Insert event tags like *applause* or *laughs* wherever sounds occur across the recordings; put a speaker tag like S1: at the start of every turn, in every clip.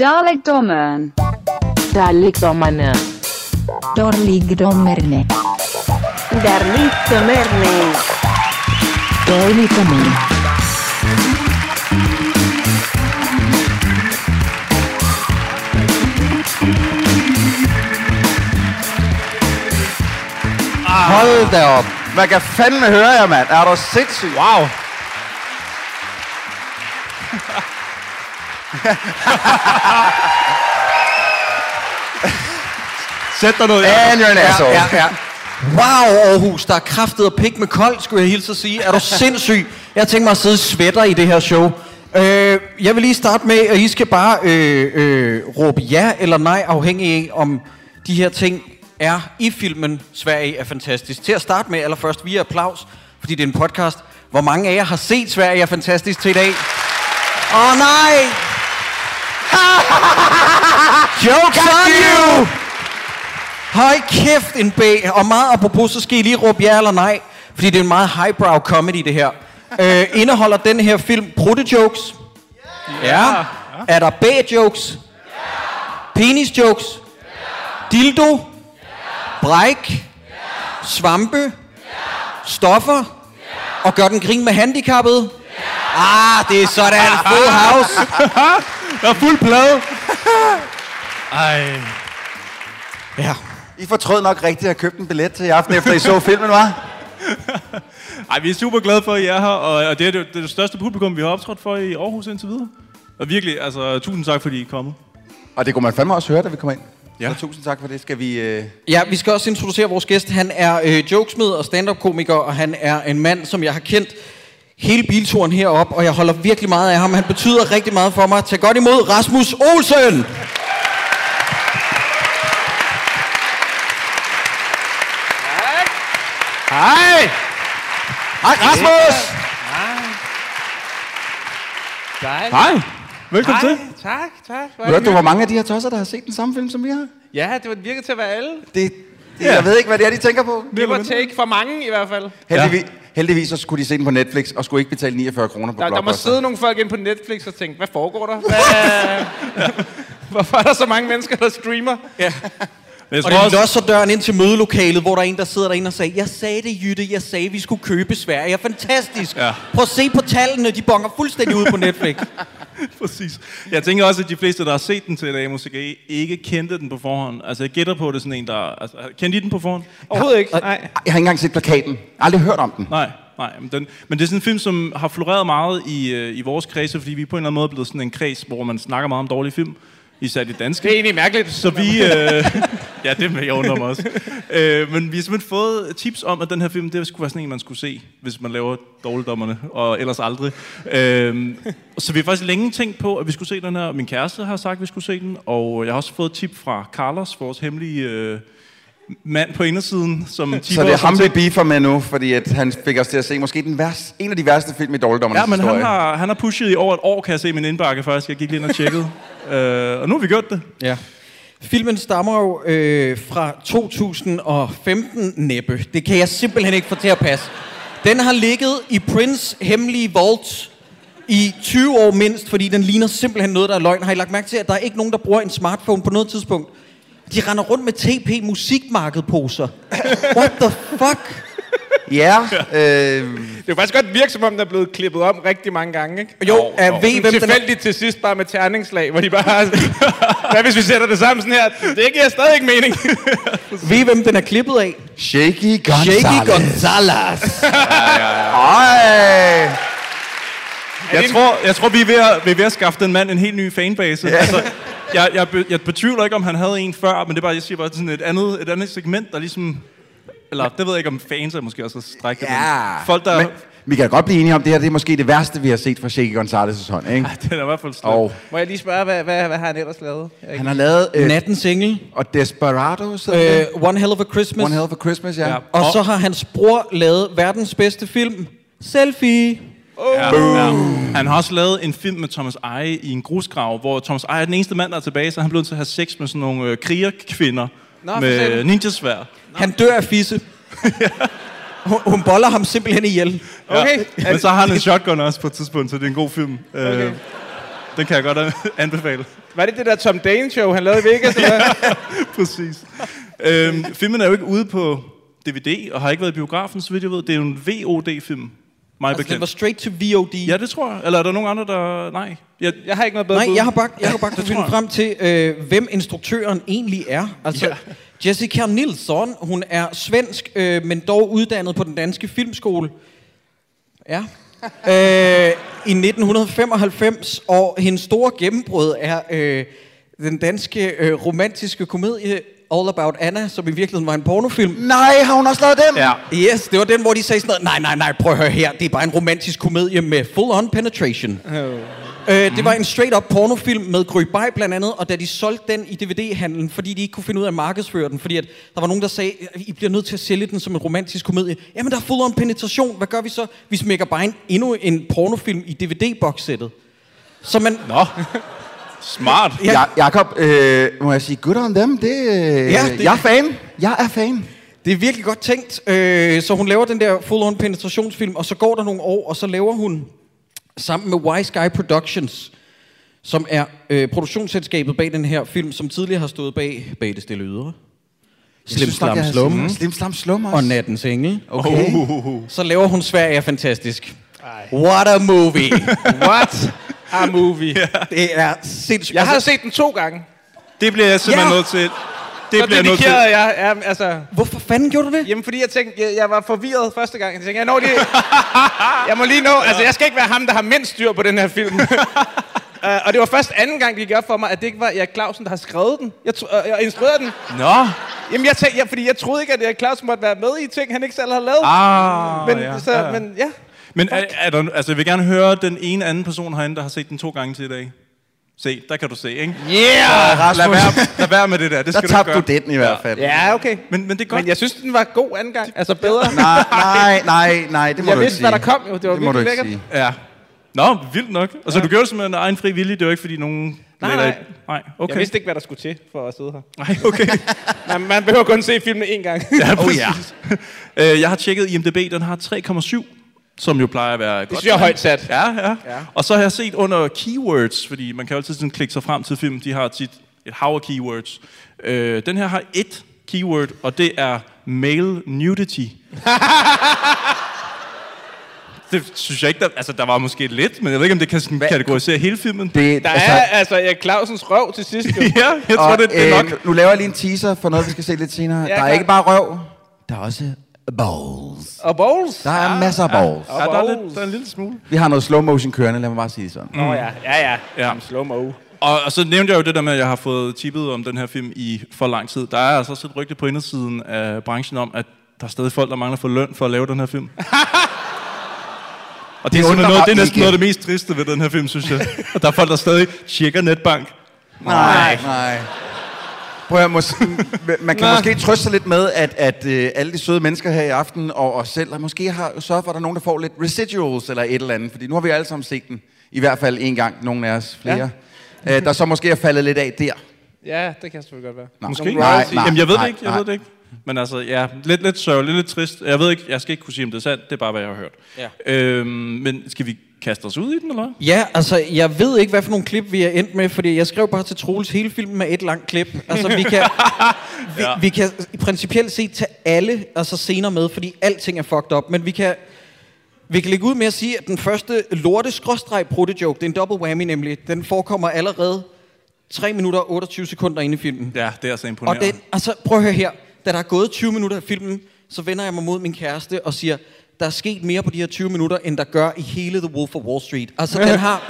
S1: Dalekdommeren.
S2: Daar ligt dan mijn... eh,
S3: Dorligdommerne.
S4: Daar ligt de merne.
S2: Daar ligt dan mijn...
S5: Hold da op. Hvad kan fanden høre jer, mand? Er du sindssyg?
S6: Wow. Sæt dig ned. Jacob.
S5: And your asshole.
S6: Ja, ja, ja.
S7: Wow, Aarhus, der er kraftet og pik med kold, skulle jeg hilse at sige. Er du sindssyg? Jeg tænker mig at sidde og sweater i det her show. Øh, jeg vil lige starte med, at I skal bare øh, øh, råbe ja eller nej, afhængig af, om de her ting er i filmen Sverige er fantastisk. Til at starte med, allerførst via applaus, fordi det er en podcast. Hvor mange af jer har set Sverige er fantastisk til i dag? Åh oh, nej! *laughs* Jokes on you! Høj kæft en B. Og meget apropos, så skal I lige råbe ja eller nej. Fordi det er en meget highbrow comedy, det her. Øh, indeholder den her film brudte jokes? Ja. Er der B-jokes? Penis jokes? Dildo? Bræk? Svampe? Stoffer? Og gør den grin med handicappede? Ah, det er sådan. Full house.
S6: Der er fuld plade. Ej.
S7: Ja.
S5: I fortrød nok rigtigt at købe en billet til i aften, efter I så
S6: *laughs*
S5: filmen, var?
S6: Ej, vi er super glade for, at I er her, og, og det er det, det, er det største publikum, vi har optrådt for i Aarhus indtil videre. Og virkelig, altså, tusind tak, fordi I er kommet.
S5: Og det kunne man fandme også høre, da vi kom ind.
S6: Ja.
S5: Så tusind tak for det. Skal vi... Øh...
S7: Ja, vi skal også introducere vores gæst. Han er øh, jokesmed og stand-up-komiker, og han er en mand, som jeg har kendt hele bilturen herop, og jeg holder virkelig meget af ham. Han betyder rigtig meget for mig. Tag godt imod Rasmus Olsen!
S6: Hej!
S7: Hej Rasmus!
S8: Dejligt.
S6: Hej! Velkommen til.
S8: tak, tak. Hvor er
S5: Hørte
S8: det
S5: du, hvor mange af de her tosser, der har set den samme film, som vi har?
S8: hyggeligt. Ja, det var virkelig til at være alle.
S5: Det, det, jeg ved ikke, hvad det er, de tænker på.
S8: Det var take for mange i hvert fald.
S5: Heldigvis, heldigvis så skulle de se den på Netflix, og skulle ikke betale 49 kroner på
S8: Der, der må
S5: Blockbuster.
S8: sidde nogle folk ind på Netflix og tænke, hvad foregår der? Hvad, *laughs* hvorfor er der så mange mennesker, der streamer?
S6: Men jeg
S7: Og
S6: tror
S7: det
S6: også,
S7: låser døren ind til mødelokalet, hvor der er en, der sidder derinde og sagde, jeg sagde det, Jytte, jeg sagde, vi skulle købe Sverige. Fantastisk!
S6: Ja.
S7: Prøv at se på tallene, de bonger fuldstændig ud på Netflix.
S6: Præcis. Jeg tænker også, at de fleste, der har set den til i dag, måske ikke kendte den på forhånd. Altså, jeg gætter på, at det er sådan en, der... Altså, kendte I den på forhånd?
S8: Overhovedet ikke. Nej.
S5: Jeg har ikke engang set plakaten. Jeg har aldrig hørt om den.
S6: Nej, nej. Men, den, men det er sådan en film, som har floreret meget i, øh, i vores kredse, fordi vi er på en eller anden måde blevet sådan en kreds, hvor man snakker meget om dårlige film. Især de danske.
S8: Det er egentlig mærkeligt.
S6: Så vi... Øh, *laughs* ja, det vil jeg undre mig også. Øh, men vi har simpelthen fået tips om, at den her film, det skulle være sådan en, man skulle se, hvis man laver dårligdommerne, og ellers aldrig. Øh, så vi har faktisk længe tænkt på, at vi skulle se den her. Min kæreste har sagt, at vi skulle se den, og jeg har også fået et tip fra Carlos, vores hemmelige øh, mand på indersiden, som tipper
S5: Så det er
S6: os om
S5: ham,
S6: ting.
S5: vi beefer med nu, fordi at han fik os til at se måske den værste, en af de værste film i Dårligdommernes
S6: Ja, men
S5: historie.
S6: han har, han har pushet i over et år, kan jeg se i min indbakke først. Jeg gik lige ind og tjekkede. øh, og nu har vi gjort det.
S7: Ja. Filmen stammer jo øh, fra 2015, næppe. Det kan jeg simpelthen ikke få til at passe. Den har ligget i Prince hemmelige vault i 20 år mindst, fordi den ligner simpelthen noget, der er løgn. Har I lagt mærke til, at der er ikke nogen, der bruger en smartphone på noget tidspunkt? De render rundt med TP musikmarkedposer. What the fuck?
S5: Ja, øh,
S8: Det er jo faktisk godt virke, som om den er blevet klippet om rigtig mange gange, ikke?
S7: Jo, oh, jeg ved, hvem den er.
S8: Tilfældigt til sidst bare med terningslag, hvor de bare har... *laughs* Hvad hvis vi sætter det sammen sådan her? Det giver stadig ikke mening. *laughs*
S7: Ved, I, hvem den er klippet af?
S5: Shaky Gonzales.
S7: Shaky
S5: *laughs*
S7: Gonzalez.
S5: Ej.
S6: Jeg tror, jeg tror vi, er ved at, vi er ved at skaffe den mand en helt ny fanbase. Ja. Altså, jeg, jeg, be- jeg betvivler ikke, om han havde en før, men det er bare, jeg siger bare sådan et andet, et andet segment, der ligesom... Eller det ved jeg ikke, om fans er måske også at strække det, men Folk, der...
S5: Men,
S6: Men...
S5: vi kan godt blive enige om, det her det er måske det værste, vi har set fra Shaky Gonzales' hånd, ikke?
S6: *laughs* Den Ah, er i hvert fald slem.
S5: Og
S8: Må jeg lige spørge, hvad, hvad, hvad har han ellers lavet? Jeg
S5: han har lavet... Øh,
S7: Nattens single.
S5: og Desperados, øh,
S7: Uh, One Hell of a Christmas.
S5: One Hell for Christmas, ja.
S6: Ja.
S5: ja.
S7: Og så har hans bror lavet verdens bedste film, Selfie.
S6: Ja, ja. Han har også lavet en film med Thomas Eje i en grusgrav, hvor Thomas Eje er den eneste mand, der er tilbage, så han blev nødt til at have sex med sådan nogle øh, krigerkvinder
S8: Nå, for
S6: med
S8: satan.
S6: ninjasvær.
S7: Han dør af
S6: *laughs*
S7: fisse. hun, hun boller ham simpelthen ihjel. Altså,
S8: Okay.
S6: Men så har han en shotgun også på et tidspunkt, så det er en god film. Okay. Øh, Den kan jeg godt an- anbefale.
S8: Var det det der Tom Dane show, han lavede i Vegas? Eller? hvad?
S6: Præcis. øhm, filmen er jo ikke ude på DVD, og har ikke været i biografen, så vidt jeg ved. Det er jo en VOD-film, mig altså,
S7: Altså, den var straight
S6: bekendt.
S7: to VOD.
S6: Ja, det tror jeg. Eller er der nogen andre, der... Nej. Jeg,
S8: Jeg har ikke noget bedre
S7: Nej,
S8: bud.
S7: jeg har bare, jeg har bare kunnet
S6: tror
S7: finde
S6: jeg.
S7: frem til, øh, hvem instruktøren egentlig er. Altså,
S6: Ja.
S7: Jessica Nilsson, hun er svensk, øh, men dog uddannet på den danske filmskole. Ja. Øh, I 1995, og hendes store gennembrud er øh, den danske øh, romantiske komedie All About Anna, som i virkeligheden var en pornofilm.
S5: Nej, har hun også lavet dem?
S6: Ja.
S7: Yes, det var den, hvor de sagde sådan noget, nej, nej, nej, prøv at høre her, det er bare en romantisk komedie med full-on penetration. Oh. Øh, det var en straight-up pornofilm med Gry Bay blandt andet, og da de solgte den i DVD-handlen, fordi de ikke kunne finde ud af at markedsføre den, fordi at der var nogen, der sagde, I bliver nødt til at sælge den som en romantisk komedie. Jamen, der er full-on penetration, hvad gør vi så? Vi smækker bare en, endnu en pornofilm i DVD-bokssættet. Så man,
S6: Nå. Smart.
S5: Ja. Ja, Jakob, øh, må jeg sige good on dem? Det, øh,
S7: Ja,
S5: ja,
S7: det-
S5: det... Jeg er fan. Jeg er fan.
S7: Det er virkelig godt tænkt. Øh, så hun laver den der full-on penetrationsfilm, og så går der nogle år, og så laver hun sammen med Wise Guy Productions, som er øh, produktionsselskabet bag den her film, som tidligere har stået bag Bag det stille ydre, Slim
S5: nok,
S7: Slam
S5: jeg har
S7: Slum
S5: set- Slim Slam Slum også.
S7: og Nattens Engel.
S5: Okay. Oh.
S7: Så laver hun Sverige er fantastisk. What a movie!
S8: What a movie.
S7: det er sindssygt. Altså,
S8: Jeg har set den to gange.
S6: Det bliver jeg simpelthen
S7: Ja.
S6: ja. nødt til. Det
S8: Så
S6: bliver jeg nødt til.
S8: dedikerede jeg, ja, altså,
S7: Hvorfor fanden gjorde du det?
S8: Jamen, fordi jeg tænkte, jeg, jeg var forvirret første gang. Jeg tænkte, jeg når
S6: *laughs*
S8: lige... Jeg må lige nå... Altså, jeg skal ikke være ham, der har mindst styr på den her
S6: *laughs*
S8: film. Uh, og det var først anden gang, det gik op for mig, at det ikke var Erik Clausen, der har skrevet den. Jeg, tro- øh, jeg instruerede den.
S6: Nå.
S8: Jamen, jeg tænkte, ja, fordi jeg troede ikke, at Erik Clausen måtte være med i ting, han ikke selv har lavet.
S6: Ah,
S8: men,
S6: ja.
S8: Så,
S6: ja.
S8: men ja.
S6: Men er, er der, altså, jeg vil gerne høre den ene anden person herinde, der har set den to gange til i dag. Se, der kan du se, ikke?
S8: Ah,
S5: Rasmus.
S6: Lad være, lad være med det der. Det
S5: Der
S6: skal
S5: tabte
S6: du
S5: du
S6: ikke gøre.
S5: den i hvert fald.
S8: Ja, okay.
S6: Men, men det er godt.
S8: Men jeg synes, den var god anden gang. Altså bedre.
S5: Nej, Ah, nej, nej, nej, det må
S8: Jeg
S5: du ikke
S8: vidste,
S5: sige.
S8: hvad der kom jo. Det var
S5: det må du
S8: virkelig
S5: ikke
S8: lækkert.
S5: sige.
S6: Ja. Nå, vildt nok. Altså, du gjorde det simpelthen af egen fri vilje. Det var ikke, fordi nogen...
S8: Nej,
S6: lagde dig
S8: nej.
S6: i- Nej, okay.
S8: Jeg vidste ikke, hvad der skulle til for at
S6: *laughs*
S8: sidde her.
S6: Nej, okay.
S8: Man, man behøver kun se filmen én gang.
S6: Ja,
S5: Oh,
S6: præcis. *laughs* Øh, Jeg har tjekket IMDB, den har 3,7, som jo plejer at være godt.
S8: Det synes jeg er højt sat.
S6: Ja, ja, ja. Og så har jeg set under keywords, fordi man kan jo altid sådan klikke sig frem til film, de har tit et hav af keywords. Øh, den her har et keyword, og det er male nudity. det synes jeg ikke, der, altså der var måske lidt, men jeg ved ikke, om det kan sådan kategorisere hele filmen.
S5: Det,
S8: Der
S5: altså,
S8: er altså Erik Clausens røv til sidst.
S6: *laughs*
S8: Jo.
S6: Ja, jeg tror,
S5: og,
S6: det, det er
S5: øh,
S6: nok.
S5: nu- Nu laver jeg lige en teaser for noget, vi skal se lidt senere. der er
S8: klar.
S5: ikke bare røv, der er også balls.
S8: Og Bowles.
S5: Der er masser af balls.
S8: ah.
S6: Ja, der, er
S8: balls.
S6: lidt, der er en lille smule.
S5: Vi har noget slow motion kørende, lad mig bare sige det sådan.
S8: Nå ja, ja, ja.
S6: Ja.
S8: Som slow-mo.
S6: Og, og så nævnte jeg jo det der med, at jeg har fået tippet om den her film i for lang tid. Der er altså også et rygte på indersiden af branchen om, at der er stadig folk, der mangler for løn for at lave den her
S5: *laughs*
S6: film. og det er,
S5: undrer
S6: det noget,
S5: mig
S6: det er næsten
S5: ikke.
S6: noget af det mest triste ved den her film,
S5: *laughs*
S6: synes jeg. At der er folk, der stadig tjekker netbank.
S5: Nej, nej. Prøv at, høre, mås- *laughs* m- man kan måske trøste sig lidt med, at, at øh, alle de søde mennesker her i aften og os selv, og måske har sørget for, at der er nogen, der får lidt residuals eller et eller andet, fordi nu har vi alle sammen set den, i hvert fald en gang, nogen af os flere, ja. øh, der så måske er faldet lidt af der.
S8: Ja, det kan selvfølgelig godt være.
S5: Nå.
S6: Måske?
S5: Nej, nej,
S6: Jamen, jeg ved
S5: nej,
S6: det ikke, jeg
S5: nej.
S6: ved det ikke. Men altså, ja, lidt, lidt sørgeligt, lidt trist. Jeg ved ikke, jeg skal ikke kunne sige, om det er sandt. Det er bare, hvad jeg har hørt. Ja. Øhm, men skal vi kaste os ud i den, eller hvad?
S7: Ja, altså, jeg ved ikke, hvad for nogle klip vi er endt med, fordi jeg skrev bare til Troels hele filmen med et langt klip. Altså, vi kan, vi, ja. vi kan principielt set tage alle altså, scener med, fordi alting er fucked up, men vi kan... Vi kan lægge ud med at sige, at den første lorte skråstreg joke, det er en double whammy nemlig, den forekommer allerede 3 minutter og 28 sekunder inde i filmen.
S6: Ja, det er altså
S7: Og
S6: imponerende.
S7: den, altså, prøv at høre her. Da der er gået 20 minutter af filmen, så vender jeg mig mod min kæreste og siger, der er sket mere på de her 20 minutter, end der gør i hele The Wolf of Wall Street. Altså, den har...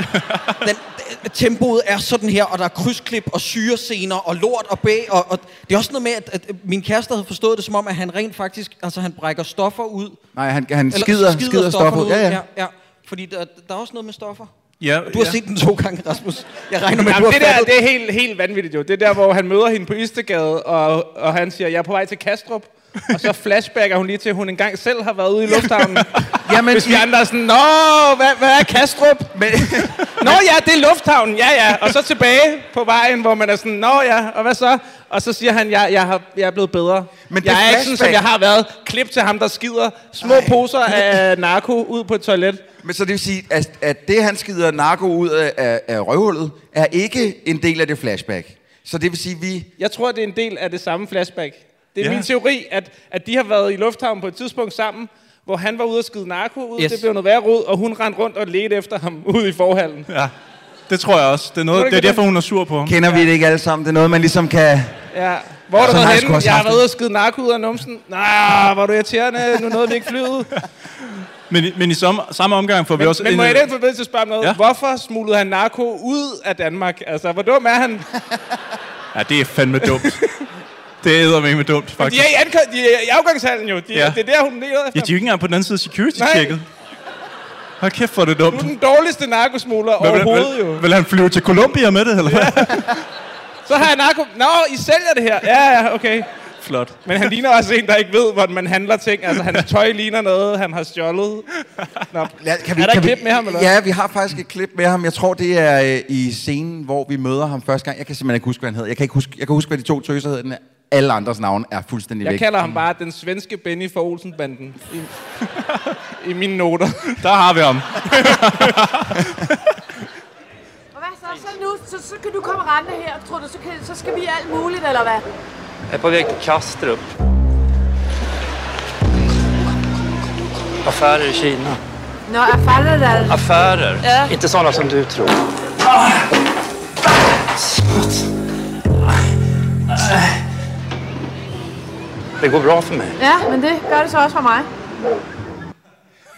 S8: *laughs*
S7: Den, den- tempoet er sådan her, og der er krydsklip og syrescener og lort og bag. Og, og det er også noget med, at, at min kæreste havde forstået det som om, at han rent faktisk... Altså, han brækker stoffer ud.
S5: Nej, han, han
S7: Eller
S5: skider, skider, skider stoffet.
S7: ud.
S5: Ja, ja.
S7: ja, ja. Fordi der, der er også noget med stoffer.
S6: Ja,
S7: Du har
S6: ja.
S7: set den to gange, Rasmus. Jeg regner med, at du
S8: Jamen,
S7: har
S8: det der,
S7: fattet-
S8: det er helt, helt vanvittigt jo. Det er der, hvor han møder hende på Istegade, og, og han siger, jeg er på vej til Kastrup. Og så flashbacker hun lige til, at hun engang selv har været ude i lufthavnen.
S5: Jamen,
S8: Hvis vi andre er sådan, nå, hvad, hvad er Kastrup?
S5: men, *laughs*
S8: Nå ja, det er lufthavnen, ja ja. Og så tilbage på vejen, hvor man er sådan, nå ja, og hvad så? Og så siger han, jeg, jeg, har, jeg er blevet bedre.
S5: Men
S8: Men
S5: det
S8: jeg er ikke sådan, som
S5: flashback-
S8: jeg har været. Klip til ham, der skider små Ej. poser af narko ud på et toilet.
S5: Men så det vil sige, at, at det, han skider narko ud af, af, af røvhullet, er ikke en del af det flashback. Så det vil sige, vi...
S8: Jeg tror, det er en del af det samme flashback. Det er
S6: Ja.
S8: ja. min teori, at, at de har været i lufthavnen på et tidspunkt sammen, hvor han var ude og skide narko ud,
S7: Yes.
S8: yes. det blev noget værre rod, og hun rendte rundt og ledte efter ham ude i forhallen.
S6: Ja, det tror jeg også. Det er, noget,
S8: Tror du
S6: det er
S8: ikke,
S6: derfor, hun er sur på ham.
S5: Kender vi det ikke alle sammen? Det er noget, man ligesom kan...
S8: Ja. Hvor har du
S5: Sådan har jeg
S8: været
S5: sgu
S8: henne?
S5: også
S8: Jeg har
S5: haft
S8: været ude og skide narko ud af numsen. Nej, hvor er du irriterende. Nu nåede vi ikke flyet.
S6: Men, i- men i samme, samme omgang får vi også...
S8: Men
S6: en- øh,
S8: må jeg i den forbindelse spørge om noget?
S6: Ja.
S8: Ja. Hvorfor smuglede han narko ud af Danmark? Altså, hvor dum er han?
S6: Ja, det er fandme
S5: *laughs*
S6: dumt. det er med dumt,
S8: De
S6: faktisk.
S8: er i, ankom- de er i afgangshallen jo. De,
S6: Ja.
S8: ja. Det er der, hun leder efter.
S6: Ja, de er jo ikke engang på den anden side af security-tjekket. Hold kæft, hvor er det
S8: Du
S6: dumt.
S8: er den dårligste narkosmugler
S6: Hvad vil-
S8: overhovedet
S6: vil,
S8: jo.
S6: Vil han flyve til Colombia med det, eller hvad?
S8: Så har jeg narko... Nå, I sælger det her. Ja, ja, okay.
S6: *laughs* Flot.
S8: Men han ligner også en, der ikke ved, hvordan man handler ting. Altså, hans tøj ligner noget, han har stjålet. Nå.
S5: Lad, kan vi
S8: Er der
S5: kan
S8: et klip
S5: vi,
S8: med ham, eller
S5: Ja, vi har faktisk et klip med ham. Jeg tror, det er øh, i scenen, hvor vi møder ham første gang. Jeg kan simpelthen ikke huske, hvad han hedder. Jeg kan, ikke huske, jeg kan huske, hvad de to tøser hedder. Den er- Alle andres navne er fuldstændig
S8: Jeg
S5: væk.
S8: kalder ham bare den svenske Benny fra Olsenbanden. I, I mine noter.
S6: Der har vi ham.
S1: Og hvad så? Så nu, så, så kan du komme rende her, tror du, så, kan, så skal vi alt muligt, eller hvad?
S3: Jag är på väg till Kastrup. Affärer i Kina.
S1: Nå, jeg fatter det.
S3: Affärer. Inte sådana som du tror. Smuts. Det går bra för mig.
S1: Ja, men det gør det så også for mig.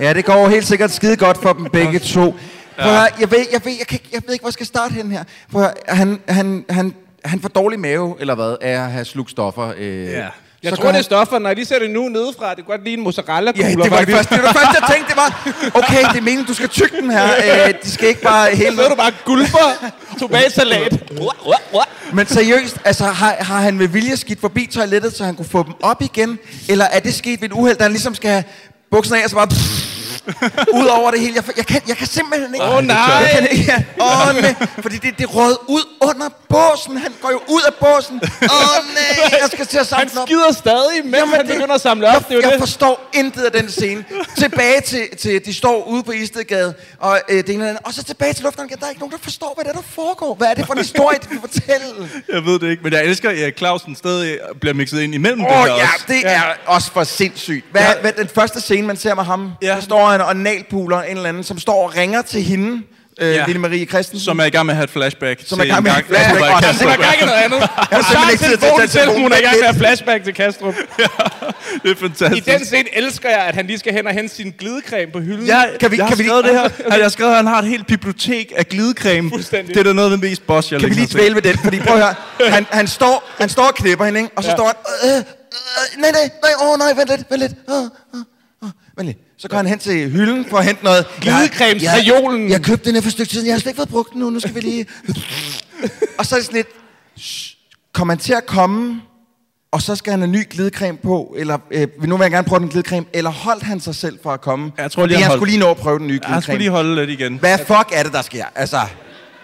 S5: Ja, det går helt sikkert skide godt for dem begge to. Prøv at høre, jeg ved, jeg ved, jeg, kan, ikke- jeg ved ikke, hvor jeg skal starte hen her. Prøv at høre, han, han, han, han får dårlig mave, eller hvad, af at have slugt stoffer. Øh. Ja.
S8: Jeg tror, det er stoffer. Når jeg lige ser det nu nedefra, det kan godt ligne mozzarella-kugler.
S5: Ja, det var det
S8: faktisk.
S5: første, det var det første, jeg tænkte, det var, okay, det er meningen, du skal tygge den
S8: *laughs*
S5: her. Øh, de skal ikke bare hele...
S8: Så er du bare gulper,
S5: *laughs*
S8: tomatsalat.
S5: Men seriøst, altså har, har han med vilje skidt forbi toilettet, så han kunne få dem op igen? Eller er det sket ved et uheld, der han ligesom skal have bukserne af, og så bare... ud over det hele. Jeg, jeg, kan, jeg kan simpelthen ikke... Åh oh, nej! Jeg kan ikke, ja. Åh oh, nej! Fordi det, det råd ud under båsen. Han går jo ud af båsen. Åh oh, nej! Jeg skal til at samle
S8: Han
S5: den op.
S8: skider stadig, mens
S5: Jamen,
S8: han
S5: det-
S8: begynder at samle op. Det er jo
S5: Jeg
S8: det.
S5: forstår intet af den scene. Tilbage til, til de står ude på Istedgade, og, øh, det ene eller andet, og så tilbage til lufthavnen. igen. Der er ikke nogen, der forstår, hvad det er, der foregår. Hvad er det for en historie, de vil fortælle?
S6: Jeg ved det ikke, men jeg elsker, at Erik Clausen stadig bliver mixet ind imellem det
S5: Åh
S6: her
S5: oh, ja,
S6: også.
S5: det er også for sindssygt. Hvad,
S6: Ja.
S5: ja. hvad den første scene, man ser med ham,
S6: Ja.
S5: ja. der står han og nalpuler en eller anden, som står og ringer til hende, øh,
S6: Ja.
S5: ja. Lille Marie Christensen.
S6: Som er i gang med at have et flashback.
S5: Som
S6: til
S5: er i gang med
S6: en
S5: at have et
S6: hvor
S5: flashback,
S6: Erik
S5: og der
S6: Clausen
S8: Det var gang i noget andet.
S5: har simpelthen ikke tid til at
S8: telefonen
S5: tage
S8: selv, hun er i gang
S5: telefonen.
S8: med at flashback til
S5: *laughs*
S8: Kastrup.
S6: Det er
S8: I
S6: fantastisk.
S8: den scene elsker jeg, at han lige skal hen og hente sin glidecreme på hylden.
S6: Jeg,
S5: Kan vi-
S6: jeg har
S5: kan vi lige- *laughs*
S6: skrevet det her. Okay. Jeg har skrevet, at han har et helt bibliotek af glidecreme.
S8: Fuldstændig.
S6: Det er da noget af det mest boss, jeg
S5: Kan vi lige
S6: længe har set.
S5: dvæle ved den? Fordi prøv at høre, han, han, står, han står og knipper hende, ikke? og så ja. står han... Øh, øh, nej, nej, nej, åh oh, nej, vent lidt, vent lidt. Øh, øh, øh, vent lidt. Så går han hen til hylden for at hente noget...
S8: Glidecremes-
S5: Jeg-
S8: reolen.
S5: Jeg, jeg købte den her for et stykke tid siden, jeg har slet ikke fået brugt den nu, nu skal vi lige... og så er det sådan lidt... shh, Kommer han til at komme, og så skal han have ny glidecreme på, eller øh, vil nu vil jeg gerne prøve den glidecreme, eller holdt han sig selv for at komme?
S6: Jeg tror
S5: Fordi
S6: lige, han
S5: han
S6: holdt-
S5: skulle lige nå at prøve den nye
S6: Jeg skulle lige
S5: glidecreme.
S6: holde lidt igen.
S5: Hvad fuck er det, der sker? Altså,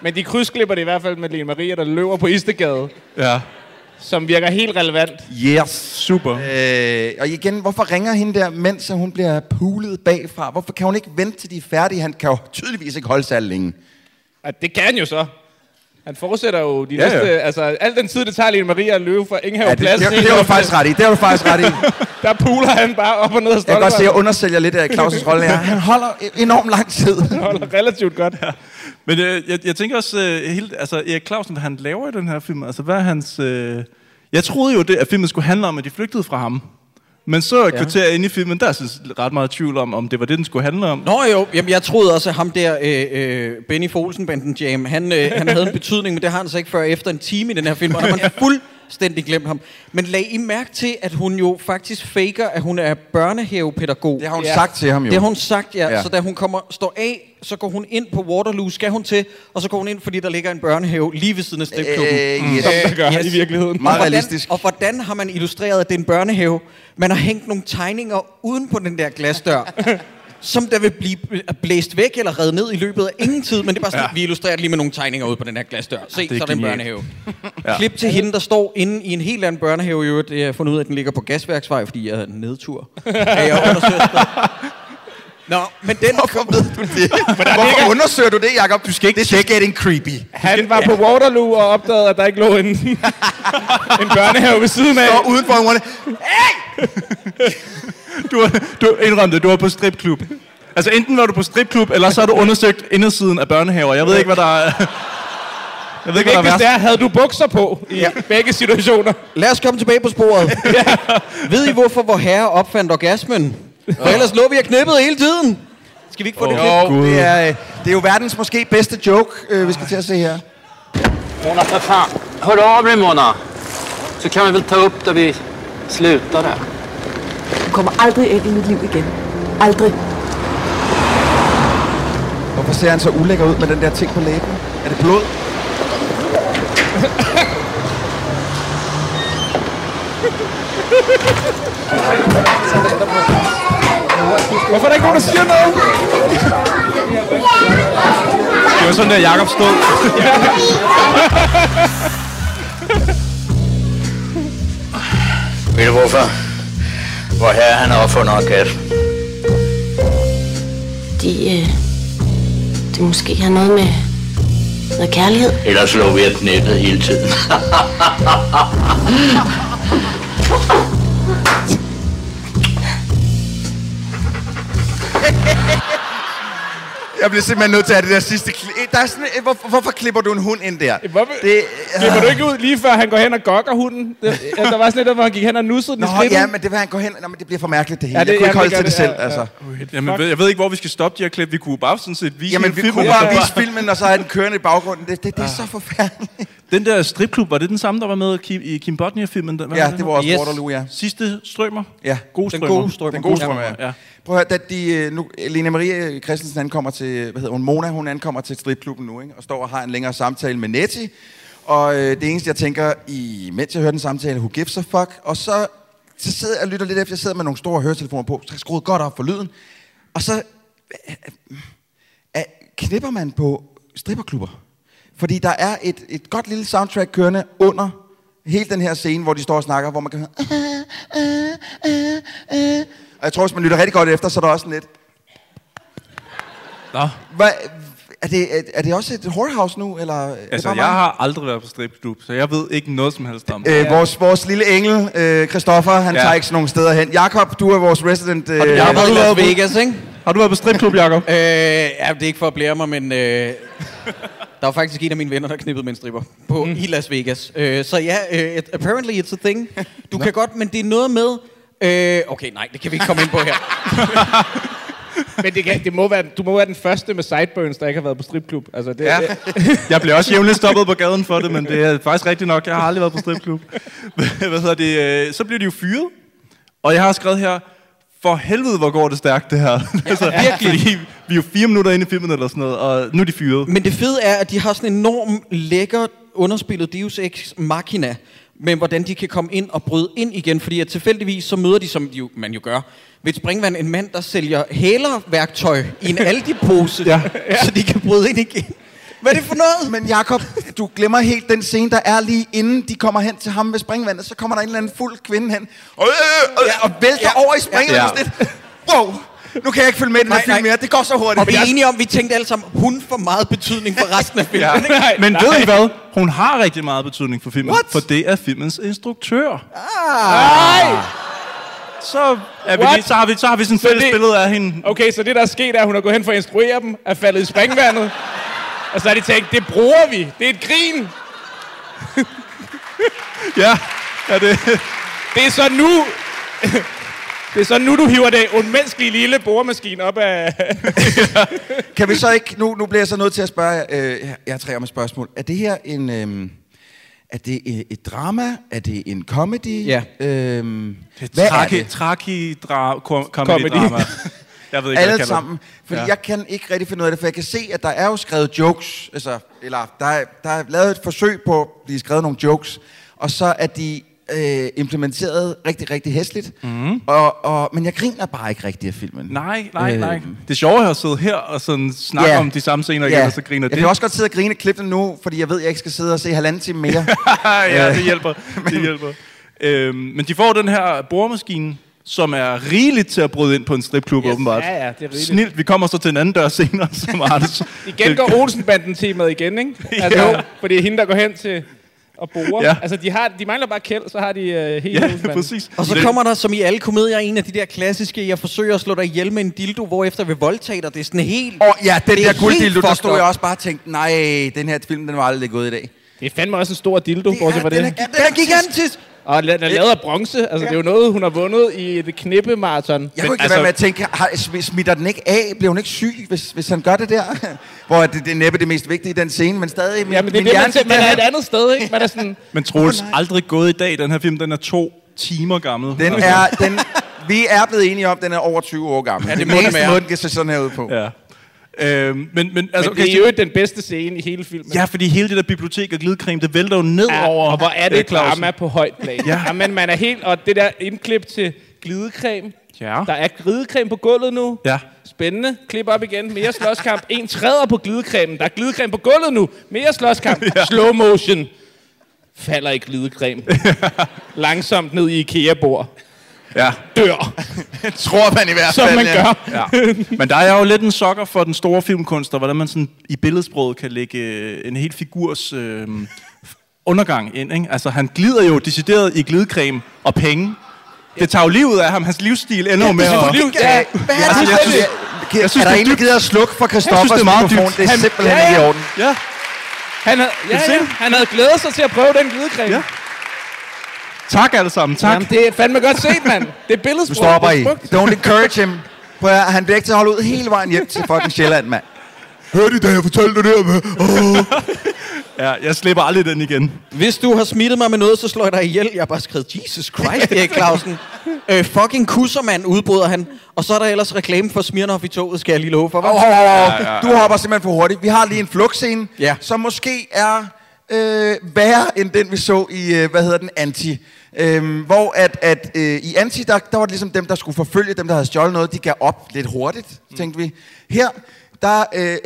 S8: Men de krydsklipper det i hvert fald med Lene Maria, der løber på Istegade,
S6: Ja,
S8: som virker helt relevant.
S5: yes.
S6: super.
S5: Øh, og igen, hvorfor ringer hende der, mens hun bliver pulet bagfra? Hvorfor kan hun ikke vente til de er færdige? Han kan jo tydeligvis ikke holde sig længe.
S8: Og det kan han jo så. Han fortsætter jo de
S6: Ja,
S8: ja,
S6: ja.
S8: næste... Ja. Altså, al den tid, det tager Lene Maria at løbe fra Ingehav
S5: Ja,
S8: ja,
S5: det, det,
S8: Plads.
S5: det,
S8: helt
S5: det, var
S8: op
S5: du faktisk ret i. Det var du faktisk ret i.
S8: *laughs*
S5: Jeg
S8: til- Der puler han bare op og ned og
S5: kan
S8: stolper.
S5: godt se, at jeg undersælger lidt af Claus' rolle her. Han holder e- enormt lang tid.
S8: holder relativt godt. Ja.
S6: Men øh, jeg, jeg tænker også, øh, hele, altså Erik Clausen, hvad han laver i den her film, altså hvad er hans... Øh... Jeg troede jo, det, at filmen skulle handle om, at de flygtede fra ham. Men så et ja. kvarter inde i filmen, der er jeg synes ret meget tvivl om, om det var det, den skulle handle om. *laughs*
S7: Nå jo, jamen, jeg troede også, at ham der, øh, øh, Benny Folsen, Banden Jam, han, øh, han havde en betydning, men det har han så ikke før efter en time i den her film, og der har
S5: *laughs*
S7: man fuldstændig glemt ham. Men lag I mærke til, at hun jo faktisk faker, at hun er børnehavepædagog.
S5: Det har hun sagt til ham jo.
S7: Det har hun sagt, ja.
S5: Ja.
S7: ja. Så da hun kommer, står af, så går hun ind på Waterloo, skal hun til, og så går hun ind, fordi der ligger en børnehave lige ved siden af stripklubben.
S5: Øh, yes.
S8: Det gør han i virkeligheden.
S5: Meget
S7: Og hvordan-
S5: realistisk.
S7: Og hvordan har man illustreret, at det er en børnehave? Man har hængt nogle tegninger uden på den der
S5: *laughs*
S7: glasdør, som der vil blive blæst væk eller reddet ned i løbet af ingen tid. Men det er bare sådan, ja. vi illustrerer det lige med nogle tegninger ude på den her glasdør. Se,
S6: er
S7: så er det en
S6: genialt.
S7: børnehave. ja. Klip til hende, der står inde i en helt anden børnehave. i øvrigt.
S5: *laughs*
S7: Jeg har fundet ud af, at den ligger på gasværksvej, fordi jeg er en nedtur. Ja, jeg undersøger
S8: Nå,
S7: Men den
S5: Hvorfor ved du det? Hvorfor undersøger du det, Jacob? Du skal ikke det er getting creepy.
S8: han var på Waterloo og opdagede, at der ikke lå en, *laughs* en børnehave ved siden af.
S5: Og udenfor ungerne.
S6: Du, var- du indrømte, du var på stripklub. Altså enten var du på stripklub, eller så har du undersøgt indersiden af børnehaver. Jeg ved ikke, hvad der er... *laughs* Jeg ved ikke, hvad der
S8: Hvis
S6: er
S8: det
S6: værst.
S8: er, havde du bukser på i ja. begge situationer.
S7: Lad os komme tilbage på sporet. *laughs* Ved I, hvorfor vor herre opfandt orgasmen? For ellers lå vi og knippede hele tiden. Skal vi ikke få oh, det klip?
S5: Jo, det er, øh, det er jo verdens måske bedste joke, øh, vi skal til at se her.
S9: Mona, för fan. Hör av dig, Mona. Så kan vi väl ta upp där vi slutade.
S10: Du kommer aldrig ind i mit liv igen. Aldrig.
S5: Hvorfor ser han så ulækker ud med den der ting på læben? Er det blod?
S8: Hvorfor er der ikke nogen, der siger noget?
S6: Det var sådan der, Jacob stod.
S11: Ved du hvorfor? Hvor her han har opfundet orgasmen.
S10: Det, øh, det måske har noget med noget kærlighed.
S11: Ellers lå vi og knippede hele tiden.
S5: Jeg bliver simpelthen nødt til at have det der sidste klip. Der er sådan, øh, hvor, hvorfor klipper du en hund ind der?
S8: Hvorfor?
S5: Det,
S8: Klipper du ikke ud lige før han går hen og gokker hunden? Det, ja, der var sådan lidt, hvor han gik hen og nussede den i
S5: Nå,
S8: skridtet.
S5: ja, men det vil han gå hen. Nå, men det bliver for mærkeligt det hele.
S8: Ja,
S5: Ja,
S8: det-
S5: det, jeg kunne
S8: jamen,
S5: ikke holde
S8: det
S5: til det
S8: gør
S5: selv,
S8: det, ja,
S5: altså.
S6: Jamen, jeg ved ikke, hvor vi skal stoppe de her klip. Vi kunne bare sådan set vise
S5: Jamen,
S6: hele
S5: vi
S6: filmen,
S5: kunne
S6: og så
S5: bare Ah. vise filmen, og så er den kørende i baggrunden. Det, det, det er så forfærdeligt.
S6: Den der stripklub, var det den samme, der var med Kim, i Kim Bodnia-filmen? Den- hvad
S5: Ja,
S6: var
S5: det var også
S6: Yes.
S5: Waterloo, ja.
S6: Sidste strømmer?
S5: Ja.
S6: God
S7: Den
S6: strømmer.
S7: gode strømmer.
S5: Den gode strømmer,
S6: ja.
S5: ja. Prøv at høre, da de, øh, nu, Lene Marie Christensen ankommer til, hvad hedder hun, Mona, hun ankommer til stripklubben nu, ikke? og står og har en længere samtale med Nettie. Og øh, det eneste, jeg tænker, i, mens jeg hører den samtale, who gives a fuck, og så, så sidder jeg og lytter lidt efter, jeg sidder med nogle store høretelefoner på, så jeg skruet godt op for lyden, og så øh, øh, knipper man på stripperklubber. Fordi der er et, et godt lille soundtrack kørende under hele den her scene, hvor de står og snakker, hvor man kan høre, og jeg tror, hvis man lytter rigtig godt efter, så er der også sådan lidt...
S6: Nå.
S5: Hva, er, det, er, er det også et whorehouse nu, eller... er det
S6: Altså,
S5: bare
S6: jeg
S5: mig?
S6: har aldrig været på stripklub, så jeg ved ikke noget som helst om.
S5: Øh, vores, vores lille engel, øh, Christoffer, han
S6: Ja.
S5: ja. tager ikke sådan nogle steder hen. Jakob, du er vores resident... Øh,
S7: Jeg har
S5: øh,
S7: været i Las Vegas, ikke?
S6: Har du været på stripklub, Jacob?
S7: Øh, ja, det er ikke for at blære mig, men øh, der var faktisk en af mine venner, der knippede med en stripper på, mm. i Las Vegas. Øh, så ja, øh, it, apparently it's a thing. Du kan godt, men det er noget med... Øh, okay, nej, det kan vi ikke komme ind på her.
S8: Men det, kan, det må være, du må være den første med sideburns, der ikke har været på stripklub. Altså, det, ja.
S6: *laughs* Jeg blev også jævnligt stoppet på gaden for det, men det er faktisk rigtigt nok. Jeg har aldrig været på stripklub. *laughs* Hvad hedder det? øh, Så blev de jo fyret, og jeg har skrevet her, for helvede, hvor går det stærkt, det her. *laughs* altså, virkelig. Fordi vi er jo fire minutter inde i filmen eller sådan noget, og nu er de fyret.
S7: Men det fede er, at de har sådan en enorm lækker underspillet Deus Ex Machina, men hvordan de kan komme ind og bryde ind igen, fordi at tilfældigvis så møder de, som de jo, man jo gør, ved et springvand en mand, der sælger hælerværktøj i en Aldi-pose, ja. *laughs* så de kan bryde ind igen. Hvad er det for noget?
S5: Men Jakob, du glemmer helt den scene, der er lige inden de kommer hen til ham ved springvandet. Så kommer der en eller anden fuld kvinde hen og, øh, øh, øh, og vælter ja. over i springvandet.
S6: Ja.
S5: Ja. Lidt. Wow, nu kan jeg ikke følge med i den her
S7: Nej, nej.
S5: film mere. Det går så hurtigt.
S7: Og vi er enige om, vi tænkte alle sammen, hun får meget betydning for resten af filmen.
S6: Ja.
S7: ikke?
S8: *laughs*
S6: *laughs* Men ved I hvad? Hun har rigtig meget betydning for filmen,
S7: What?
S6: for det er filmens instruktør. Ah. Så, er vi
S8: What?
S6: lige, så, har vi, så har vi sådan et fælles
S8: det-
S6: billede af hende.
S8: Okay, så det, der er sket, er, at hun er gået hen for at instruere dem, er faldet i springvandet. Og så har de tænkt, det bruger vi. Det er et grin.
S6: Ja, ja det,
S8: Det er så nu... *laughs* Det er så nu, du hiver det unmenneskelige lille boremaskine op af...
S5: Kan vi så ikke, nu, nu bliver jeg så nødt til at spørge, øh, jeg- jeg har tre om et spørgsmål. Er det her en, øh, er det øh, et drama? Er det en comedy?
S7: Ja.
S5: Øhm,
S6: Hvad
S5: hvad er
S6: traki,
S5: det?
S6: Traki, dra, kom, comedy, drama. Jeg ved ikke, hvad jeg
S5: Alle
S6: kalder
S5: sammen.
S6: det.
S5: Fordi
S6: Ja.
S5: ja. jeg kan ikke rigtig finde ud af det, for jeg kan se, at der er jo skrevet jokes. Altså, eller der er, der er lavet et forsøg på at blive skrevet nogle jokes. Og så er de øh, implementeret rigtig, rigtig hæsligt. Mm. Og, og, men jeg griner bare ikke rigtig af filmen.
S6: Nej, nej, nej.
S5: Øh.
S6: Det sjove er at sidde her og sådan snakke yeah. om de samme scener igen, og så griner
S5: jeg
S6: det.
S5: kan også godt sidde og grine klippet nu, fordi jeg ved, at jeg ikke skal sidde og se halvanden time
S8: *laughs*
S5: mere.
S6: Ah, ja, det hjælper. det hjælper. Øhm, men de får den her boremaskine, som er rigeligt til at bryde ind på en stripklub, yes, åbenbart.
S8: ja, ja, det er rigeligt.
S6: Snilt. Vi kommer så til en anden dør
S8: *laughs*
S6: senere, som Anders...
S8: Igen går Olsenbanden-temaet igen, ikke? *laughs* Altså,
S6: Jo.
S8: For det er hende, der går hen til og borer.
S6: Ja.
S8: Ja. Altså, de, har, de mangler bare kæld, så har de
S6: *laughs*
S8: øh, helt Olsenbanden.
S7: Og så kommer der, som i alle komedier, en af de der klassiske, jeg forsøger at slå dig ihjel med en dildo, hvorefter vi voldtager dig. Det er sådan helt...
S5: Åh, ja, den
S7: det er
S5: der gulddildo,
S7: helt
S5: der
S7: fucked
S5: stod
S7: up.
S5: jeg også bare og tænkte, nej, den her film, den var aldrig gået i dag.
S8: Det er fandme også en stor dildo, bortset fra det.
S5: den er- ja, den er gigantisk.
S8: Og den er lavet af bronze. Altså,
S5: Ja.
S8: det er jo noget, hun har vundet i et knippemarathon. Jeg
S5: Jeg kunne ikke altså, være med at tænke, har, sm- smitter den ikke af? Bliver hun ikke syg, hvis, hvis han gør det der? *laughs* Hvor det, det er næppe det mest vigtige i den scene, men stadig...
S8: Ja, men det er det, man, man er et andet sted, ikke? Man er sådan...
S6: Men Troels, aldrig gået i dag. Den her film, den er to timer gammel. Altså,
S5: Den er, den, vi er blevet enige om, at den er over 20 år gammel.
S6: Ja, det
S5: er
S6: må den
S5: eneste
S6: være.
S5: måde, den kan se sådan her ud på.
S6: Ja. Øhm, men, men, altså,
S8: Altså, men det er jo den bedste scene i hele filmen.
S6: Ja, fordi hele det der bibliotek og glidecreme, det vælter jo ned
S8: Ja,
S6: over...
S8: og hvor er
S6: øh,
S8: det
S6: Clausen.
S8: drama på højt plan.
S6: Ja.
S8: ja. men man er helt... Og det der indklip til glidecreme.
S6: Ja.
S8: Der er glidecreme på gulvet nu.
S6: Ja.
S8: Spændende. Klip op igen. Mere slåskamp. En træder på glidecremen. Der er glidecreme på gulvet nu. Mere
S6: *laughs*
S8: slåskamp. ja. Slow motion. Falder i glidecreme. Langsomt ned i IKEA-bord.
S6: Ja. *laughs*
S8: Dør.
S5: Tror man i hvert
S8: Som
S5: fald,
S8: man
S5: ja.
S8: gør.
S6: Ja. Men der er jeg jo lidt en sokker for den store filmkunst, og hvordan man sådan i billedsproget kan lægge øh, en helt figurs øh, undergang ind. Ikke? Altså, han glider jo decideret i glidecreme og penge. Det tager jo livet af ham. Hans livsstil ender jo med at...
S5: Ja, hvad er det? Jeg synes, jeg, jeg synes, er der en, der gider at slukke for Christoffers mikrofon? Det er simpelthen
S8: Ja, ja.
S5: ikke i orden.
S6: Ja.
S8: Han havde, ja, ja, han havde glædet sig til at prøve den glidecreme. Ja.
S6: Tak alle sammen, tak.
S8: Jamen, det er fandme godt set, mand. Det er billedsprog.
S5: Du stopper
S8: Det
S5: i.
S8: er smukt.
S5: Don't encourage him. Prøv at, høre, han bliver ikke til at holde ud hele vejen hjem til fucking Sjælland, mand. Hørte I, da jeg fortalte det der med?
S6: Ja, jeg slipper aldrig den igen.
S7: Hvis du har smittet mig med noget, så slår jeg dig ihjel. Jeg har bare skrevet, Jesus Christ, Erik Clausen. øh, fucking kussermand, udbryder han. Og så er der ellers reklame for Smirnoff i toget, skal jeg lige love for. hva'?
S5: Hov, hov, hov, hov. Du hopper simpelthen for hurtigt. Vi har lige en flugtscene,
S7: Ja.
S5: som måske er øh, værre end den, vi så i, øh, hvad hedder den, Anti. Øhm, hvor at, at øh, i Anti, der, der var det ligesom dem, der skulle forfølge dem, der havde stjålet noget, de gav op lidt hurtigt, tænkte vi. Her, der øh,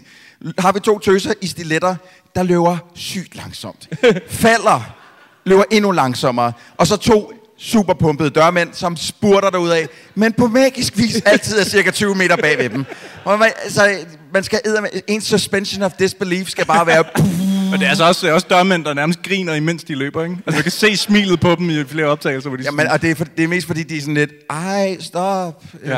S5: *laughs* har vi to tøser i stiletter, der løber sygt langsomt. Falder, løber endnu langsommere. Og så to superpumpede dørmænd, som spurter derudad, men på magisk vis altid er cirka 20 meter bagved dem. Og man, altså, man skal edderme, en suspension of disbelief skal bare
S6: *laughs*
S5: være...
S6: Men det er altså også, det er også dørmænd, der nærmest griner, imens de løber, ikke? Altså, man kan se smilet på dem i flere optagelser, hvor de
S5: Jamen,
S6: sådan-
S5: og det er, for, det er mest fordi, de er sådan lidt, ej, stop.
S6: Ja.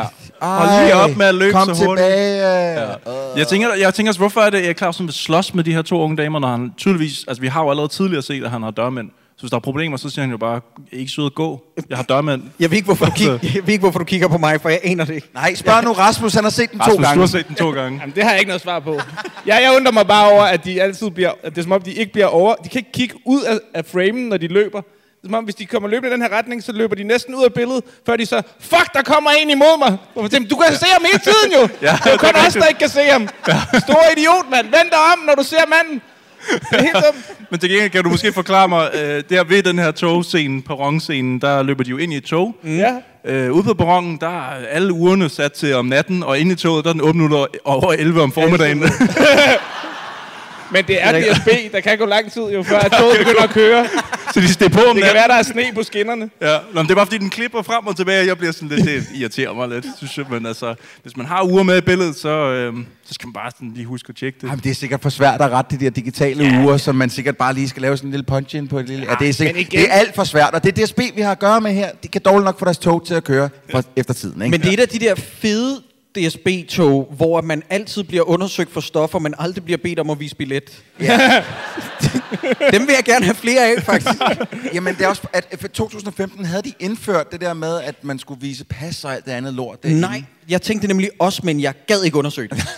S5: Ej,
S6: Hold lige op med at løbe
S5: kom
S6: så hurtigt."
S5: tilbage. Ja.
S6: Jeg tænker, jeg tænker også, hvorfor er det, at Erik Clausen vil slås med de her to unge damer, når han tydeligvis... Altså, vi har jo allerede tidligere set, at han har dørmænd. Så hvis der er problemer, så siger han jo bare, ikke sød at gå. Jeg har dørmænd.
S7: Jeg ved, ikke, hvorfor du kig, jeg ved ikke, hvorfor du kigger på mig, for jeg aner det ikke.
S5: Nej, spørg nu Rasmus, han har set den to
S6: Rasmus, du har
S5: gange.
S6: set den to
S8: *laughs*
S6: gange.
S8: Jamen, det har jeg ikke noget svar på. Jeg, jeg undrer mig bare over, at de altid bliver... At det er som om, de ikke bliver over... De kan ikke kigge ud af, af framen, når de løber. Det er som om, hvis de kommer løbende i den her retning, så løber de næsten ud af billedet, før de så... Fuck, der kommer en imod mig! Hvor man tænker, Du kan se ham hele tiden jo! ja, det er jo
S6: det er
S8: kun os,
S6: rigtigt.
S8: der ikke kan se ham! Stor idiot, mand! Vend dig om, når du ser manden! Det er helt dumt.
S6: Men til gengæld kan du måske forklare mig, øh, der ved den her togscene, perronscenen, der løber de jo ind i et tog.
S8: Ja.
S6: Øh, ude på perronen, der er alle ugerne sat til om natten, og inde i toget, der er den 8 minutter over 11 om formiddagen.
S8: Men det er DSB, der kan gå lang tid jo,
S6: *laughs*
S8: før at toget begynder at køre.
S6: *laughs* så de steg på om
S8: Det kan
S6: natten.
S8: være, der er sne på skinnerne.
S6: Ja, Nå, men det er bare fordi, den klipper frem og tilbage, og jeg bliver sådan lidt, det irriterer mig lidt, synes jeg. Men altså, hvis man har uger med i billedet, så, øh, så skal man bare sådan lige huske at tjekke det.
S5: Jamen, det er sikkert for svært at rette de der digitale ja, uger, som man sikkert bare lige skal lave sådan en lille punch-in på. Et lille... Ja, det, er sikkert,
S8: men igen-
S5: det er alt for svært, og det er DSB, vi har at gøre med her. De kan dårligt nok få deres tog til at køre for, efter tiden, ikke?
S7: Men det er et af de der fede DSB-tog, hvor man altid bliver undersøgt for stoffer, men aldrig bliver bedt om at vise billet. Ja. *laughs* Dem vil jeg gerne have flere af, *laughs* faktisk.
S5: *laughs* Jamen, det er også, at for 2015 havde de indført det der med, at man skulle vise pas og alt det andet lort. derinde.
S7: Nej, jeg tænkte nemlig også, men jeg gad ikke undersøge det.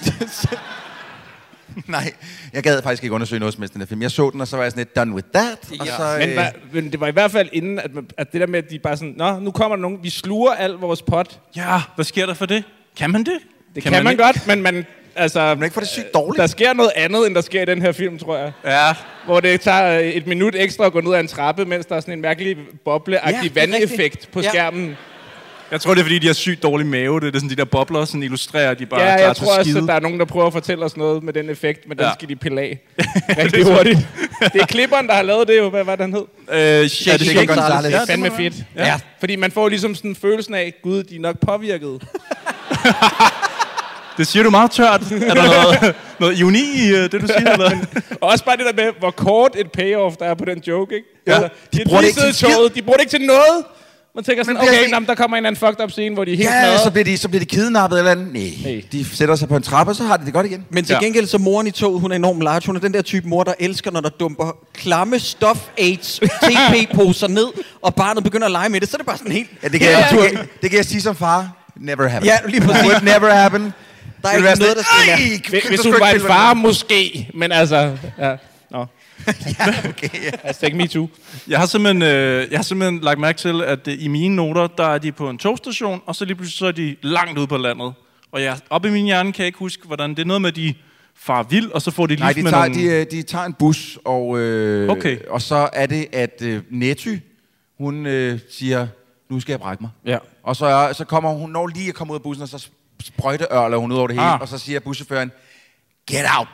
S5: Nej, jeg gad faktisk ikke undersøge noget som helst i den her film. Jeg så den, og så var jeg sådan lidt done with that. Ja. Og så,
S8: Men,
S5: øh,
S8: hva, men det var i hvert fald inden, at, man, at det der med, at de bare sådan, Nå, nu kommer der nogen, vi sluger al vores pot.
S6: Ja, hvad sker der for det? Kan man det?
S8: Det kan, kan man,
S6: ikke?
S8: godt, men man, altså,
S5: men ikke for det sygt dårligt.
S8: der sker noget andet, end der sker i den her film, tror jeg.
S6: Ja,
S8: Hvor det tager øh, et minut ekstra at gå ned ad en trappe, mens der er sådan en mærkelig boble
S7: Ja, det
S8: ja,
S7: er
S8: vandeffekt på
S7: rigtigt. Ja.
S8: skærmen.
S6: Jeg tror, det er, fordi de har sygt dårlig mave. Det er sådan, de der bobler, sådan illustrerer, at de bare
S8: Ja,
S6: er klar
S8: jeg
S6: til
S8: tror også,
S6: skide.
S8: at der er nogen, der prøver at fortælle os noget med den effekt, men den
S6: Ja.
S8: skal de pille
S6: *laughs*
S8: af rigtig hurtigt. Det er klipperen, der har lavet det jo. Hvad var det, han hed?
S6: Øh, Shake Shake Shake Gonzalez. Gonzalez.
S8: Det er fandme
S6: Ja, det må
S8: fedt.
S6: det være.
S8: Ja.
S6: Ja.
S8: Fordi man får ligesom sådan en følelsen af, gud, de er nok påvirket.
S6: Det siger du meget tørt. Er der noget,
S8: *laughs*
S6: noget ironi i øh, det, du siger? Eller?
S8: Og også bare det der med, hvor kort et payoff der er på den joke, ikke? Altså,
S6: Ja.
S8: de, de
S6: bruger
S8: bruger
S6: det
S8: det
S6: ikke
S8: ikke
S6: til en
S8: toget, de bruger det ikke til noget. Man tænker sådan,
S5: Men det er
S8: okay,
S5: ikke-
S8: nå, men der kommer en eller anden fucked up scene, hvor de er helt
S5: *laughs* Ja,
S8: ja,
S5: så bliver, de, så bliver de kidnappet eller andet. Nej, de sætter sig på en trappe, og så har de det godt igen.
S7: Men til
S5: Ja.
S7: gengæld så moren i toget, hun er enormt large. Hun er den der type mor, der elsker, når der dumper klamme stuff aids TP-poser ned, og barnet begynder at lege med det. Så er det bare sådan helt...
S5: Ja, det kan, jeg, det, kan, det kan jeg sige som far. Never happen.
S7: Ja, lige præcis.
S5: Would never happen.
S7: Der er
S5: Det
S7: ikke
S5: vil være
S7: noget, der
S5: sådan,
S7: sker.
S5: "Ej,
S8: Hvis,
S5: så
S8: hvis
S5: skal
S8: hun
S5: du
S8: var
S5: ikke
S8: en
S5: spille med
S8: far,
S5: mig."
S8: måske. Men altså, ja. Nå. ja, okay. *laughs* Ja. Hashtag me too.
S6: Jeg har, simpelthen, øh, jeg har simpelthen lagt mærke til, at øh, i mine noter, der er de på en togstation, og så lige pludselig så er de langt ude på landet. Og jeg, op i min hjerne kan jeg ikke huske, hvordan det er noget med, at de far vild, og så får de lige
S5: Nej, de
S6: med
S5: tager, de,
S6: nogle...
S5: øh, de tager en bus, og, øh,
S6: Okay.
S5: og så er det, at øh, Netty, hun øh, siger, nu skal jeg brække mig.
S8: Ja.
S5: Og så, er, så kommer hun, når lige at komme ud af bussen, og så sprøjteørler hun ud over det hele,
S7: Ah.
S5: ah. og så siger buschaufføren, get out,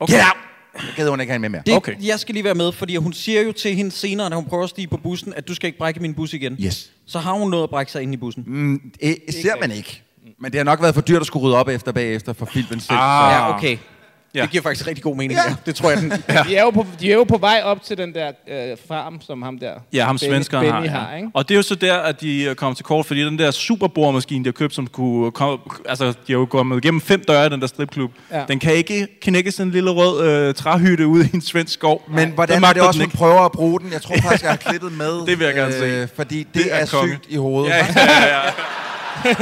S5: okay. get out. Jeg gider hun ikke have hende med
S7: Det,
S5: mere.
S7: okay. Jeg skal lige være med, fordi hun siger jo til hende senere, da hun prøver at stige på bussen, at du skal ikke brække min bus igen.
S5: Yes.
S7: Så har hun nået at brække sig ind i bussen.
S5: Mm, det ser man ikke. Men det har nok været for dyrt at skulle rydde op efter bagefter for filmen selv.
S7: Ah.
S5: så-
S7: Ja, okay. Ja. Det giver faktisk rigtig god mening. Ja. Ja. Det tror jeg, den...
S8: De, er jo på, de er jo på vej op til den der øh, farm, som ham der.
S6: Ja, ham
S8: Benny-
S6: svenskeren
S8: Benny
S6: har,
S8: har ikke?
S6: Og det er jo så der, at de øh, kommer til kort, fordi den der superboremaskine, de har købt, som kunne komme... Altså, de har jo kommet igennem fem døre i den der stripklub.
S5: Ja.
S6: Ja. Den kan ikke knække sådan en lille rød øh, træhytte ude i en svensk skov.
S5: Men hvordan
S6: magter
S5: er det
S6: den
S5: også, hun
S6: ikke.
S5: prøver at bruge den? Jeg
S6: *laughs*
S5: tror faktisk, jeg har klippet med. øh,
S6: Det vil jeg gerne se.
S5: Fordi det,
S6: Det
S5: det
S6: er
S5: er, er
S6: konge.
S5: sygt i hovedet.
S6: Ja, ja, ja, ja.
S5: *laughs*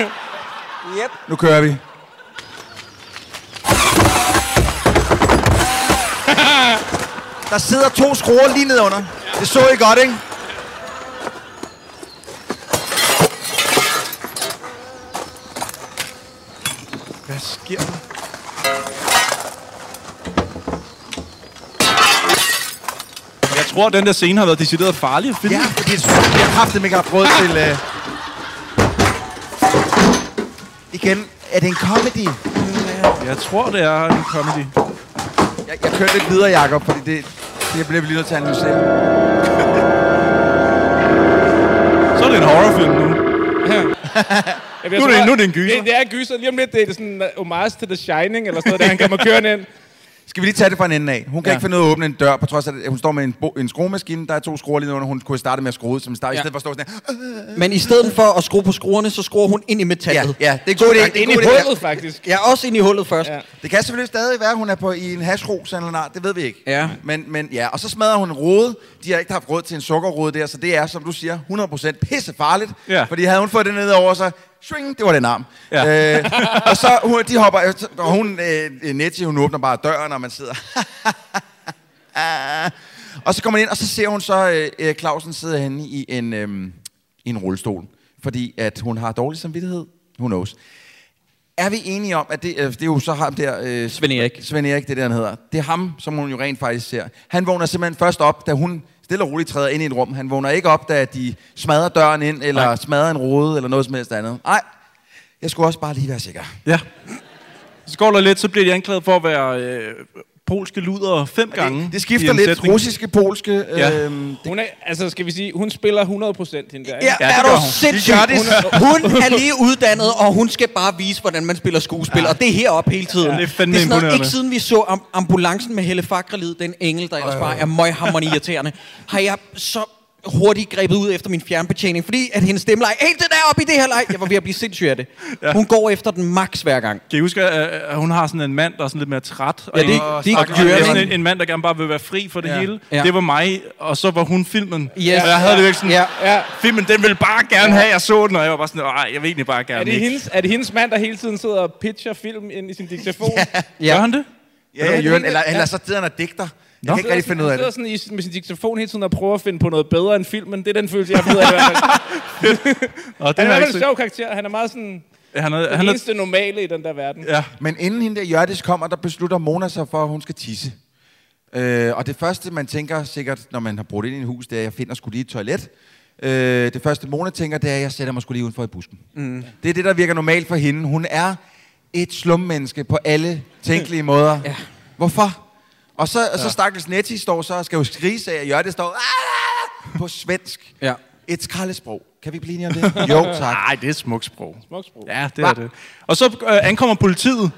S7: yep.
S5: Nu kører vi. Der sidder to skruer lige nedenunder. Det så I godt, ikke?
S6: Hvad sker der? Jeg tror, at den der scene har været decideret farlig at filme.
S5: Ja, fordi jeg har kraftigt ikke haft råd til... Øh... Igen, er det en comedy?
S6: Jeg tror, det er en comedy.
S5: Jeg, jeg kørte lidt videre, Jacob, fordi det, det bliver vi lige nødt til at analysere.
S6: Så er det en horrorfilm nu.
S8: Jamen,
S6: Nu
S8: jeg
S6: er
S8: tror,
S6: det- nu er det en gyser.
S8: Det, det er en gyser. Lige om lidt, det er sådan en homage til The Shining, eller sådan noget, der han kommer kørende ind.
S5: Skal vi lige tage det fra en ende af? Hun kan
S8: Ja.
S5: ja. ikke finde ud af at åbne en dør, på trods af, at hun står med en, bo- en skruemaskine. Der er to skruer lige under, hun kunne starte med at skrue ud som en start, ja. i stedet for at stå sådan her.
S7: Men i stedet for at skrue på skruerne, så skruer hun ind i metallet.
S5: Ja, ja, det er en god idé. Det er en
S7: Ind i
S5: god idé.
S7: hullet,
S8: faktisk.
S7: Ja, også ind i hullet først. Ja.
S5: Det kan selvfølgelig stadig være, at hun er på i en hashros eller nej, det ved vi ikke. Ja. Men, men ja, og så smadrer hun en rode. De har ikke haft råd til en sukkerrode der, så det er, som du siger, 100% pissefarligt.
S6: Ja.
S5: Fordi havde hun fået det ned over sig, swing, det var den arm. Ja. Øh, og så hun, de hopper, og hun, øh, Nettie, hun åbner bare døren, og man sidder, *laughs* Ah. Og så kommer man ind, og så ser hun så øh, øh, Clausen sidde henne i en, øh, i en rullestol. Fordi at hun har dårlig samvittighed. Who knows. Er vi enige om, at det, øh, det er jo så ham der... Øh, Svend Erik. Svend Erik, det er det, han hedder. Det er ham, som hun jo rent faktisk ser. Han vågner simpelthen først op, da hun stille og roligt træder ind i et rum. Han vågner ikke op, da de smadrer døren ind, eller Nej. smadrer en rode, eller noget som helst andet. Nej, jeg skulle også bare lige være sikker.
S6: Ja. Så går der lidt, så bliver de anklaget for at være øh, polske luder fem gange.
S5: Det
S6: i
S5: skifter
S6: en
S5: lidt
S6: sætning.
S5: russiske, polske. Øh,
S6: Ja.
S8: Hun er, altså skal vi sige, hun spiller 100% hende der, ikke?
S7: Ja, er du sindssyg? Hun, hun er lige uddannet, og hun skal bare vise, hvordan man spiller skuespil. Ja. Og det er heroppe hele tiden.
S6: Ja, det er fandme
S7: sådan noget,
S6: imponerende.
S7: ikke siden vi så am- ambulancen med Helle Fakrelid, den engel, der ellers bare er møghammerende irriterende, har jeg så hurtigt grebet ud efter min fjernbetjening, fordi at hendes stemmeleje, hey, det der oppe i det her leg, jeg var ved at blive sindssyg af det. Ja. Hun går efter den max hver gang.
S6: Kan I huske, at at hun har sådan en mand, der er sådan lidt mere træt?
S7: Ja, det er ikke-
S6: og,
S7: det er ikke
S6: og, og,
S7: Jørgen.
S6: sådan en, en mand, der gerne bare vil være fri for det
S7: Ja.
S6: ja. hele.
S7: Ja.
S6: Ja. Det var mig, og så var hun filmen.
S7: Yes.
S6: Og jeg havde det jo ikke sådan,
S7: Ja.
S6: ja. filmen, den ville bare gerne have, jeg så den, og jeg var bare sådan, nej, jeg vil egentlig bare gerne
S8: Er det,
S6: ikke.
S8: hendes, er det hendes mand, der hele tiden sidder og pitcher film ind i sin diktafon? ja.
S6: Gør han det?
S5: Ja, ja, Jørgen, eller, eller så sidder han og digter. Jeg kan ikke rigtig finde ud af
S8: Han sidder
S5: det.
S8: sådan i, med sin diktafon hele tiden og prøver at finde på noget bedre end filmen. Det er den følelse, jeg har fået af i hvert fald.
S6: Og den
S8: Han er
S6: har
S8: i
S6: jeg
S8: hvert fald
S6: ikke
S8: en
S6: set.
S8: sjov karakter. Han er meget sådan
S6: Han er,
S8: den
S6: han er,
S8: eneste normale i den der verden.
S6: ja.
S5: Men inden hende der Hjørdis kommer, der beslutter Mona sig for, at hun skal tisse. Øh, og det første, man tænker sikkert, når man har brugt ind i en hus, det er, at jeg finder skulle lige et toilet. Øh, det første, Mona tænker, det er, at jeg sætter mig skulle lige udenfor i busken. Mm. Det er det, der virker normalt for hende. Hun er et slummenneske på alle tænkelige måder. ja. Hvorfor? Og så, og så
S12: Ja.
S5: stakkels Nettie står så og skal jo skrige sig af, Jørgen står "Ah!" på svensk.
S7: Ja.
S5: Et skraldesprog. Kan vi blive enige om det? jo, tak.
S6: Nej, det er smukt sprog.
S8: Smukt sprog.
S6: Ja, det er det. Og så øh, ankommer politiet.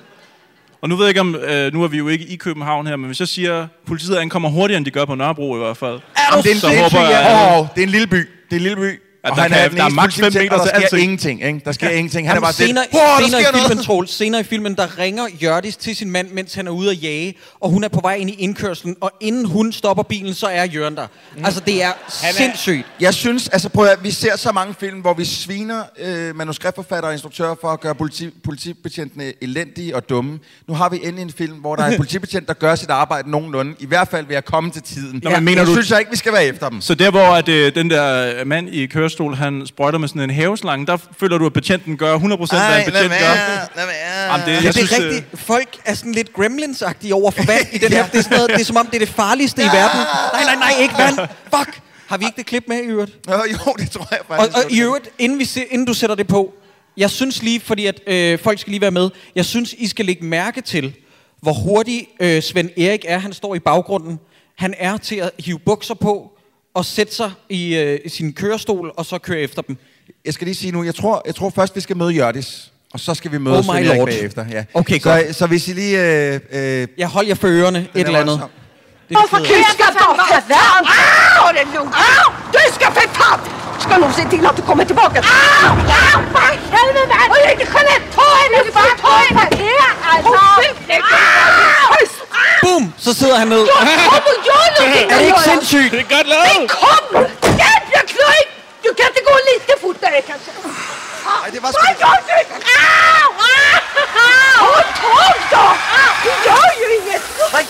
S6: Og nu ved jeg ikke om, øh, nu er vi jo ikke i København her, men hvis jeg siger, politiet ankommer hurtigere, end de gør på Nørrebro i hvert fald.
S5: Jamen, det er en,
S6: så
S5: det er en,
S6: håber
S5: by,
S6: jeg... øh,
S5: ja. oh, det er en lille by. Det er en lille by.
S6: Ja,
S5: og
S6: der
S5: han
S6: kan-
S5: er den
S6: der er
S5: eneste
S6: maks. fem
S5: politibetjent,
S6: meter
S5: og der
S6: til
S5: sker
S6: alting.
S5: ingenting. Ikke? Der sker
S6: Ja.
S5: ingenting. Han er
S7: Jamen,
S5: bare
S7: senere,
S5: sådan, "Wow, der
S7: senere, i
S5: sker noget.
S7: filmen, Troels, senere i filmen, der ringer Jørdis til sin mand, mens han er ude at jage, og hun er på vej ind i indkørslen, og inden hun stopper bilen, så er Jørgen der. Mm. Altså, det er sindssygt.
S5: Jeg synes, altså prøv at høre, vi ser så mange film, hvor vi sviner øh, manuskriptforfattere og instruktører for at gøre politi, politibetjentene elendige og dumme. Nu har vi endelig en film, hvor
S7: *laughs*
S5: der er en politibetjent, der gør sit arbejde nogenlunde. I hvert fald ved at komme til tiden.
S6: Nå, men mener
S5: det
S6: du-
S5: synes jeg ikke, vi skal være efter dem.
S6: Så der, hvor at, øh, den der mand i kørestol, han sprøjter med sådan en haveslange, der føler du, at betjenten gør 100% hvad en
S7: Ej, lad
S6: betjent gør.
S7: være,
S6: Jamen, det,
S7: ja,
S6: jeg
S7: Altså, det er
S6: synes, øh,
S7: rigtigt. Folk er sådan lidt gremlins-agtige over for vand i den her. Det er, sådan noget, det er som om, det er det farligste i verden. Nej, nej, nej, ikke vand. Fuck. Har vi ikke det klip med i øvrigt?
S5: Jo, det tror jeg
S7: Og, og i øvrigt, inden, vi se, inden du sætter det på, jeg synes lige, fordi at øh, folk skal lige være med, jeg synes, I skal lægge mærke til, hvor hurtig øh, Svend Erik er. Han står i baggrunden. Han er til at hive bukser på og sætte sig i øh, i sin kørestol og så køre efter dem.
S5: Jeg skal lige sige nu, jeg tror, jeg tror først, vi skal møde Jørdis. Og så skal vi møde
S7: Oh
S5: oh
S7: my
S5: Svend Erik
S7: lord.
S5: bagefter. Ja.
S7: Okay,
S5: så,
S7: godt.
S5: Så hvis I lige... Øh, øh,
S7: Jeg holder jer for ørerne, et eller andet.
S4: Hvorfor tyskar de för fan? Au, det lugnt! Au, tyskar för fan! Ska nog se till att du kommer tillbaka. Au, au, för helvete! Vad är det Jeanette? Ta henne! Du får ta henne! Parkera
S10: altså.
S4: alltså!
S7: Boom! Så sidder han ned.
S4: Kom och gör någonting!
S7: Er det ikke sindssygt?
S6: Det er godt
S4: Men kom! Jävla klöj! Du kan inte gå lite fortare kanske? Nej, det var sku... Vad gör du? Au! Au! Håll tag då! Du gör ju inget! Vad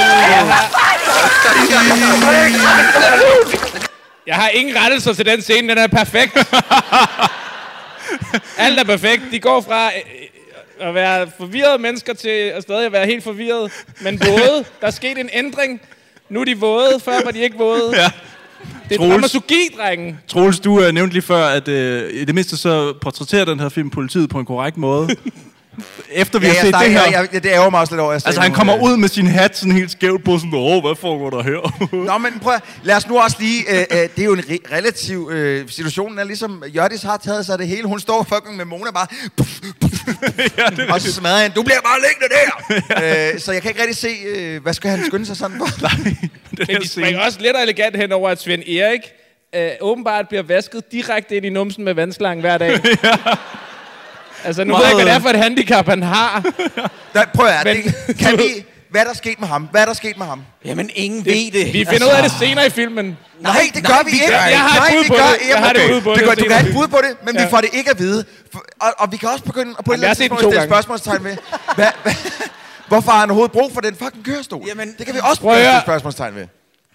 S4: är det för fan?
S8: Jeg har ingen rettelser til den scene. Den er perfekt. Alt er perfekt. De går fra øh, øh, at være forvirrede mennesker til at stadig at være helt forvirrede, men våde. Der er sket en ændring. Nu er de våde. Før var de ikke våde.
S6: Ja.
S8: Det er
S6: Troels.
S8: dramaturgi, drengen.
S6: Troels, du øh, nævnte lige før, at øh, i det mindste så portrætterer den her film politiet på en korrekt måde. Efter vi
S5: ja,
S6: har
S5: jeg
S6: set
S5: stak-
S6: det her.
S5: Jeg, jeg, det ærger mig også lidt over. at jeg
S6: altså,
S5: sagde
S6: han
S5: nu,
S6: kommer
S5: øh,
S6: ud med sin hat sådan helt skævt på, sådan, åh, hvad foregår der her? *laughs*
S5: Nå, men prøv at- lad os nu også lige... Øh, øh, det er jo en re- relativ... Øh, situationen er ligesom... Jørdis har taget sig af det hele. Hun står fucking med Mona bare... Puff,
S6: *laughs*
S5: puff, ja, og så smadrer han. Du bliver bare liggende der! øh, så jeg kan ikke rigtig se... Øh, hvad skal han skynde sig sådan for?
S8: Men de springer også lidt og elegant hen over, at Svend Erik øh, åbenbart bliver vasket direkte ind i numsen med vandslangen hver *laughs* dag. Altså, nu ved jeg ikke, hvad det er for et handicap, han har.
S5: Der, prøv at høre, det, kan vi... Hvad er der sket med ham? Hvad er der sket med ham?
S7: *laughs* Jamen, ingen det, ved det. Altså,
S8: Vi finder ud af det senere i filmen.
S5: Nej, det gør nej, vi ikke.
S8: Jeg har
S5: nej,
S8: et bud
S5: vi
S8: på
S5: gør-
S8: det. Jeg
S5: Jamen,
S8: har et
S5: okay.
S8: bud på
S5: det. Gør,
S8: det.
S5: du kan have et bud på det, men ja. vi
S8: Ja.
S5: får det ikke at vide. For, og, og vi kan også begynde at på et
S8: Jamen,
S5: eller
S8: jeg har
S5: andet
S8: set den
S5: tidspunkt
S8: to
S5: stille spørgsmålstegn
S8: gange.
S5: ved, hvad, hvad, hvorfor har han overhovedet brug for den fucking kørestol? Jamen, det kan vi også
S8: Prøv at
S5: begynde at stille
S8: høre.
S5: spørgsmålstegn ved.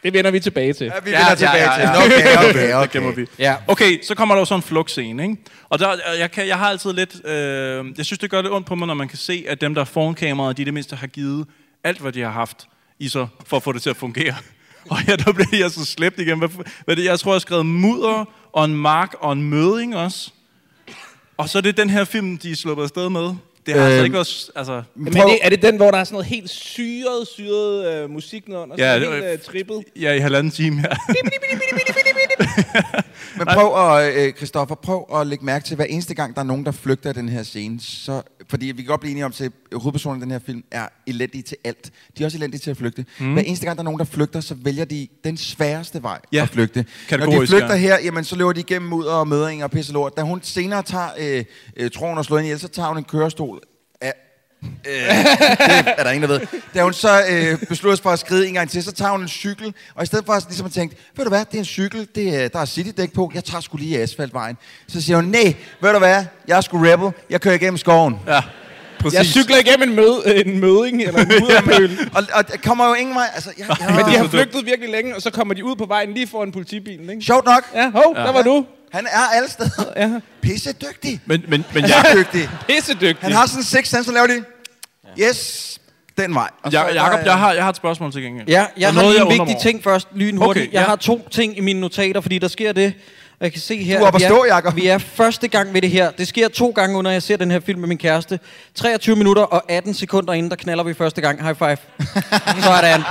S8: Det vender vi tilbage til. Ja,
S5: vi vender tilbage til. Okay, okay, okay.
S6: Det gemmer vi. Ja. Okay, så kommer der jo så en flugtscene, ikke? Og der, og jeg, kan, jeg har altid lidt... Øh, jeg synes, det gør lidt ondt på mig, når man kan se, at dem, der er foran kameraet, de i det mindste har givet alt, hvad de har haft i sig, for at få det til at fungere. *laughs* Og her, der bliver jeg så slæbt igen. Hvad, hvad er det, jeg tror, jeg har skrevet mudder, og en mark, og en møding også. Og så er det den her film, de er sluppet afsted med. Det har øh, altså
S8: Øhm,
S6: ikke været... s- Altså,
S8: Men er det, er det den, hvor der er sådan noget helt syret, syret øh, musik nedenunder?
S6: Ja,
S8: Ja,
S6: det var-
S8: helt øh, trippet?
S6: Ja, i halvanden time, *laughs* ja.
S5: Men prøv at, øh, Christoffer, prøv at lægge mærke til, hver eneste gang, der er nogen, der flygter i den her scene, så, fordi vi kan godt blive enige om, at hovedpersonen i den her film er elendige til alt. De er også elendige til at flygte.
S6: Mm.
S5: Mm. Hver eneste gang, der er nogen, der flygter, så vælger de den sværeste vej
S6: Ja,
S5: at flygte. Når de
S6: kategorisk,
S5: flygter
S6: ja.
S5: her, jamen, så løber de igennem ud og mødring og pisse lort. Da hun senere tager øh, øh, troen og slår ind i, så tager hun en kørestol. Ja, øh, det er der ingen, der ved. Da hun så øh, beslutter sig for at skride en gang til, så tager hun en cykel, og i stedet for at ligesom at tænke, ved du hvad, det er en cykel, det er, der er citydæk på, jeg tager sgu lige asfaltvejen. Så siger hun, nej, ved du hvad, jeg er sgu rebel, jeg kører igennem skoven.
S6: Ja, præcis.
S8: Jeg cykler igennem en, møde, en møding eller *laughs* en mudderpøl.
S5: *laughs* og, og der kommer jo ingen vej. Altså, jeg, jeg,
S8: Men de har flygtet virkelig længe, og så kommer de ud på vejen lige foran politibilen, ikke?
S5: Sjovt nok.
S8: Ja, hov,
S5: Ja.
S8: der var du.
S5: Han er alle steder.
S8: Ja.
S5: Pisse dygtig.
S6: Men, men, men
S5: jeg
S8: *laughs*
S6: jeg...
S5: er dygtig.
S8: Pissedygtig.
S5: Han har sådan en six sense, så laver de, yes, Den vej. Og så er
S6: Ja,
S5: der-
S6: Jakob, jeg har, jeg har et spørgsmål til gengæld.
S7: Ja,
S6: Der er
S7: jeg har
S6: noget,
S7: lige en
S6: undrer mig
S7: vigtig
S6: over.
S7: ting først, lynhurtigt.
S6: Okay,
S7: Okay, jeg
S6: ja.
S7: har to ting i mine notater, fordi der sker det. Og jeg kan se her,
S5: Du er oppe
S7: vi,
S5: at
S7: er,
S5: stå, Jacob.
S7: vi er første gang ved det her. Det sker to gange, under jeg ser den her film med min kæreste. 23 minutter og 18 sekunder inden, der knaller vi første gang. High
S5: *laughs*
S7: five. Sådan.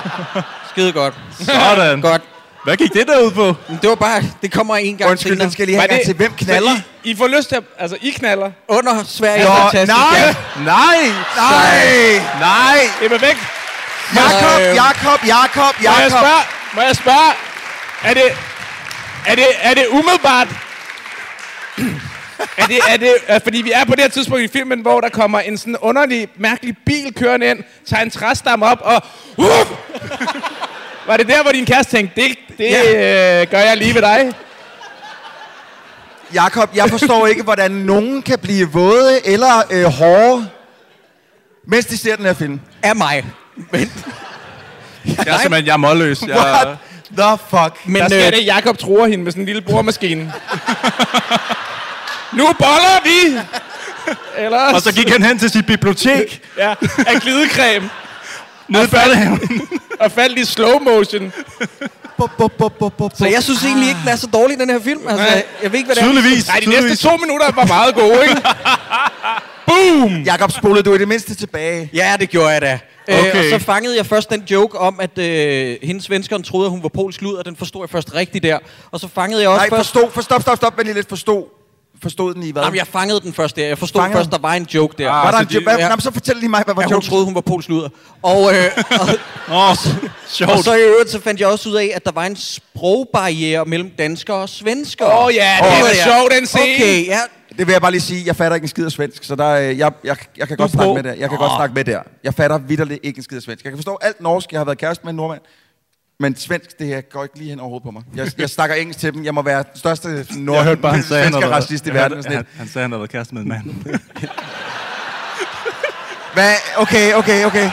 S7: Skide godt.
S6: Sådan.
S7: Godt.
S6: Hvad gik det derud på?
S7: Det var bare, det kommer en gang
S5: Undskyld,
S7: senere.
S5: den skal jeg lige have
S8: Var
S5: en gang
S8: det-
S5: til. Hvem knaller?
S8: Så I, I får lyst til at... Altså, I knaller.
S7: Under Sverige
S5: Nå,
S7: er fantastisk.
S5: nej,
S7: Ja.
S5: nej, nej, nej.
S8: Emma væk.
S5: Jakob,
S7: Øh.
S5: Jakob, Jakob,
S8: Må jeg
S5: Jakob.
S8: spørge? Må jeg spørge? Er det... Er det, er det umiddelbart... er det, er det, er, fordi vi er på det her tidspunkt i filmen, hvor der kommer en sådan underlig, mærkelig bil kørende ind, tager en træstamme op og... Uh! Var det der, hvor din kæreste tænkte, det, det øh, gør jeg lige ved dig?
S5: Jakob, jeg forstår ikke, hvordan nogen kan blive våde eller øh, hårde, mens de ser den her film.
S7: Af mig. Men,
S6: Jeg er simpelthen, jeg er målløs.
S5: What
S6: Jeg,
S5: the fuck?
S7: men
S8: Der sker
S7: øh,
S8: det, Jakob truer hende med sådan en lille boremaskine. nu boller vi! Ellers...
S6: og så gik han hen til sit bibliotek
S8: Ja, af glidecreme.
S6: nede i børnehaven.
S8: Og faldt i slow motion.
S5: Bup, bup, bup, bup, bup,
S7: så jeg synes egentlig ikke, den er så dårlig, den her film. Altså,
S8: Nej.
S7: jeg ved ikke, hvad det er.
S6: Tydeligvis.
S8: Nej, de
S6: tydeligvis.
S8: næste to minutter var meget gode, ikke?
S5: Jakob, spolede du i det mindste tilbage?
S7: Ja, det gjorde jeg da. Okay.
S6: Okay.
S7: Øh, og så fangede jeg først den joke om, at øh, hendes svenskeren troede, at hun var polsk lud, og den forstod jeg først rigtigt der. Og så fangede jeg også
S5: Nej,
S7: først...
S5: forstå, forstå, stop, stop, stop, men lige lidt forstå. Forstod den i hvad?
S7: Jamen, jeg fangede den først der. Jeg forstod
S5: Fangede
S7: først, der var en joke der.
S5: var der en,
S6: altså,
S5: de, hvad,
S7: ja.
S5: jamen, så fortæl lige mig, hvad var
S7: at hun
S5: joken?
S7: troede, hun var polsk luder. Og, øh, og, og, og,
S6: Sjovt.
S7: så i øvrigt, så fandt jeg også ud af, at der var en sprogbarriere mellem danskere og svenskere.
S8: Åh oh, ja, det
S7: Åh,
S8: oh, var sjov, den scene.
S7: Okay, ja.
S5: Det vil jeg bare lige sige, jeg fatter ikke en skid af svensk, så der, øh, jeg, jeg, jeg kan godt
S7: på.
S5: snakke med der. Jeg kan godt snakke med der. Jeg fatter vidderligt ikke en skid af svensk. Jeg kan forstå alt norsk, jeg har været kæreste med en nordmand, men svensk, det her går ikke lige hen overhovedet på mig. Jeg, jeg snakker engelsk til dem, jeg må være den største nord-
S6: Jeg hørte bare, han sagde, han
S5: svenske
S6: havde været-
S5: racist i
S6: jeg
S5: verden. og
S6: hørte,
S5: Sådan
S6: han,
S5: lidt.
S6: han sagde, han havde været kæreste med en mand.
S5: Hvad? Okay, okay, okay.
S8: Det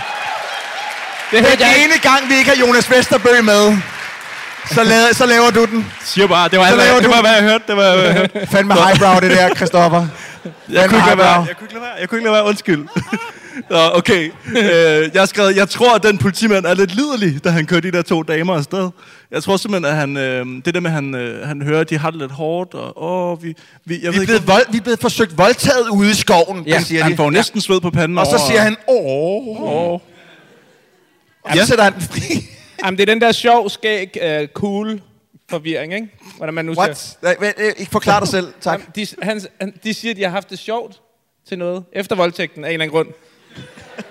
S5: Den
S8: hørte jeg ikke.
S5: ene gang, vi ikke har Jonas Vesterbø med, så, laver, så laver du den.
S6: Siger bare, det var, alt,
S5: laver
S6: hvad, det
S5: du-
S6: var, hvad jeg hørte. Det var, hvad jeg hørte.
S5: Fandme highbrow, det der, Christoffer.
S6: Jeg kunne, ikke lade være.
S5: highbrow.
S6: jeg kunne ikke lade være. Jeg kunne ikke lade være. Undskyld. *laughs* Nå, okay. Øh, jeg har skrevet, jeg tror, at den politimand er lidt liderlig, da han kører de der to damer afsted. Jeg tror simpelthen, at han, øh, det der med, at han, øh, han hører, at de har det lidt hårdt, og åh, vi, vi, jeg
S5: Vi
S6: ved
S5: er,
S6: ikke,
S5: blevet vold, vi er blevet forsøgt voldtaget ude i skoven, ja,
S6: han,
S5: siger
S6: han
S5: de.
S6: får jo næsten sved på panden
S5: Og så
S6: over-
S5: siger han, åh.
S6: Åh.
S5: Og så sætter han den fri.
S8: Jamen, det er den der sjov, skæg, uh, cool forvirring, ikke? Hvordan man nu siger.
S5: What? Nej, vent, øh, Ikke forklar dig selv, tak.
S8: Jamen, de, han, han, de siger, at de har haft det sjovt til noget. Efter voldtægten af en eller anden grund.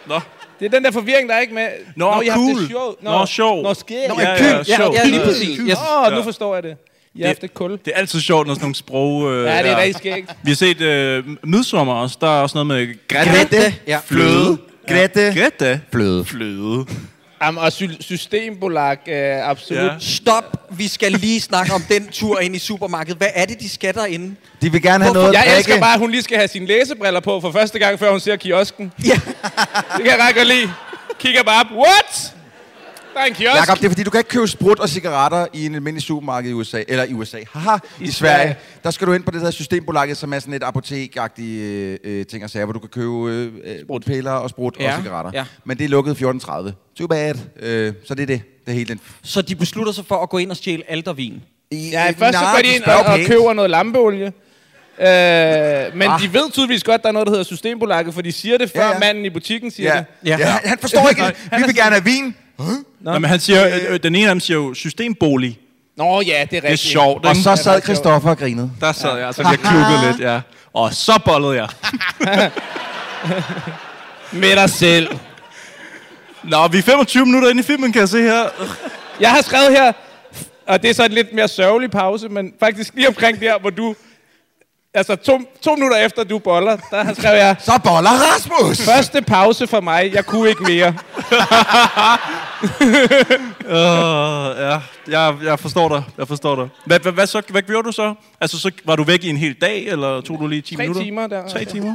S6: Nå.
S8: Det er den der forvirring, der er ikke med.
S6: Nå,
S8: I har haft
S6: cool.
S8: det sjovt.
S6: Nå, sjov.
S8: Nå, skæg. Nå,
S6: Ja,
S8: ja,
S6: ja,
S8: ja.
S6: sjov.
S7: ja, lige
S6: Ja.
S7: præcis. Yes.
S8: Åh, nu
S6: Ja.
S8: forstår jeg det. I har haft det kul.
S6: Det er altid sjovt, når sådan nogle sprog... Øh,
S8: Ja, det er
S6: der-
S8: rigtig skægt.
S6: Vi har set øh, midsommer også. Der er også noget med Grete.
S5: Grete.
S7: Ja.
S5: Fløde. Grete.
S6: Grete.
S5: Fløde.
S6: Fløde.
S8: Jamen, og sy- systembolag, øh, absolut.
S6: Ja.
S7: Stop, vi skal lige snakke om den tur ind i supermarkedet. Hvad er det, de skal derinde?
S5: De vil gerne have
S7: Hvorfor-
S5: noget at
S8: Jeg elsker
S5: drikke.
S8: bare, at hun lige skal have sine læsebriller på for første gang, før hun ser kiosken.
S7: Ja.
S8: Det kan jeg ret godt lide. Kigger bare op. What? Der er en kiosk.
S5: Jakob, det er fordi, du kan ikke købe sprut og cigaretter i en almindelig supermarked i USA. Eller i USA. Haha, i, I Sverige.
S8: Sverige.
S5: Der skal du ind på det der systembolaget, som er sådan et apotekagtigt øh, øh, ting og sager, hvor du kan købe øh, øh, piller og sprut
S7: Ja,
S5: og cigaretter.
S7: ja.
S5: Men det er lukket 14.30. Too bad. Øh, så det er det. Det er hele den.
S7: Så de beslutter sig for at gå ind og stjæle aldervin.
S8: Ja, først så går de ind og, og køber noget lampeolie. Øh, men ah. de ved tydeligvis godt, at der er noget, der hedder Systembolaget, for de siger det, før
S5: Ja,
S8: ja,
S5: ja.
S8: ja. manden i butikken siger
S5: Ja.
S8: det.
S5: Ja. ja. Han forstår
S8: *laughs*
S5: ikke. det. Vi vil gerne have vin.
S6: Nå, men han siger, øh, øh, den ene af dem siger jo systembolig.
S8: Nå ja, det er rigtigt.
S6: Det er sjovt,
S5: Og
S6: ikke?
S5: så sad Christoffer og grinede.
S6: Der sad jeg, og så jeg klukkede lidt, ja. Og så bollede jeg.
S8: Med dig selv.
S6: Nå, vi er 25 minutter inde i filmen, kan jeg se her.
S8: Jeg har skrevet her, og det er så en lidt mere sørgelig pause, men faktisk lige omkring der, hvor du... Altså to, to minutter efter, du boller, der har skrevet jeg,
S5: Så boller Rasmus!
S8: første pause for mig, jeg kunne ikke mere.
S6: Uh, ja, jeg, jeg forstår dig. Jeg forstår dig. Hvad, hvad, hvad, så, hvad gjorde du så? Altså, så var du væk i en hel dag, eller tog du lige 10
S8: Tre
S6: minutter?
S8: timer der.
S6: Tre
S8: altså, *laughs*
S6: timer?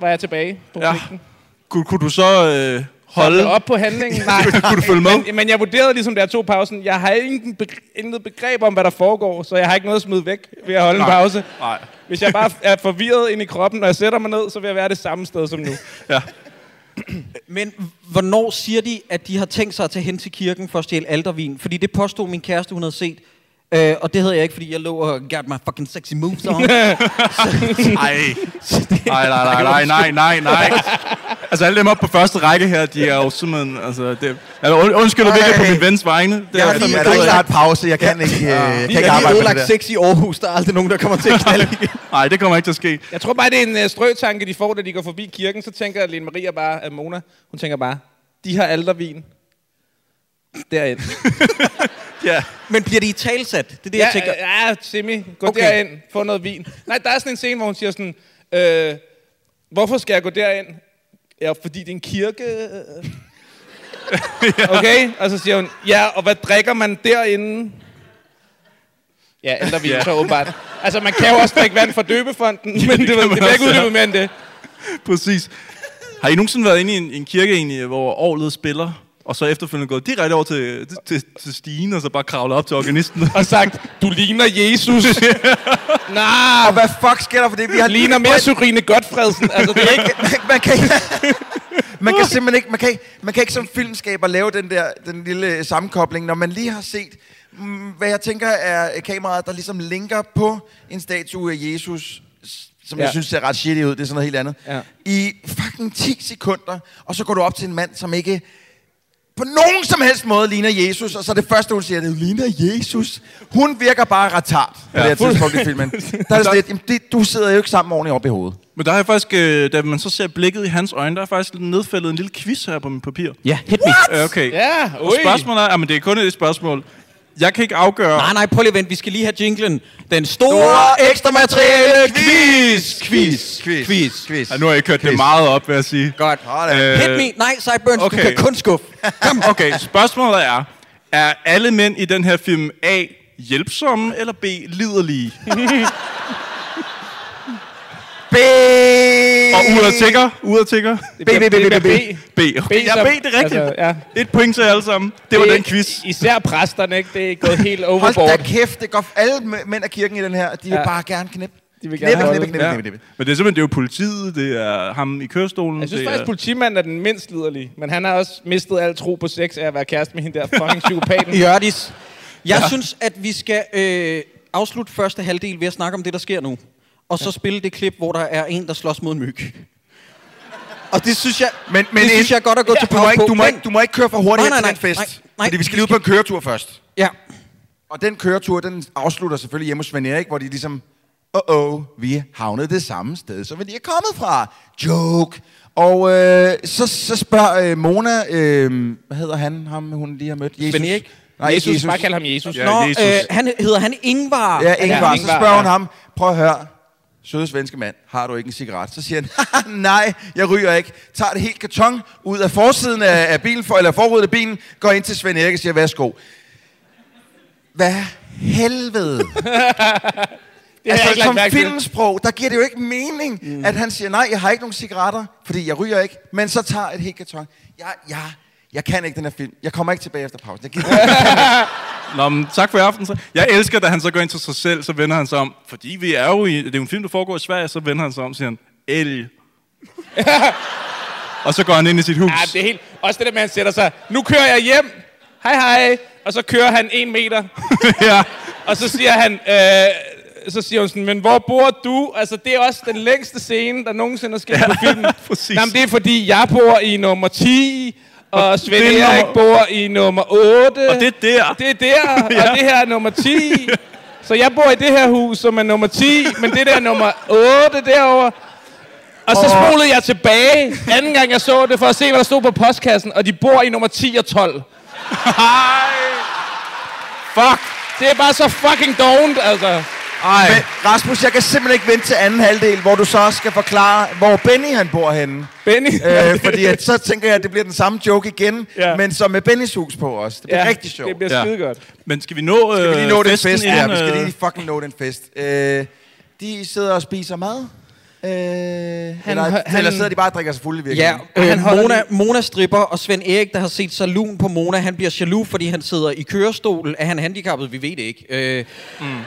S8: Var jeg tilbage på
S6: Ja.
S8: ja.
S6: Kunne, kunne du så øh, holde?
S8: op på handlingen. Nej.
S6: *laughs* Kunne du følge med?
S8: Men, men jeg vurderede ligesom, da jeg tog pausen, jeg har ingen be- intet begreb om, hvad der foregår, så jeg har ikke noget at smide væk ved at holde Nej. en pause.
S6: Nej.
S8: Hvis jeg bare er forvirret ind i kroppen, når jeg sætter mig ned, så vil jeg være det samme sted som nu.
S6: Ja.
S7: Men hvornår siger de, at de har tænkt sig at tage hen til kirken for at stjæle aldervin? Fordi det påstod min kæreste, hun havde set. Øh, og det havde jeg ikke, fordi jeg lå og got my fucking sexy moves on.
S6: Nej. Nej, nej, nej, nej, nej, nej. Altså alle dem op på første række her, de er jo simpelthen... Altså, det, altså, und- undskyld, at vi ikke er på min vens vegne. Det
S5: Jeg er lige- er der ikke snart pause? Jeg kan ikke, øh, jeg kan ikke arbejde med det der.
S7: sex i Aarhus. Der er aldrig nogen, der kommer til at knalde
S8: *laughs*
S6: Nej, det kommer ikke til at ske.
S8: Jeg tror bare, det er en øh, strøtanke, de får, da de går forbi kirken. Så tænker Lene Maria bare, at Mona, hun tænker bare, de har aldervin. Derind.
S6: ja.
S7: Men bliver de i talsat? Det er det,
S8: ja,
S7: jeg tænker.
S8: øh, Ja, Simi, gå
S7: Okay.
S8: okay. derind, få noget vin. Nej, der er sådan en scene, hvor hun siger sådan, øh, hvorfor skal jeg gå derind? Ja, fordi det er en kirke. øh." okay, og så siger hun, ja, og hvad drikker man derinde? Ja, ældre vin,
S6: Ja.
S8: så åbenbart. Altså, man kan jo også drikke vand fra døbefonden, men det,
S6: kan
S8: det, det
S6: man
S8: bliver ikke
S6: også, ja.
S8: uddybet mere end det.
S6: Præcis. Har I nogensinde været inde i en, en kirke egentlig, hvor året spiller, og så efterfølgende gået direkte over til, til, til, til stigen, og så bare kravlet op til *laughs* organisten?
S8: Og sagt, du ligner Jesus. *laughs* Nej,
S5: Og hvad fuck sker der for det? Vi har
S8: ligner mere Syrine Godfredsen. Altså, det er ikke...
S5: man kan ikke, man kan simpelthen ikke, man kan, ikke- man kan ikke som filmskaber lave den der den lille øh, sammenkobling, når man lige har set, mm, hvad jeg tænker er kameraet, der ligesom linker på en statue af Jesus, s- som ja.
S8: Ja.
S5: jeg synes ser ret shitty ud, det er sådan noget helt andet,
S8: Ja.
S5: i fucking 10 sekunder, og så går du op til en mand, som ikke på nogen som helst måde ligner Jesus, og så det første, hun siger, det er, ligner Jesus. Hun virker bare retard på ja, det her tidspunkt i *laughs* filmen. Der er sådan lidt, "Jamen, det, du sidder jo ikke sammen ordentligt op i hovedet.
S6: Men der er faktisk, øh, da man så ser blikket i hans øjne, der er faktisk nedfældet en lille quiz her på min papir.
S7: Ja, hit me.
S6: Øh, Okay.
S8: Ja,
S6: Og spørgsmålet er, jamen, det er kun et spørgsmål. Jeg kan ikke afgøre...
S7: Ah, Nej, nej, prøv lige at vent. Vi skal lige have jinglen. Den store ekstra materiale quiz. Quiz.
S5: Quiz.
S7: Quiz.
S5: Quiz.
S6: Ej, nu har jeg kørt det meget op, vil jeg sige.
S7: Godt.
S5: Hold
S7: Hit me. Nej, Sideburns, okay. du
S6: okay.
S7: kan kun skuffe. Kom.
S6: Okay, spørgsmålet er, er alle mænd i den her film A, hjælpsomme, eller B, liderlige?
S5: B- Øh.
S6: Og uret tigger, uret tigger.
S8: B, B, B, B, B.
S6: B, okay. Ja,
S8: som-
S6: B, det er rigtigt.
S8: altså, ja.
S6: Et point til jer alle sammen. Det var den quiz.
S8: Især præsterne, ikke? Det er gået helt
S5: Hold
S8: overboard.
S5: da kæft, det går alle mæ- mænd af kirken i den her, de vil
S8: Ja.
S5: bare gerne knippe.
S8: De vil
S5: Knippe,
S8: gerne
S5: knippe,
S8: holde.
S5: knippe, knippe, knippe.
S6: Men det er simpelthen, det er jo politiet, det er ham i kørestolen.
S8: Jeg synes
S6: det er-
S8: faktisk, at politimanden er den mindst liderlige. Men han har også mistet al tro på sex af at være kæreste med hende der fucking
S5: *laughs*
S8: psykopaten.
S7: Jørdis. Jeg ja. synes, at vi skal øh, afslutte første halvdel ved at snakke om det, der sker nu. Og så spille det klip, hvor der er en, der slås mod en myg. Og det synes jeg,
S5: Men, men
S7: det
S5: inden-
S7: synes jeg er godt at gå
S5: Ja,
S7: til
S5: du må,
S7: pause
S5: ikke,
S7: på.
S5: du, må ikke, du må ikke køre for hurtigt hen
S7: Nej,
S5: til
S7: nej,
S5: den
S7: nej,
S5: fest.
S7: nej, nej.
S5: Fordi vi skal lige ud på en køretur først.
S7: Ja.
S5: Og den køretur, den afslutter selvfølgelig hjemme hos Svend Erik, hvor de ligesom, åh, oh, oh, vi havnede det samme sted, som vi lige er kommet fra. Joke. Og øh, så, så spørger øh, Mona, øh, hvad hedder han, ham hun lige har mødt? Jesus.
S7: Svend Erik?
S5: Nej, Jesus.
S8: Jesus. Bare kald ham Jesus.
S6: Ja,
S7: Nå,
S6: Jesus.
S7: øh, han, hedder han Ingvar?
S5: Ja, Ingvar.
S8: Ja,
S5: Ja, så
S8: Ingvar,
S5: spørger hun
S8: ja.
S5: ham, prøv at høre, søde svenske mand, har du ikke en cigaret? Så siger han, *laughs* "Haha, nej, jeg ryger ikke. Tager det helt karton ud af forsiden af, af bilen, for, eller forruden af bilen, går ind til Svend Erik og siger, værsgo. Hvad
S8: *laughs*
S5: helvede?
S8: Det har jeg
S5: altså,
S8: ikke lagt
S5: som
S8: mærke til.
S5: filmsprog, der giver det jo ikke mening, mm. at han siger, nej, jeg har ikke nogen cigaretter, fordi jeg ryger ikke, men så tager et helt karton. Jeg, jeg, jeg kan ikke den her film. Jeg kommer ikke tilbage efter pausen. Jeg gider ikke.
S6: Nå, men tak for i aften. Så. Jeg elsker, da han så går ind til sig selv, så vender han sig om. Fordi vi er jo i... Det er jo en film, der foregår i Sverige, så vender han sig om og siger han, elg. og så går han ind i sit hus.
S8: Ja, det er helt... Også det der med, at han sætter sig, nu kører jeg hjem. Hej, hej. Og så kører han en meter.
S6: *laughs* ja.
S8: Og så siger han... Øh, så siger hun sådan, men hvor bor du? Altså, det er også den længste scene, der nogensinde er sket ja, på filmen.
S6: *laughs* præcis.
S8: Jamen, det er fordi, jeg bor i nummer 10, og Svend
S6: det er
S8: Erik
S6: nummer-
S8: bor i nummer 8.
S6: Og det er der.
S8: Det er der,
S6: Ja.
S8: og det her er nummer 10. Så jeg bor i det her hus, som er nummer 10, men det der er nummer 8 derovre. Og så spolede jeg tilbage, anden gang jeg så det, for at se, hvad der stod på postkassen. Og de bor i nummer 10 og 12.
S6: Hej. Fuck.
S8: Det er bare så fucking dovent, altså.
S6: Ej.
S5: Men Rasmus, jeg kan simpelthen ikke vente til anden halvdel, hvor du så også skal forklare, hvor Benny han bor
S8: *laughs*
S5: henne.
S8: Benny.
S5: Øh, fordi at, så tænker jeg, at det bliver den samme joke igen,
S8: Ja.
S5: ja. men så med Bennys hus på os. Det
S8: *laughs*
S5: bliver ja, rigtig sjovt.
S8: Det
S5: Bliver...
S8: bliver
S6: Ja.
S8: skide godt.
S6: Men skal vi nå, øh,
S5: Skal vi lige nå den fest? Ja,
S6: inden,
S5: vi skal
S6: øh,
S5: lige fucking nå den fest. Øh, de sidder og spiser mad. Øh, han, eller, han, eller sidder de bare og drikker sig fulde i
S7: Ja,
S5: virkeligheden?
S7: øh, Mona, Mona stripper, og Svend Erik, der har set salun på Mona, han bliver jaloux, fordi han sidder i kørestol. Er han handicappet? Vi ved det ikke. Øh, mm. øh,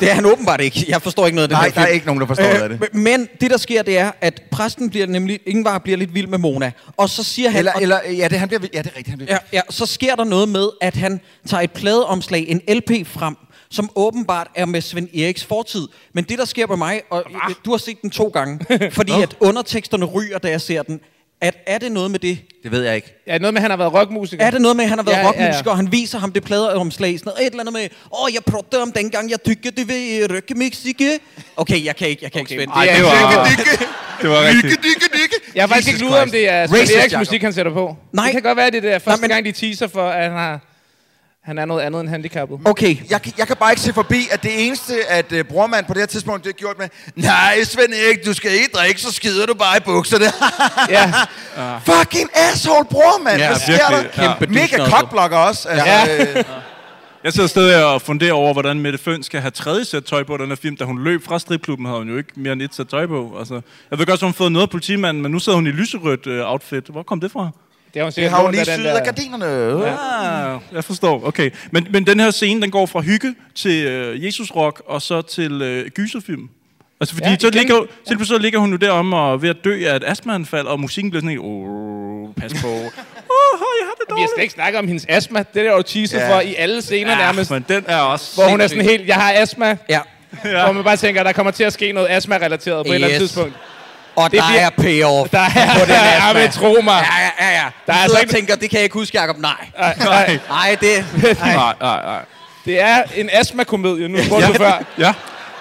S7: det er han åbenbart ikke. Jeg forstår ikke noget af den
S5: Nej,
S7: her
S5: der er ikke nogen, der forstår noget af det.
S7: m- Men det, der sker, det er, at præsten bliver nemlig, Ingvar bliver lidt vild med Mona, og så siger han...
S5: Eller-
S7: og,
S5: eller- ja, det, han bliver, ja, det er rigtigt, han bliver
S7: ja, ja, så sker der noget med, at han tager et pladeomslag, en LP frem, som åbenbart er med Svend Eriks fortid. Men det, der sker på mig, og øh, du har set den to gange,
S8: *laughs*
S7: fordi at underteksterne ryger, da jeg ser den, at er det noget med det?
S5: Det ved jeg ikke.
S8: Ja, noget med, at han har været rockmusiker.
S7: Er det noget med, at han har været
S8: Ja,
S7: ja,
S8: ja,
S7: rockmusiker, ja,
S8: ja.
S7: ja. og han viser ham det pladeomslag, sådan noget, et eller andet med, åh, oh, jeg prøvede om dengang, jeg tykker, det vil rykke Mexico. Okay, jeg kan ikke, jeg kan okay, ikke spænde.
S8: Ej, det var-
S6: Det var rigtigt.
S8: Jeg har faktisk
S7: Jesus
S8: ikke luret, om
S7: Christ.
S8: det er Svend
S7: Racist,
S8: Eriks
S7: Jacob.
S8: musik, han sætter på.
S7: Nej.
S8: Det kan godt være, det er det er første
S7: Nej, men-
S8: gang, de teaser for, at han, har, han er noget andet end
S7: *laughs*
S8: handicappet.
S7: Okay.
S5: Jeg, kan- jeg kan bare ikke se forbi, at det eneste, at uh, brormand på det her tidspunkt, det har gjort med, nej, Svend Erik, du skal ikke drikke, så skider du bare i bukserne. *laughs*
S8: ja.
S5: Fucking asshole, brormand.
S6: Ja,
S5: Hvad sker der?
S6: virkelig. Kæmpe
S5: Mega
S6: douche-nozzle.
S5: cockblocker også. Altså, ja. øh,
S6: Jeg sidder stadig og funderer over, hvordan Mette Føn skal have tredje sæt tøj på i den her film. Da hun løb fra stripklubben, havde hun jo ikke mere end et sæt tøj på. Altså, jeg ved godt, at hun har fået noget af politimanden, men nu sidder hun i lyserødt øh, outfit. Hvor kom det fra?
S8: Det har hun
S5: det
S8: sikkert
S5: har hun
S8: lånt
S5: lige
S8: af den
S5: syet
S8: der-
S5: af gardinerne. Ja.
S6: Ah, jeg forstår. Okay. Men, men den her scene, den går fra hygge til øh, Jesus-rock, og så til øh, gyserfilm. Altså, fordi
S8: Ja,
S6: ja, så,
S8: igen.
S6: ligger, så, så ligger hun jo deromme og er ved at dø af et astmaanfald, og musikken bliver sådan helt, oh, pas på. Åh, oh, jeg har det
S8: Vi har slet
S6: dårligt.
S8: ikke snakket om hendes astma. Det er der jo teaset
S5: Ja.
S8: for i alle scener ja, nærmest.
S6: men den er også
S8: Hvor hun er sådan
S6: sindssyg.
S8: helt, jeg har astma.
S7: Ja.
S8: Ja. Hvor man bare tænker, der kommer til at ske noget astma-relateret på et eller andet
S7: Yes.
S8: tidspunkt.
S7: Og
S8: Det
S7: der
S8: bliver-
S7: er payoff.
S8: Der er-
S7: på den
S8: Ja,
S7: astma.
S8: men tro mig.
S7: Ja, ja, ja. ja.
S8: Der
S7: Der
S8: er
S7: er
S8: altså
S7: altså
S8: ikke-
S7: og tænker, det kan jeg ikke huske, Jacob. Nej.
S6: Nej.
S7: Nej, det... Nej.
S6: Nej, nej, nej.
S8: Det er en astma-komedie, nu spurgte du før.
S6: Ja.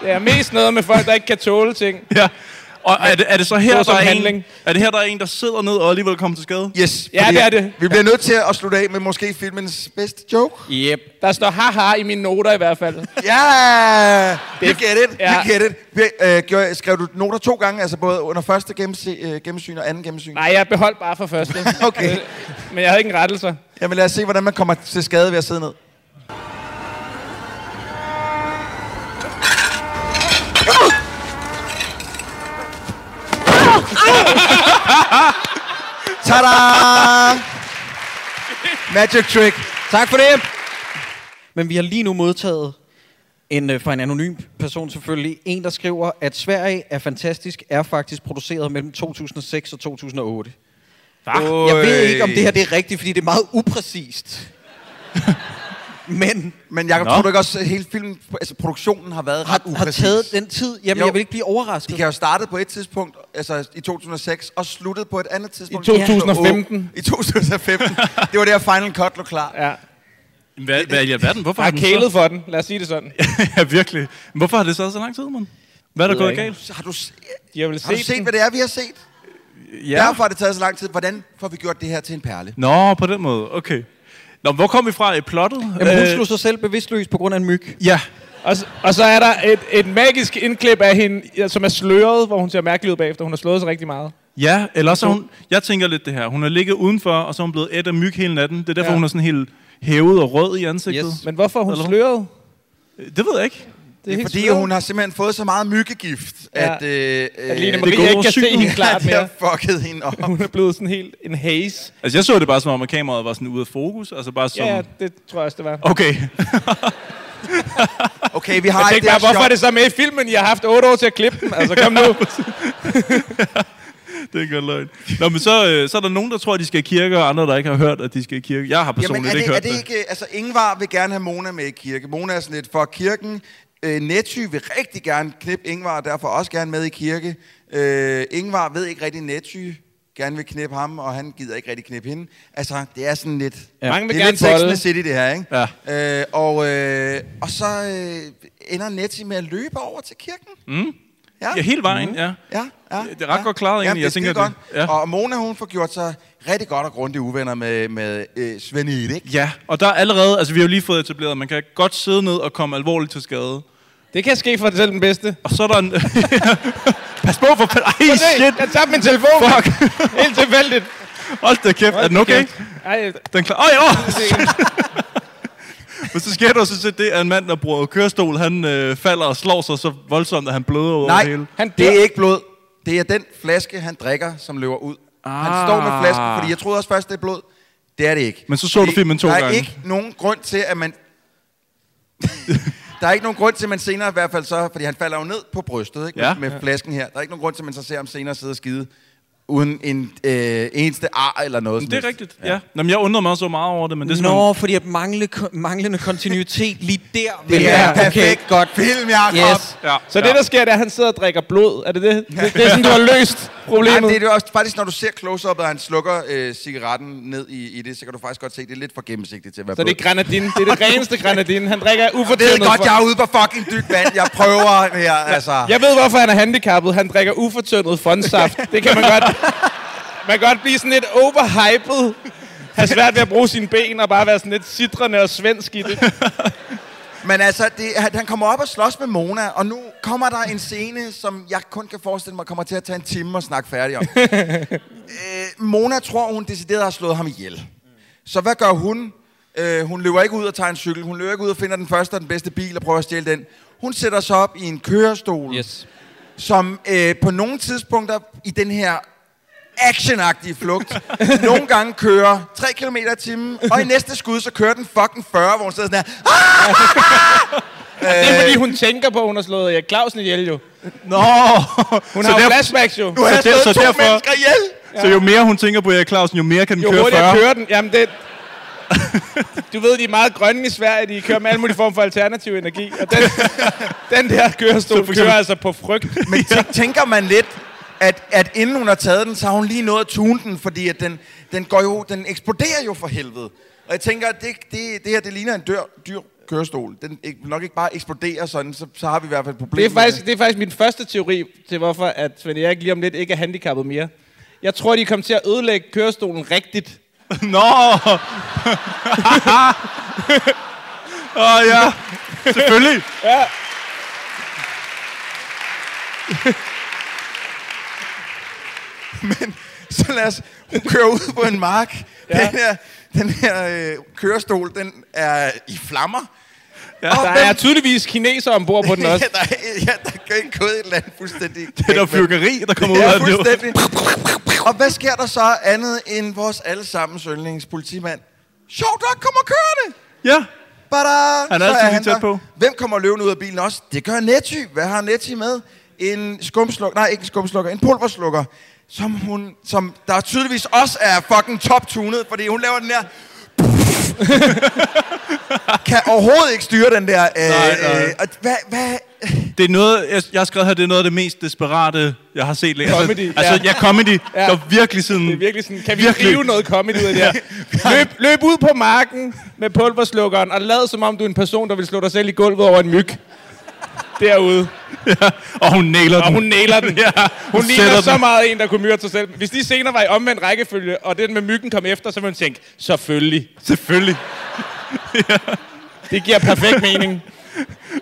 S8: Det er mest noget med folk, der ikke kan tåle ting.
S6: *laughs* Ja. Og er det, er det så her,
S8: Morsom
S6: der er, en,
S8: handling.
S6: er det her, der er en, der sidder ned og alligevel kommer til skade?
S5: Yes,
S8: Ja,
S5: fordi
S8: det er det.
S5: Vi bliver nødt til at slutte af med måske filmens bedste joke.
S7: Yep.
S8: Der står haha i mine noter i hvert fald.
S5: Ja, yeah, you get it,
S8: Ja.
S5: you get it. Vi- Øh, gjorde, skrev du noter to gange, altså både under første gennemse, øh, gennemsyn og anden gennemsyn?
S8: Nej, jeg beholdt bare for første. Øh,
S5: Okay.
S8: Men jeg havde ikke en rettelse.
S5: Jamen lad os se, hvordan man kommer til skade ved at sidde ned. Tada! Magic trick.
S7: Tak for det. Men vi har lige nu modtaget en, øh, fra en anonym person selvfølgelig, en der skriver, at Sverige er fantastisk, er faktisk produceret mellem 2006 og 2008. Jeg ved ikke, om det her det er rigtigt, fordi det er meget upræcist. Men
S5: Men Jacob,
S6: Nå.
S5: tror du ikke også, at hele filmen, altså produktionen har været ret
S7: har, har
S5: upræcis?
S7: taget den tid. Jamen,
S5: Jo.
S7: jo. jeg vil ikke blive
S5: De
S7: overrasket.
S5: kan jo starte på et tidspunkt, altså i 2006, og sluttede på et andet tidspunkt.
S8: I 2015.
S5: I 2015. Det var der Final Cut lå klar.
S8: Ja.
S6: Hvad, hvad i alverden? Hvorfor
S8: Jeg
S6: har
S8: har
S6: den
S8: kælet
S6: så?
S8: for den, lad os sige det sådan.
S6: *laughs* ja, virkelig. Men Hvorfor har det så så lang tid, mand? Hvad er der
S8: Ved jeg
S6: gået
S8: ikke.
S6: galt?
S5: Har du, se-
S8: De har vel set,
S5: har du set,
S8: den.
S5: hvad det er, vi har set? Ja. Derfor har det taget så lang tid. Hvordan får vi gjort det her til en perle?
S6: Nå, på den måde. Okay. Nå, hvor kom vi fra i plottet?
S7: Jamen, hun
S6: Øh,
S7: slog sig selv bevidstløs på grund af en myg.
S6: Ja.
S8: Og, s- og så er der et, et magisk indklip af hende, ja, som er sløret, hvor hun ser mærkelig ud bagefter. Hun har slået sig rigtig meget.
S6: Ja, eller så hun... Jeg tænker lidt det her. Hun har ligget udenfor, og så er hun blevet et af myg hele natten. Det er derfor,
S8: Ja.
S6: ja. hun er sådan helt hævet og rød i ansigtet.
S7: Yes.
S8: Men hvorfor er hun
S6: Eller-
S8: sløret?
S6: Det ved jeg ikke.
S5: Det er
S8: helt
S5: fordi,
S8: sløret.
S5: hun har simpelthen fået så meget myggegift,
S8: Ja.
S5: at... Øh,
S8: At Line
S6: det
S8: Marie
S6: går
S8: ikke kan se
S6: sygt.
S8: hende
S5: *laughs*
S8: klart
S5: det har
S8: mere.
S5: fucket hende op.
S8: Hun er blevet sådan helt en haze.
S6: Altså, jeg så det bare som om, at kameraet var sådan ude af fokus. Altså bare som...
S8: Ja, det tror jeg også, det var.
S6: Okay.
S5: Okay, vi
S8: Jeg
S5: har
S8: tænkte
S5: her
S8: bare, hvorfor
S5: shot.
S8: er det så med i filmen? Jeg har haft otte år til at klippe den. Altså, kom nu.
S6: Det er ikke engang løgn. Nå, men så, øh, så er der nogen, der tror, at de skal i kirke, og andre, der ikke har hørt, at de skal i kirke. Jeg har personligt
S5: Jamen, er det,
S6: ikke hørt
S5: er det ikke, altså Ingvar vil gerne have Mona med i kirke. Mona er sådan lidt for kirken. Øh, Netty vil rigtig gerne knippe Ingvar, og derfor også gerne med i kirke. Øh, Ingvar ved ikke rigtig Netty gerne vil knippe ham, og han gider ikke rigtig knippe hende. Altså, det er sådan lidt...
S8: Ja. Mange vil
S5: det er lidt
S8: gerne
S5: Sex and
S8: bolle.
S5: the City, det her, ikke? Ja. Øh, og, øh, og så øh, ender Netty med at løbe over til kirken. Mm. Ja.
S6: Ja, hele vejen, ja.
S5: Ja, ja.
S6: Det er ret godt klaret, egentlig.
S5: Ja, det er
S6: Jeg tænker,
S5: godt.
S6: det- ja.
S5: Og Mona, hun får gjort sig rigtig godt og grundigt uvenner med, med øh, Svend Erik.
S6: Ja, og der er allerede, altså vi har jo lige fået etableret, at man kan godt sidde ned og komme alvorligt til skade.
S8: Det kan ske for selv den bedste.
S6: Og så er der en... *laughs* Pas på for... Ej,
S8: Shit.
S6: shit!
S8: Jeg tabte min telefon.
S6: Fuck!
S8: Helt tilfældigt.
S6: Hold da kæft, er den okay?
S8: Ej,
S6: Den klar... Åh, ja! åh, *laughs* shit. Men så sker der så set det, at en mand, der bruger kørestol, han øh, falder og slår sig så voldsomt, at han bløder ud over
S5: Nej,
S6: det hele.
S8: han
S5: det
S8: dør.
S5: er ikke blod. Det er den flaske, han drikker, som løber ud. Ah. Han står med flasken, fordi jeg troede også først, det er blod. Det er det ikke.
S6: Men så så du
S5: Fordi
S6: filmen to
S5: der
S6: gange.
S5: Der er ikke nogen grund til, at man... *laughs* der er ikke nogen grund til, at man senere i hvert fald så... Fordi han falder jo ned på brystet ikke?
S6: Ja.
S5: med
S6: Ja.
S5: flasken her. Der er ikke nogen grund til, at man så ser ham senere sidde og skide uden en øh, eneste ar eller noget. som
S6: Det er
S5: helst.
S6: rigtigt, ja. Nå, men jeg undrede mig også meget over det, men det er
S7: Nå, fordi at mangle, manglende kontinuitet lige der...
S6: vil være perfekt.
S7: godt.
S5: Film,
S7: Yes.
S6: Ja.
S8: Så det, der sker, det er, at han sidder og drikker blod. Er det det? Det, det er sådan, du har løst
S5: *laughs*
S8: problemet.
S5: Nej, det er det også, faktisk, når du ser close-up'et, og han slukker øh, cigaretten ned i, i det, så kan du faktisk godt se, det er lidt for gennemsigtigt til at være
S8: Så det
S5: blod.
S8: er grenadine. Det er det reneste grenadine. Han drikker
S5: Jeg ved
S8: ufortjent.
S5: godt, jeg er ude på fucking dybt vand. Jeg prøver her, altså.
S8: Jeg ved, hvorfor han er handicappet. Han drikker ufortyndet
S5: *laughs*
S8: fondsaft. Det kan man godt... Man kan godt blive sådan lidt overhyped. Har svært ved at bruge sine ben og bare være sådan lidt sidrende og svensk i det.
S5: Men altså, det, han han kommer op og slås med Mona, og nu kommer der en scene, som jeg kun kan forestille mig kommer til at tage en time og snakke færdig om. øh, Mona tror, hun decideret har slået ham ihjel. Så hvad gør hun? Øh, hun løber ikke ud og tager en cykel. Hun løber ikke ud og finder den første og den bedste bil og prøver at stjæle den. Hun sætter sig op i en kørestol, yes. som øh, på nogle tidspunkter i den her actionagtige flugt. Nogle gange kører 3 km i timen, og i næste skud, så kører den fucking 40, hvor hun sidder sådan her.
S8: Det er
S5: Øh.
S8: fordi, hun tænker på, at hun har slået Erik Clausen ihjel
S6: *laughs*
S8: jo.
S6: Nå!
S8: Hun
S6: Så
S8: har jo
S6: derfor-
S8: flashbacks jo.
S5: Nu har jeg
S6: Så der-
S5: slået
S6: så
S5: to
S6: derfor-
S5: mennesker ihjel.
S6: Så jo mere hun tænker på Erik Clausen, jo mere kan den
S8: Jo
S6: køre 40.
S8: hurtigere kører den. Jamen, det... Du ved, de er meget grønne i Sverige. De kører med alle mulige former for alternativ energi. Og den, den der kørestol kører altså på frygt.
S5: Men tæ- tænker man lidt, at, at inden hun har taget den, så har hun lige nået at tune den, fordi at den, den, går jo, den eksploderer jo for helvede. Og jeg tænker, at det, det, det her, det ligner en dør, dyr kørestol. Den ek- vil nok ikke bare eksploderer sådan, så, så har vi i hvert fald et problem.
S8: Det er,
S5: med
S8: faktisk, det er faktisk min første teori til, hvorfor at Svend Erik lige om lidt ikke er handicappet mere. Jeg tror, de kom til at ødelægge kørestolen rigtigt.
S6: *laughs*
S8: *laughs*
S6: Nå! Åh oh, ja, selvfølgelig.
S5: *laughs* Så lad os, hun kører ud på en mark. Ja. Den her, den her øh, kørestol, den er i flammer. Ja,
S8: Der er tydeligvis kineser ombord på den
S5: *laughs*
S8: også.
S5: ja, der, er- ja, der kan ikke gået et eller andet fuldstændig.
S6: *laughs* Det er der fyrkeri, der kommer ud
S5: Ja,
S6: af det. *laughs*
S5: fuldstændig. Og hvad sker der så andet end vores allesammens yndlingspolitimand? Sjov, der kommer kørende!
S6: Ja,
S5: Bada!
S6: Han er
S5: Så
S6: altid lige tæt
S5: der.
S6: på.
S5: Hvem kommer løvende ud af bilen også? Det gør Netty. Hvad har Netty med? En skumslukker, nej ikke en skumslukker, en pulverslukker, som hun, som der tydeligvis også er fucking top-tunet, fordi hun laver den der... *laughs* kan overhovedet ikke styre den der... Øh,
S6: Nej, nej.
S5: Øh, og hvad, hvad,
S6: det er noget, jeg, jeg har skrevet her, det er noget af det mest desperate, jeg har set. Altså,
S8: Comedy, ja.
S6: Altså, ja, comedy.
S8: Ja.
S6: Ja. Der er virkelig sådan...
S8: Det er virkelig sådan, kan vi
S6: Virkelig.
S8: rive noget comedy ud af det her? Løb, løb ud på marken med pulverslukkeren og lad som om, du er en person, der vil slå dig selv i gulvet over en myg. Derude.
S6: Og hun nailer den.
S8: Og hun nailer den.
S6: ja,
S8: Hun ligner
S6: sætter
S8: så
S6: den.
S8: meget en, der kunne myrde sig selv. Hvis de senere var i omvendt rækkefølge, og den med myggen kom efter, så ville hun tænke, selvfølgelig.
S6: Selvfølgelig.
S8: Det giver perfekt mening.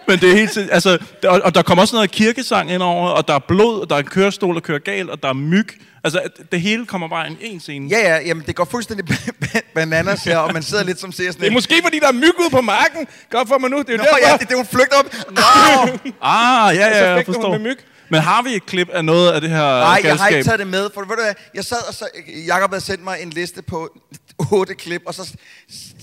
S6: Men det er helt sind- altså, der- og, og der kommer også noget kirkesang ind over, og der er blod, og der er en kørestol, der kører galt, og der er myg. Altså, at det hele kommer bare ind i en scene.
S5: Ja, ja, jamen det går fuldstændig *laughs* ba- ba- bananas her, og man sidder lidt som ser sådan
S8: Det er
S5: en...
S8: måske, fordi der er myg ude på marken. Godt for mig nu. Det er jo
S5: Nå
S8: derfor.
S5: ja, det, det hun flygter op. Au!
S6: Ah, ja,
S5: Altså,
S8: så
S6: ja, jeg
S8: fik hun
S6: forstår.
S8: med myg.
S6: Men har vi et klip af noget af det her
S5: Nej,
S6: galskab?
S5: jeg har ikke taget det med, for ved du hvad, jeg sad og så... Jakob havde sendt mig en liste på otte klip, og så s-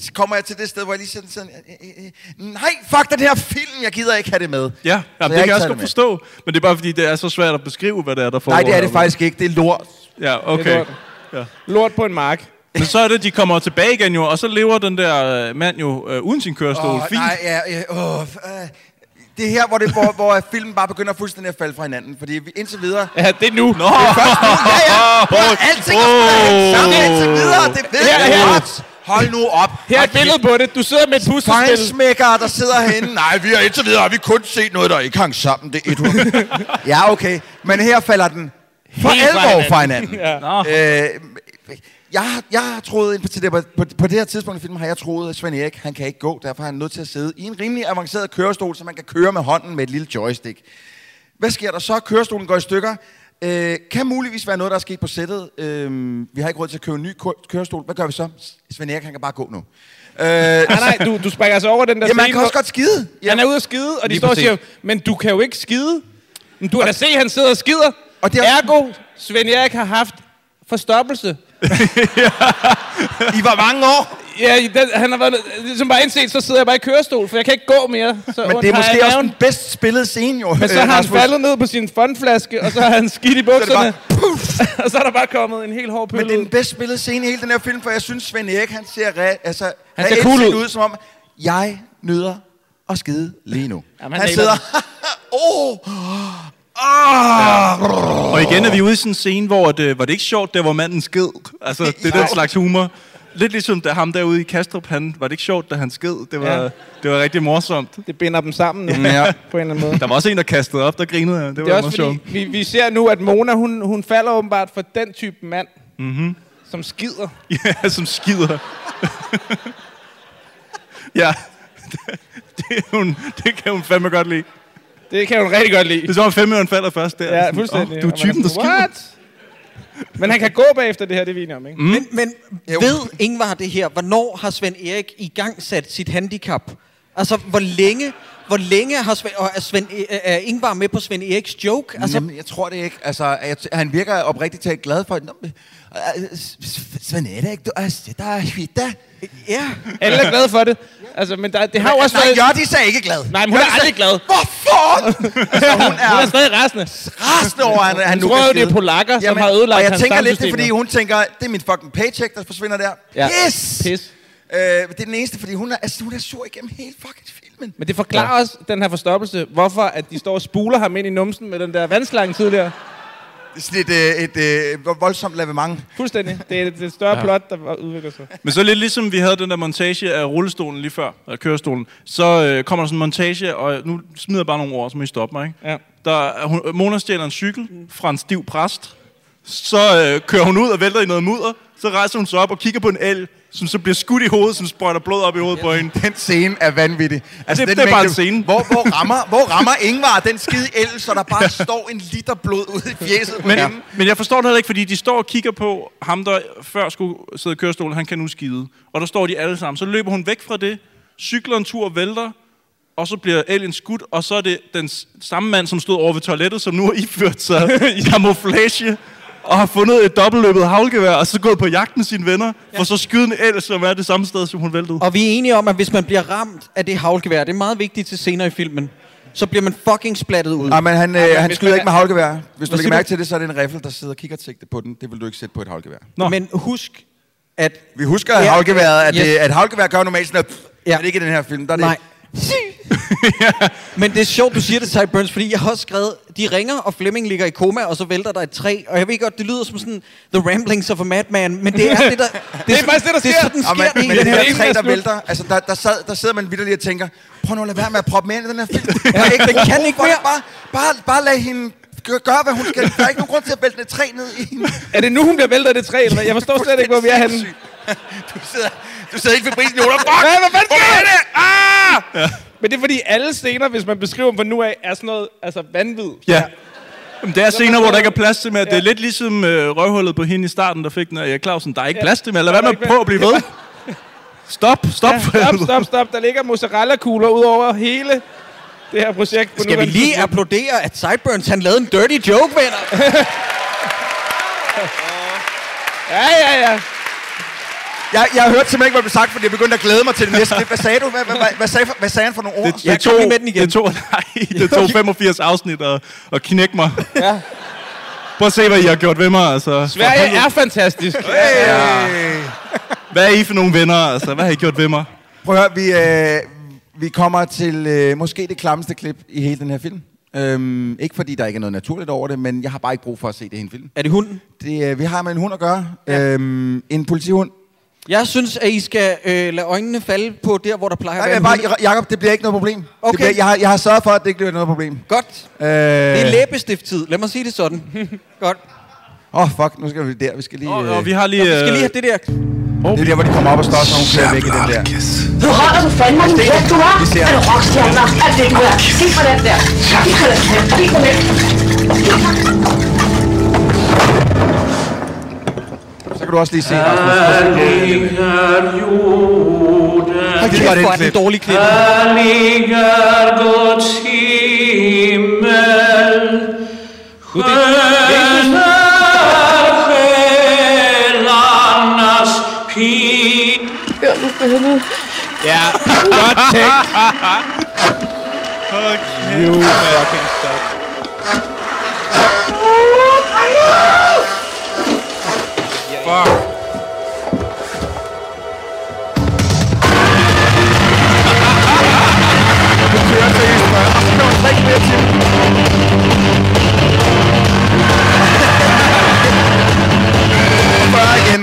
S5: s- kommer jeg til det sted, hvor jeg lige sådan... sådan øh, øh, øh, nej, fuck den her film, jeg gider ikke have det med.
S6: Ja,
S5: Så har
S6: jamen, det kan
S5: ikke
S6: jeg også
S5: taget
S6: godt
S5: med.
S6: forstå. Men det er bare, fordi det er så svært at beskrive, hvad det er, der foregår.
S5: Nej, det er det
S6: herude.
S5: faktisk ikke, det er lort.
S6: Ja,
S8: Det er
S6: okay.
S8: lort. Lort på en mark.
S6: Men så er det, de kommer tilbage igen jo, og så lever den der øh, mand jo øh, uden sin kørestol.
S5: Åh,
S6: Oh, Fint.
S5: nej, ja, ja, åh, f- øh. det er her, hvor, det, hvor, hvor filmen bare begynder fuldstændig at falde fra hinanden, fordi vi indtil videre...
S8: Ja, det er nu. Nå.
S5: Først
S6: *laughs*
S5: nu, ja, ja. Prøv, at alting er sgu da sammen indtil videre. Det ved
S8: Her,
S5: jeg
S8: her.
S5: godt. Hold nu op.
S8: Her er et billede på det. Du sidder med et puslespil.
S5: Fejnsmækker, der sidder herinde. Nej, vi har indtil videre har vi kun set noget, der ikke hang sammen. Det er et hul. *laughs* Ja, okay. Men her falder den for
S8: Helt fra
S5: alvor
S8: hinanden.
S5: fra hinanden.
S6: Nå.
S5: Øh, jeg, har- jeg har troet, ind på, til det, på, på, på det her tidspunkt i filmen, har jeg troet, at Svend Erik, han kan ikke gå, derfor er han nødt til at sidde i en rimelig avanceret kørestol, så man kan køre med hånden med et lille joystick. Hvad sker der så? Kørestolen går i stykker. Øh, kan muligvis være noget, der er sket på sættet. Øh, vi har ikke råd til at købe en ny kø- kørestol. Hvad gør vi så? Svend Erik, han kan bare gå nu. Øh,
S8: Nej, nej, du, du springer altså over den der
S5: Jamen, man
S8: scene,
S5: kan også
S8: hvor-
S5: godt skide.
S8: Han er ude at skide, og de
S7: Lige
S8: står og
S7: præcis.
S8: siger, men du kan jo ikke skide. Men du har da se, han sidder og skider.
S5: Og det
S8: er Ergo, Svend Erik har haft forstoppelse.
S5: I var mange år.
S8: Ja, i den, han har været, ligesom bare indset, så sidder jeg bare i kørestol, for jeg kan ikke gå mere. Så
S5: Men
S8: ondt
S5: det er
S8: har jeg i
S5: måske også
S8: maven.
S5: den bedst spillede scene, jo.
S8: Men så
S5: øh,
S8: har han
S5: Rasmus.
S8: faldet ned på sin fondflaske, og så har han skidt i
S5: Så er det bare
S8: bukserne. og *laughs* så er der bare kommet en helt hård pøl
S5: Men det er den
S8: ud.
S5: bedst spillede scene i hele den her film, for jeg synes, Svend Erik, han ser, re- altså,
S8: Han ser
S5: reelt
S8: cool
S5: set
S8: ud.
S5: ud, som om, jeg nyder at skide lige nu.
S8: Jamen,
S5: han
S8: han nailer
S5: sidder, *laughs* åh, åh,
S6: Og igen er vi ude i sådan en scene, hvor det, var det ikke sjovt, der hvor manden sked. Altså, det er den slags humor. Lidt ligesom da ham derude i Kastrup, han, var det ikke sjovt, da han sked? Det var,
S8: Ja.
S6: ja. det var rigtig morsomt.
S8: Det binder dem sammen nu,
S6: Ja.
S8: på en eller anden måde.
S6: Der var også en, der kastede op, der grinede. jeg. Det var
S8: Det er også
S6: morsomt.
S8: fordi, vi, vi ser nu, at Mona, hun, hun falder åbenbart for den type mand,
S6: Mhm.
S8: som skider.
S6: *laughs* Ja, som skider. ja, *laughs* det, det, er hun, det kan hun fandme godt lide.
S8: Det kan hun rigtig godt lide.
S6: Det er som om femøren falder først der.
S8: Ja,
S6: Sådan,
S8: fuldstændig.
S6: "Åh,
S8: Og
S6: du
S8: man
S6: er typen, der
S8: sådan,
S6: skider.
S8: What? Men han kan gå bagefter det her, det er vi enige om, ikke?
S6: Mm.
S7: Men, men ved Ingvar det her? Hvornår har Svend Erik i gang sat sit handicap? Altså, hvor længe, hvor længe har Svend, og er, Svend, øh, er Ingvar med på Svend Eriks joke?
S5: Altså,
S7: Altså,
S5: Jamen, jeg tror det ikke. Altså, jeg, han virker oprigtigt talt glad for det. øh, Svend Erik, du er det, der er hvidt da.
S7: ja.
S8: Alle er glade for det. Altså, men der, det har jo også
S5: Nej,
S8: været...
S5: Jottis er ikke glad.
S8: Nej, men hun er aldrig glad. *laughs*
S5: Hvorfor? altså, hun er,
S8: Hun er stadig rasende.
S5: rasende over, at han, han
S8: Jeg
S5: nu
S8: tror
S5: kan
S8: jo, det er
S5: skide.
S8: polakker, som har ødelagt
S5: Og jeg
S8: hans
S5: tænker lidt, det er,
S8: tarmsystem
S5: fordi
S8: nu.
S5: hun tænker, det er min fucking paycheck, der forsvinder der.
S8: Ja.
S5: Yes!
S8: Pis.
S5: Øh, det er den eneste, fordi hun er, altså, hun er sur igennem hele fucking filmen.
S8: Men det forklarer ja. også den her forstoppelse, hvorfor at de står og spuler ham ind i numsen med den der vandslange tidligere.
S5: Det er sådan et, øh, et, et øh, voldsomt lavement.
S8: Fuldstændig. Det er et, et større
S6: Ja.
S8: ja. plot, der udvikler sig.
S6: Men så lidt ligesom vi havde den der montage af rullestolen lige før, af kørestolen, så øh, kommer der sådan en montage, og nu smider jeg bare nogle ord, så må I stoppe mig. Ikke?
S8: Ja.
S6: Der, er- hun, Mona stjæler en cykel fra en stiv præst, så øh, kører hun ud og vælter i noget mudder, så rejser hun sig op og kigger på en el, som så bliver skudt i hovedet, som sprøjter blod op i hovedet på hende.
S5: Den scene er vanvittig. Altså,
S6: Det-
S5: den
S6: det er bare
S5: mængde-
S6: en scene.
S5: Hvor,
S8: *laughs*
S5: hvor, rammer, hvor rammer Ingvar den skide el, så der bare står en liter blod ude i fjeset på
S6: Men, ja.
S5: hende?
S6: men jeg forstår det heller ikke, fordi de står og kigger på ham, der før skulle sidde i kørestolen, han kan nu skide. Og der står de alle sammen. Så løber hun væk fra det, cykler en tur og vælter, og så bliver alien skudt, og så er det den s- samme mand, som stod over ved toilettet, som nu har iført sig
S5: *laughs*
S6: i camouflage og har fundet et dobbeltløbet havlgevær, og så gået på jagt med sine venner, for så skyde en el, som er det samme sted, som hun væltede.
S7: Og vi er enige om, at hvis man bliver ramt af det havlgevær, det er meget vigtigt til senere i filmen, så bliver man fucking splattet ud.
S5: Ja, men han, øh, han skyder ikke med havlgevær. Hvis du
S7: Hvad
S5: lægger
S7: siger
S5: mærke
S7: du?
S5: til det, så er det en riffel, der sidder og kigger sigtet på den. Det vil du ikke sætte på et havlgevær.
S7: Nå. Men husk, at...
S5: Vi husker at
S7: Ja,
S5: havlgeværet, at,
S7: yes.
S5: det, at havlgevær gør normalt sådan noget. pff,
S7: Ja.
S5: Men ikke i den her film. Der er det, *laughs*
S7: Nej. Men det er sjovt, du siger det, Ty Burns, fordi jeg har også skrevet, de ringer, og Flemming ligger i koma, og så vælter der et træ. Og jeg ved godt, det lyder som sådan The Ramblings of a Madman, men det er det, der... Det er, sådan-
S8: faktisk det, der
S7: det er
S8: sker.
S7: sådan,
S5: Og man,
S7: sker det i
S5: men
S7: den
S5: det
S7: her
S5: her træ, der
S8: slut.
S5: vælter, altså der, der, sad, der sidder man vidderligt og tænker, prøv nu at lade være med at proppe mere ind i den her film. Der er ikke,
S7: den
S5: nogen
S7: kan
S5: brug
S7: ikke
S5: for det.
S7: mere.
S5: Bare, bare, bare lad hende gøre, gøre, hvad hun skal. Der er ikke nogen grund til at vælte et træ ned i hende.
S8: Er det nu, hun bliver væltet af det træ, eller hvad? Jeg forstår slet ikke, hvor vi er henne.
S5: *laughs* Du sidder, du sidder ikke ved prisen i hovedet.
S8: *laughs*
S5: Fuck!
S8: Hvad, hvad fanden sker
S5: Hvor er
S8: der?
S5: det? Ah!
S8: Men det er fordi, alle scener, hvis man beskriver dem fra nu af, er sådan noget altså, vanvid.
S6: Ja. Jamen, det er scener, hvor der ikke er plads til mere. Det er lidt ligesom øh, røvhullet på hende i starten, der fik den af Erik Clausen. Der er ikke plads til mere. Lad
S8: Der er
S6: være med
S8: ikke
S6: at prøve at blive ved. Stop, stop.
S8: Ja, stop, stop, stop. Der ligger mozzarella-kugler ud over hele det her projekt. På
S7: Skal vi
S8: nuværende
S7: lige
S8: tidspunkt.
S7: applaudere, at Sideburns han lavede en dirty joke, venner?
S8: Ja, ja, ja.
S5: Jeg, jeg hørte simpelthen ikke, hvad der blev sagt, fordi jeg begyndte at glæde mig til det næste. klip. Hvad sagde du? Hvad, hvad, hvad, hvad, sagde, hvad sagde han for nogle ord?
S6: Det,
S5: Det,
S7: Jeg
S6: det,
S7: kom lige med den igen.
S6: det tog, *laughs* nej, det tog 85 afsnit at, at knække mig. Ja. Prøv at se, hvad I har gjort ved mig. Altså.
S8: Sverige er fantastisk.
S6: Hvad er I for nogle venner? Altså? Hvad har I gjort ved mig?
S5: Prøv at høre, vi, øh, vi kommer til øh, måske det klammeste klip i hele den her film. Øhm, ikke fordi der ikke er noget naturligt over det, men jeg har bare ikke brug for at se det i en film.
S7: Er det hunden?
S5: Det, øh, vi har med en hund at gøre. Ja. Øhm, en politihund.
S7: Jeg synes, at I skal øh, lade øjnene falde på der, hvor der plejer
S5: Nej,
S7: at være
S5: jeg
S7: en hund.
S5: bare, Jacob, det bliver ikke noget problem.
S7: Okay.
S5: Det bliver, jeg, har, jeg har sørget for, at det ikke bliver noget problem.
S7: Godt.
S5: Øh,
S7: Det er læbestifttid. Lad mig sige det sådan. Godt.
S5: Åh, oh, fuck, nu skal vi der. Vi skal lige...
S6: Og, og vi
S5: øh,
S6: har lige...
S7: Vi skal
S6: øh,
S7: lige have det der.
S5: Det er der, hvor de kommer op og står sådan nogle flere væk i den der.
S12: Du holder du fandme din kæft, du har?
S5: Vi ser.
S12: Er du rockstjerner? Alt det, du er. Se på den der. Se på den der. Se på den.
S5: Så kan du også lige se Rasmus.
S7: Hold
S5: det var
S7: kæft,
S5: det
S7: hvor er den
S5: klip.
S7: dårlige klip.
S11: ligger godt himmel
S13: På det. Sjælernes pige.
S12: Hør nu for helvede.
S13: Ja,
S12: godt tænkt.
S13: Okay. You fucking stop. Fuck.
S5: Bare igen.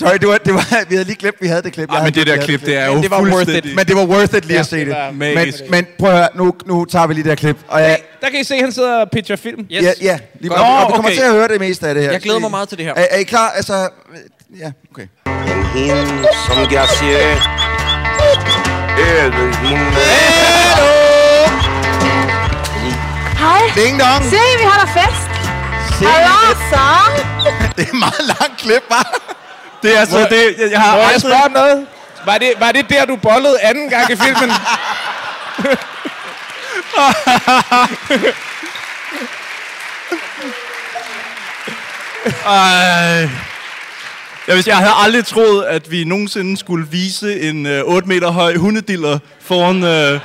S5: Sorry, det var, det var, vi havde lige glemt, vi havde det klip.
S6: Ej,
S5: Jeg
S6: men
S5: havde
S6: det
S5: glemt, vi havde
S6: der klip, det er
S5: Men
S6: jo
S5: det var worth it,
S6: fuldstændig-
S5: Men det var worth it lige
S6: Ja,
S5: at se
S6: det
S5: det.
S6: var
S5: Men,
S6: magisk.
S5: men prøv at høre, nu, nu tager vi lige det her klip. Og jeg,
S8: Der kan I se, at han sidder og pitcher film.
S5: yes. ja, ja, lige og, og vi kommer til at høre det meste af det her.
S8: Jeg glæder mig
S5: I-
S8: meget til det her.
S5: Er, er I klar? Altså, ja, okay.
S14: Men hende, som jeg ser, øver hende.
S5: Hallo!
S1: Hej.
S5: Ding dong.
S1: Se, vi har der fest.
S5: Se,
S1: Hallo, så.
S5: Det er meget langt klip, hva'?
S6: Det er altså,
S8: Må-
S6: det, jeg, jeg har
S8: Må jeg
S6: aldrig-
S8: spørge om noget? Var det, var det der, du bollede anden gang i
S6: *laughs*
S8: filmen?
S6: Ej. Jeg, hvis, jeg havde aldrig troet, at vi nogensinde skulle vise en øh, 8 meter høj hundediller foran øh,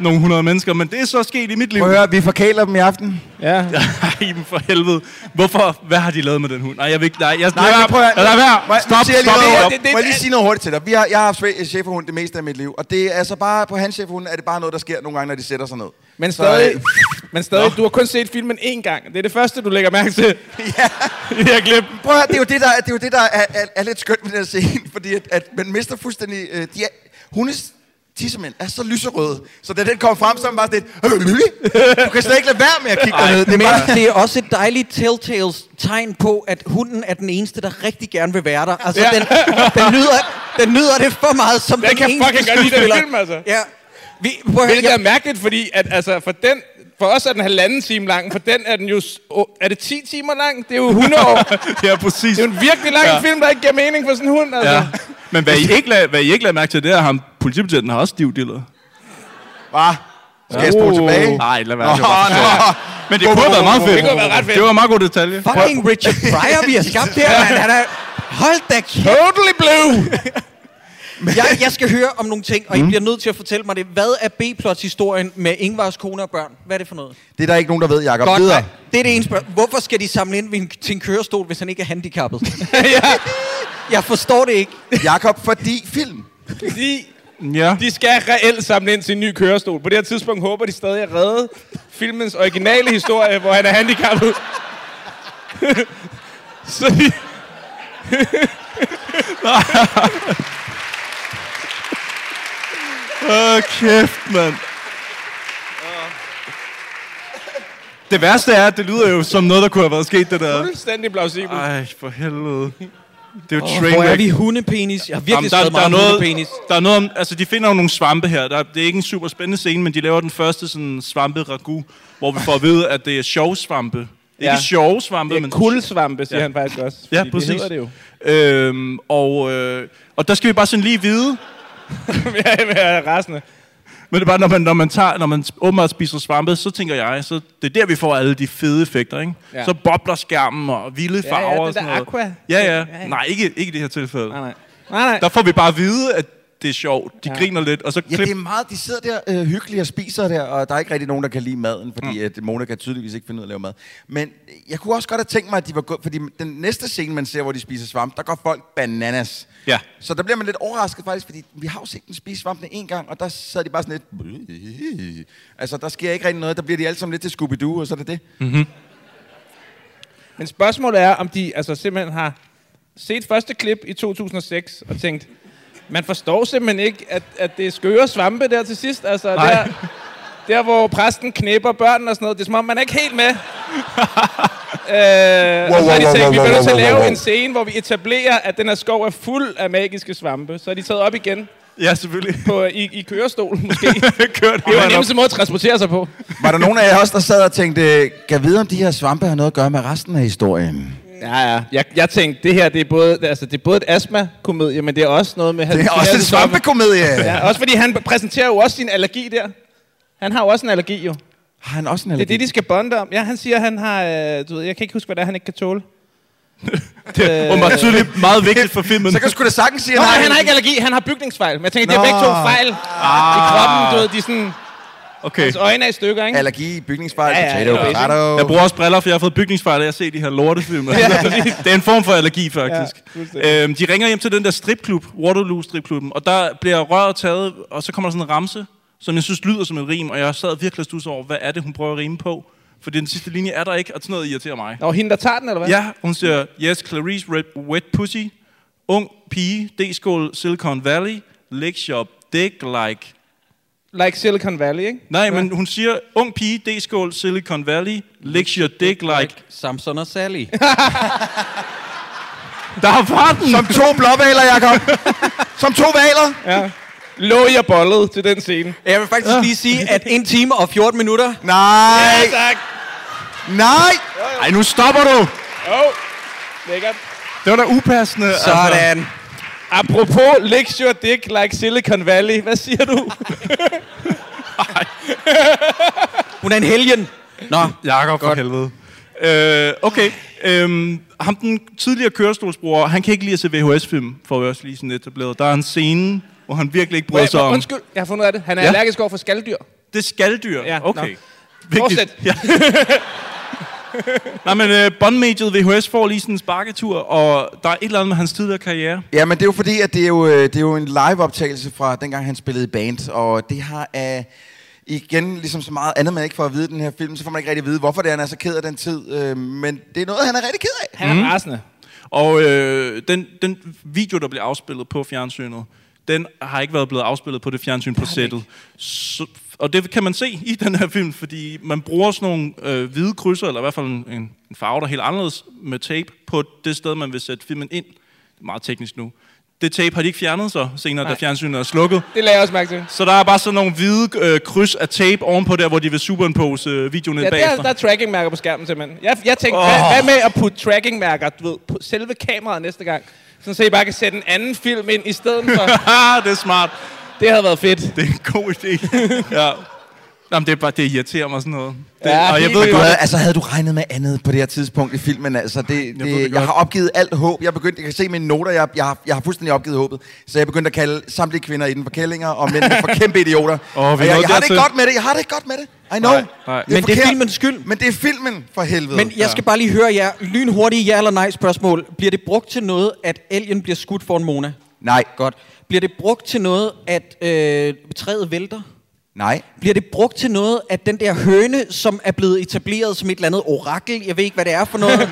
S6: nogle hundrede mennesker, men det er så sket i mit liv.
S5: Prøv at høre, vi forkæler dem i aften.
S8: Ja.
S6: *laughs* Ej, men for helvede. Hvorfor? Hvad har de lavet med den hund? Nej, jeg vil ikke. Nej, jeg,
S5: Nej, men prøv at
S6: Lad
S5: Må
S6: være.
S5: jeg- nu
S6: Stop,
S5: siger jeg lige
S6: stop,
S5: noget
S6: stop.
S5: hurtigt. Må jeg lige sige noget hurtigt til dig? Vi har, jeg har haft sve- schæferhund det meste af mit liv, og det er altså bare, på hans schæferhund er det bare noget, der sker nogle gange, når de sætter sig ned.
S8: Men
S5: Så,
S8: stadig,
S5: øh,
S8: men stadig du har kun set filmen én gang. Det er det første, du lægger mærke
S6: *laughs*
S8: til. ja. Det her klip.
S5: Prøv at høre, det er jo det, der, det er, jo det, der er, er, er lidt skønt ved den her scene, *laughs* fordi at, at man mister fuldstændig... Øh, de er, hundes tissemænd er så lyserøde, så da den kommer frem, så er man bare sådan lidt... Du kan slet ikke lade være med at kigge dernede.
S7: det, er
S5: bare,
S7: men det er også et dejligt telltales tegn på, at hunden er den eneste, der rigtig gerne vil være der. Altså,
S5: Ja.
S7: ja. den, den, nyder, den nyder det for meget som
S8: Den
S7: den
S8: kan
S7: eneste
S8: fucking godt lide den
S7: skuespiller.
S8: film, altså.
S7: Ja. Vi, prøv at høre,
S8: Hvilket er mærkeligt, fordi at, altså, for, den, for os er den halvanden time lang. For den er den jo... s- åh, Er det 10 timer lang? Det er jo 100 år.
S6: ja, præcis.
S8: Det er jo en virkelig lang
S6: Ja.
S8: film, der ikke giver mening for sådan en hund. Altså.
S6: Ja. Men hvad I, ikke lagde, hvad I ikke lagde mærke til, det er, at ham, politibetjenten har også stivdiller.
S5: Hvad? Skal jeg spole tilbage?
S6: Nej, lad være.
S5: Nå,
S6: det var
S5: nå.
S6: forstået. Men det kunne have været meget fedt.
S8: Det kunne have været ret fedt.
S6: Det var en meget god detalje.
S7: Fucking Richard Pryor, vi har skabt det her, mand. Han er... Hold da kæft.
S8: Totally blue.
S7: *laughs* jeg, jeg skal høre om nogle ting, og
S6: Mm.
S7: I bliver nødt til at fortælle mig det. Hvad er B-plot-historien med Ingvars kone og børn? Hvad er det for noget?
S5: det er der ikke nogen, der ved, Jacob.
S7: Godt,
S5: Videre.
S7: nej. Det er det ene spørgsmål. Hvorfor skal de samle ind ved en, til en kørestol, hvis han ikke er handicappet?
S6: *laughs*
S7: *laughs* Jeg forstår det ikke.
S5: Jakob, fordi film.
S8: Fordi
S6: ja.
S8: de skal reelt samle ind til en ny kørestol. På det her tidspunkt håber de stadig at redde filmens originale historie, hvor han er handicappet. *laughs* Så de...
S6: Åh, kæft, mand. Det værste er, at det lyder jo som noget, der kunne have været sket, det der.
S8: Fuldstændig plausibelt.
S6: Ej, for helvede. Det er jo
S7: Åh,
S6: oh,
S7: hvor er vi hundepenis? Jeg har virkelig
S6: der,
S7: skrevet
S6: der, er
S7: meget
S6: noget,
S7: hundepenis.
S6: der er noget om, altså de finder jo nogle svampe her. Der, det er ikke en super spændende scene, men de laver den første sådan svampe ragu, hvor vi får at vide, at det er sjove svampe. Det er ja.
S8: Ja.
S6: ikke sjove svampe,
S8: Det er
S6: men...
S8: kuldsvampe, siger han faktisk også,
S6: Ja,
S8: fordi det
S6: præcis.
S8: hedder det
S6: jo. Øhm, og, øh, og der skal vi bare sådan lige vide...
S8: *laughs* jeg er rasende.
S6: Men det er bare, når man, når man, tager, når man åbenbart spiser svampe, så tænker jeg, så det er der, vi får alle de fede effekter, ikke?
S8: Ja.
S6: Ja. Så bobler skærmen og vilde
S8: Ja, ja,
S6: farver
S8: det
S6: og sådan
S8: der
S6: noget.
S8: aqua.
S6: Ja, ja.
S8: Ja, ja.
S6: Nej, ikke, ikke i det her tilfælde. Nej,
S8: nej. Nej, nej.
S6: Der får vi bare at vide, at det er sjovt. De ja. griner lidt, og så
S5: Ja,
S6: klip...
S5: det er meget, de sidder der øh, hyggeligt og spiser der, og der er ikke rigtig nogen, der kan lide maden, fordi mm. at Mona kan tydeligvis ikke finde ud af at lave mad. Men jeg kunne også godt have tænkt mig, at de var gået, fordi den næste scene, man ser, hvor de spiser svamp, der går folk bananas.
S6: Ja.
S5: Så der bliver man lidt overrasket faktisk, fordi vi har jo set dem spise svampene en gang, og der sad de bare sådan lidt... Altså, der sker ikke rigtig noget, der bliver de alle sammen lidt til Scooby-Doo, og så er det det.
S6: Mm-hmm.
S8: Men spørgsmålet er, om de altså, simpelthen har set første klip i 2006 og tænkt, man forstår simpelthen ikke, at, at det er skøre svampe der til sidst. Altså,
S6: Nej.
S8: der, der, hvor præsten knæpper børn og sådan noget, det er som om, man er ikke
S5: *laughs*
S8: helt med. øh, og så har de
S5: wow,
S8: tænkt,
S5: wow,
S8: vi bliver nødt til
S5: wow,
S8: at
S5: wow,
S8: lave
S5: wow.
S8: en scene, hvor vi etablerer, at den her skov er fuld af magiske svampe. Så er de taget op igen.
S6: Ja, selvfølgelig. *laughs*
S8: På, i, I kørestol,
S5: *laughs*
S8: måske.
S6: Kørt
S8: det var den nemmeste måde at transportere sig på.
S5: Var der nogen af jer også, der sad og tænkte, kan vide, om de her svampe har noget at gøre med resten af historien?
S8: Ja, ja. Jeg, jeg tænkte, det her det er både, altså, det er både et astma-komedie, men det er også noget med...
S5: Det er også en svampekomedie.
S8: Ja, også fordi han præsenterer jo også sin allergi der. Han har jo også en allergi, jo.
S5: Har han også en
S8: Det er
S5: allergi?
S8: det, de skal bonde om. Ja, han siger, han har... øh, Du ved, jeg kan ikke huske, hvad det er, han ikke kan tåle. det
S6: er åbenbart tydeligt meget vigtigt for filmen. Så kan
S5: sgu da sagtens
S8: Nå, nej, han har ikke allergi, han har bygningsfejl. Men jeg tænker, de
S6: Nå.
S8: har begge to fejl ah. i kroppen, du ved, de er sådan...
S6: Okay.
S8: Hans øjne er i stykker, ikke?
S5: Allergi, bygningsfejl,
S8: Ja, ja, potato, ja. potato.
S6: Jeg bruger også briller, for jeg har fået bygningsfejl, og jeg ser de her lortefilm.
S8: *laughs* Ja.
S6: *laughs* det er en form for allergi, faktisk.
S8: Ja, fuldstændig.
S6: Ja, øhm, de ringer hjem til den der stripklub, Waterloo stripklubben, og der bliver røret taget, og så kommer der sådan en ramse, som jeg synes lyder som en rim, og jeg sad virkelig stus over, hvad er det, hun prøver at rime på? For den sidste linje er der ikke, og sådan noget irriterer mig.
S8: Nå, hende, der tager den, eller hvad?
S6: Ja, hun siger, yes, Clarice red, Wet Pussy, ung pige, D-skål, Silicon Valley, lickshop, dick like.
S8: Like Silicon Valley, ikke?
S6: Nej, men hun siger, ung pige, D-skål, Silicon Valley, lick your dick like...
S7: Samson og
S6: *laughs*
S7: Sally.
S6: Der var den!
S5: Som to blåvaler,
S6: *laughs*
S5: Jacob. Som to valer.
S8: Ja. Lå jeg bollet til den scene.
S7: Jeg vil faktisk lige sige, at en time og 14 minutter...
S5: Nej!
S8: Ja, tak!
S5: Nej!
S6: altså. Ej, nu stopper du!
S8: Jo, lækkert.
S6: Det var da upassende. altså.
S7: Sådan.
S8: Apropos lick your dick like Silicon Valley. Hvad siger du?
S7: Hun er en helgen. Nå,
S6: Jakob for helvede. Øh, okay, øhm, ham den tidligere kørestolsbruger, han kan ikke lide at se VHS-film, får vi også lige sådan etableret. Der er en scene, hvor han virkelig ikke bryder
S8: Wait,
S6: sig om.
S8: Undskyld, jeg har fundet ud af det. Han er
S6: Ja.
S8: ja. allergisk over for skalddyr.
S6: Det er skalddyr?
S8: Ja,
S6: okay.
S8: Nå. Fortsæt.
S6: Ja. *laughs* Nej, men øh, bondmediet VHS får lige sådan en sparketur, og der er et eller andet med hans tidligere karriere.
S5: Ja, men det er jo fordi, at det er jo, øh, det er jo en live-optagelse fra dengang, han spillede i band, og det har af... Igen, ligesom så meget andet, man ikke får at vide i den her film, så får man ikke rigtig at vide, hvorfor det er, han er så ked af den tid. Øh, men det er noget, han er rigtig ked af.
S8: Han er rasende.
S6: Mm. Og øh, den, den video, der bliver afspillet på fjernsynet, den har ikke været blevet afspillet på det fjernsyn på sættet. Så, og det kan man se i den her film, fordi man bruger sådan nogle øh, hvide krydser, eller i hvert fald en, en en farve, der er helt anderledes med tape, på det sted, man vil sætte filmen ind. Det er meget teknisk nu. Det tape har de ikke fjernet så senere, Nej. da
S8: Nej.
S6: fjernsynet er slukket.
S8: Det lagde jeg også mærke til.
S6: Så der er bare sådan nogle hvide øh, kryds af tape ovenpå der, hvor de vil superimpose øh, videoen ned
S8: Ja,
S6: bagefter. *laughs*
S8: der, der er trackingmærker på skærmen simpelthen. Jeg, jeg tænkte, oh. hvad,
S6: Åh.
S8: hvad med at putte trackingmærker, du ved, på selve kameraet næste gang? Sådan så I bare kan sætte en anden film ind i stedet
S6: *laughs*
S8: for.
S6: Ah, det er smart.
S8: Det havde været fedt.
S6: Det er en god idé. *laughs* ja. Jamen, det, er bare, det irriterer mig sådan noget. Det,
S5: Ja,
S6: og jeg
S5: du
S6: ved godt,
S5: havde, altså, havde du regnet med andet på det her tidspunkt i filmen? Altså, det, det,
S6: ved det
S5: jeg,
S6: godt.
S5: har opgivet alt håb. Jeg, begyndte, jeg kan se mine noter, jeg, jeg, har, jeg har fuldstændig opgivet håbet. Så jeg begyndte at kalde samtlige kvinder inden for kællinger, og mænd for kæmpe idioter.
S6: Åh, vi
S5: og jeg,
S6: nåede
S5: jeg har det
S6: dertil.
S5: ikke godt med det, jeg har det ikke godt med det. I know.
S6: Nej, nej.
S7: Men det er filmens
S5: skyld. Men det er filmen, for helvede.
S7: Men jeg skal bare lige høre jer lynhurtige ja eller nej spørgsmål. Bliver det brugt til noget, at elgen bliver skudt for en Mona?
S5: Nej.
S7: Godt. Bliver det brugt til noget, at øh, træet vælter?
S5: Nej.
S7: Bliver det brugt til noget, at den der høne, som er blevet etableret som et eller andet orakel, jeg ved ikke, hvad det er for
S6: *laughs*
S7: noget.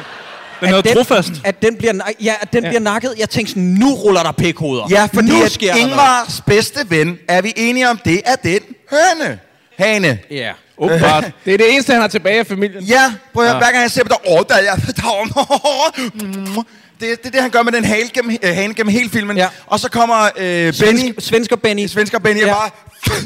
S6: Den er trofast.
S7: At den bliver, na- ja, at den ja. bliver nakket. Jeg tænkte sådan, nu ruller der pikhoveder.
S5: Ja, fordi
S7: nu
S5: at
S7: sker der noget.
S5: Ingvars bedste ven, er vi enige om, det er den høne. Hane.
S7: Ja.
S6: Åbenbart.
S8: *laughs* Det er det eneste, han har tilbage af familien.
S5: Ja, prøv at
S8: Ja.
S5: ja. hver gang jeg ser på dig, åh, der er jeg, *laughs* der er- det, er- det er det, han gør med den hale gennem, øh, hane gennem hele filmen. Ja. Og så kommer øh, Benny.
S7: Svensk, svensker Benny.
S5: Svensker Benny ja. bare... *laughs*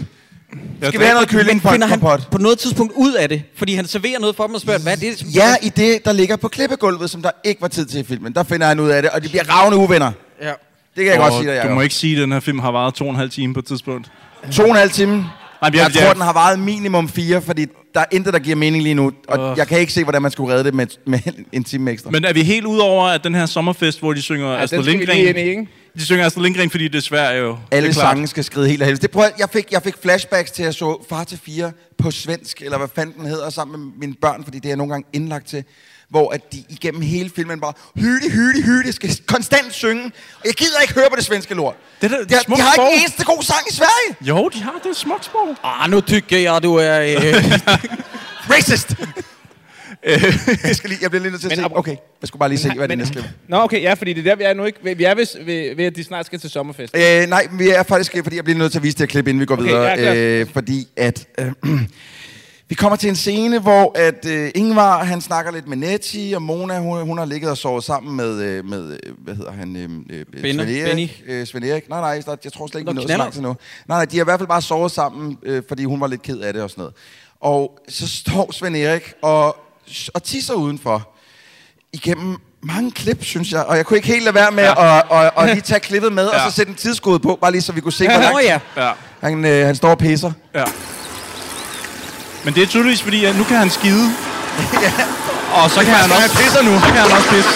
S6: Jeg
S5: Skal vi have noget
S7: Men
S5: kylling på
S7: finder
S5: en
S7: han
S5: kompot?
S7: på noget tidspunkt ud af det? Fordi han serverer noget for dem og spørger, hvad er det?
S5: Ja, i det, der ligger på klippegulvet, som der ikke var tid til i filmen. Der finder han ud af det, og de bliver ravne uvenner.
S7: Ja.
S5: Det kan jeg
S6: Og
S5: godt sige dig,
S6: Du må
S5: Jacob.
S6: ikke sige, at den her film har varet to og en halv time på et tidspunkt.
S5: To og en halv time.
S6: Nej, men
S5: Jeg,
S6: jeg-
S5: jeg tror,
S6: jeg-
S5: den har varet minimum fire, fordi der er intet, der giver mening lige nu. Og
S6: Åh.
S5: jeg kan ikke se, hvordan man skulle redde det med, med en time ekstra.
S6: Men er vi helt ude over, at den her sommerfest, hvor de synger ja,
S8: den
S6: Astrid
S8: skal vi
S6: Lindgren...
S8: lige ind i, ikke?
S6: De synger Astrid Lindgren, fordi det er svært jo. det
S5: Alle
S6: er klart.
S5: sange skal skride helt af helvede. Det, prøv, at- jeg, fik, jeg fik flashbacks til, at jeg så Far til fire på svensk, eller hvad fanden den hedder, sammen med mine børn, fordi det er jeg nogle gange indlagt til, hvor at de igennem hele filmen bare hyde, hyde, hyde, skal konstant synge. Og jeg gider ikke høre på det svenske lort.
S6: Det er da et
S5: de, har-
S6: smukt
S5: de har ikke
S6: sprog.
S5: en eneste god sang i
S6: *laughs*
S5: Sverige.
S6: Jo, de har det er smukt sprog.
S7: Ah, nu tykker jeg, du er... Øh,
S5: Racist! jeg, skal lige, jeg bliver lige nødt til at se. Okay, jeg skulle bare lige se, hvad det næste er.
S8: Nå, okay, ja, fordi det er der, vi er nu ikke. Vi- Vi er ved, ved, ved at de snart skal til sommerfest.
S5: Øh, nej, men vi er faktisk, fordi jeg bliver nødt til at vise det her klip, inden vi går
S8: Okay,
S5: videre.
S8: ja, klart.
S5: øh, fordi at... Øh, *clears throat* vi kommer til en scene, hvor at øh, Ingvar, han snakker lidt med Nettie, og Mona, hun, hun har ligget og sovet sammen med, øh, med øh, hvad hedder han, øh, øh,
S7: Benny.
S5: Sven
S7: Benny.
S5: Erik. Øh, Sven Erik. Nej, nej, der- jeg tror slet ikke,
S7: Nå,
S5: vi nåede så
S7: knaller.
S5: langt til nu. Nej, nej, de har i hvert fald bare sovet sammen, øh, fordi hun var lidt ked af det og sådan noget. Og så står Sven Erik og, og tisser udenfor igennem mange klip, synes jeg. Og jeg kunne ikke helt lade være med ja. at, at, at, lige tage klippet med, ja.
S6: Ja.
S5: og så sætte en tidskode på, bare lige så vi kunne se,
S7: Ja,
S5: hvor langt
S7: nå ja.
S6: Ja.
S5: han, øh, han står og pisser.
S6: Ja. Men det er tydeligvis, fordi at nu kan han skide. Og så kan han også... Han pisser nu. Så kan han også pisse.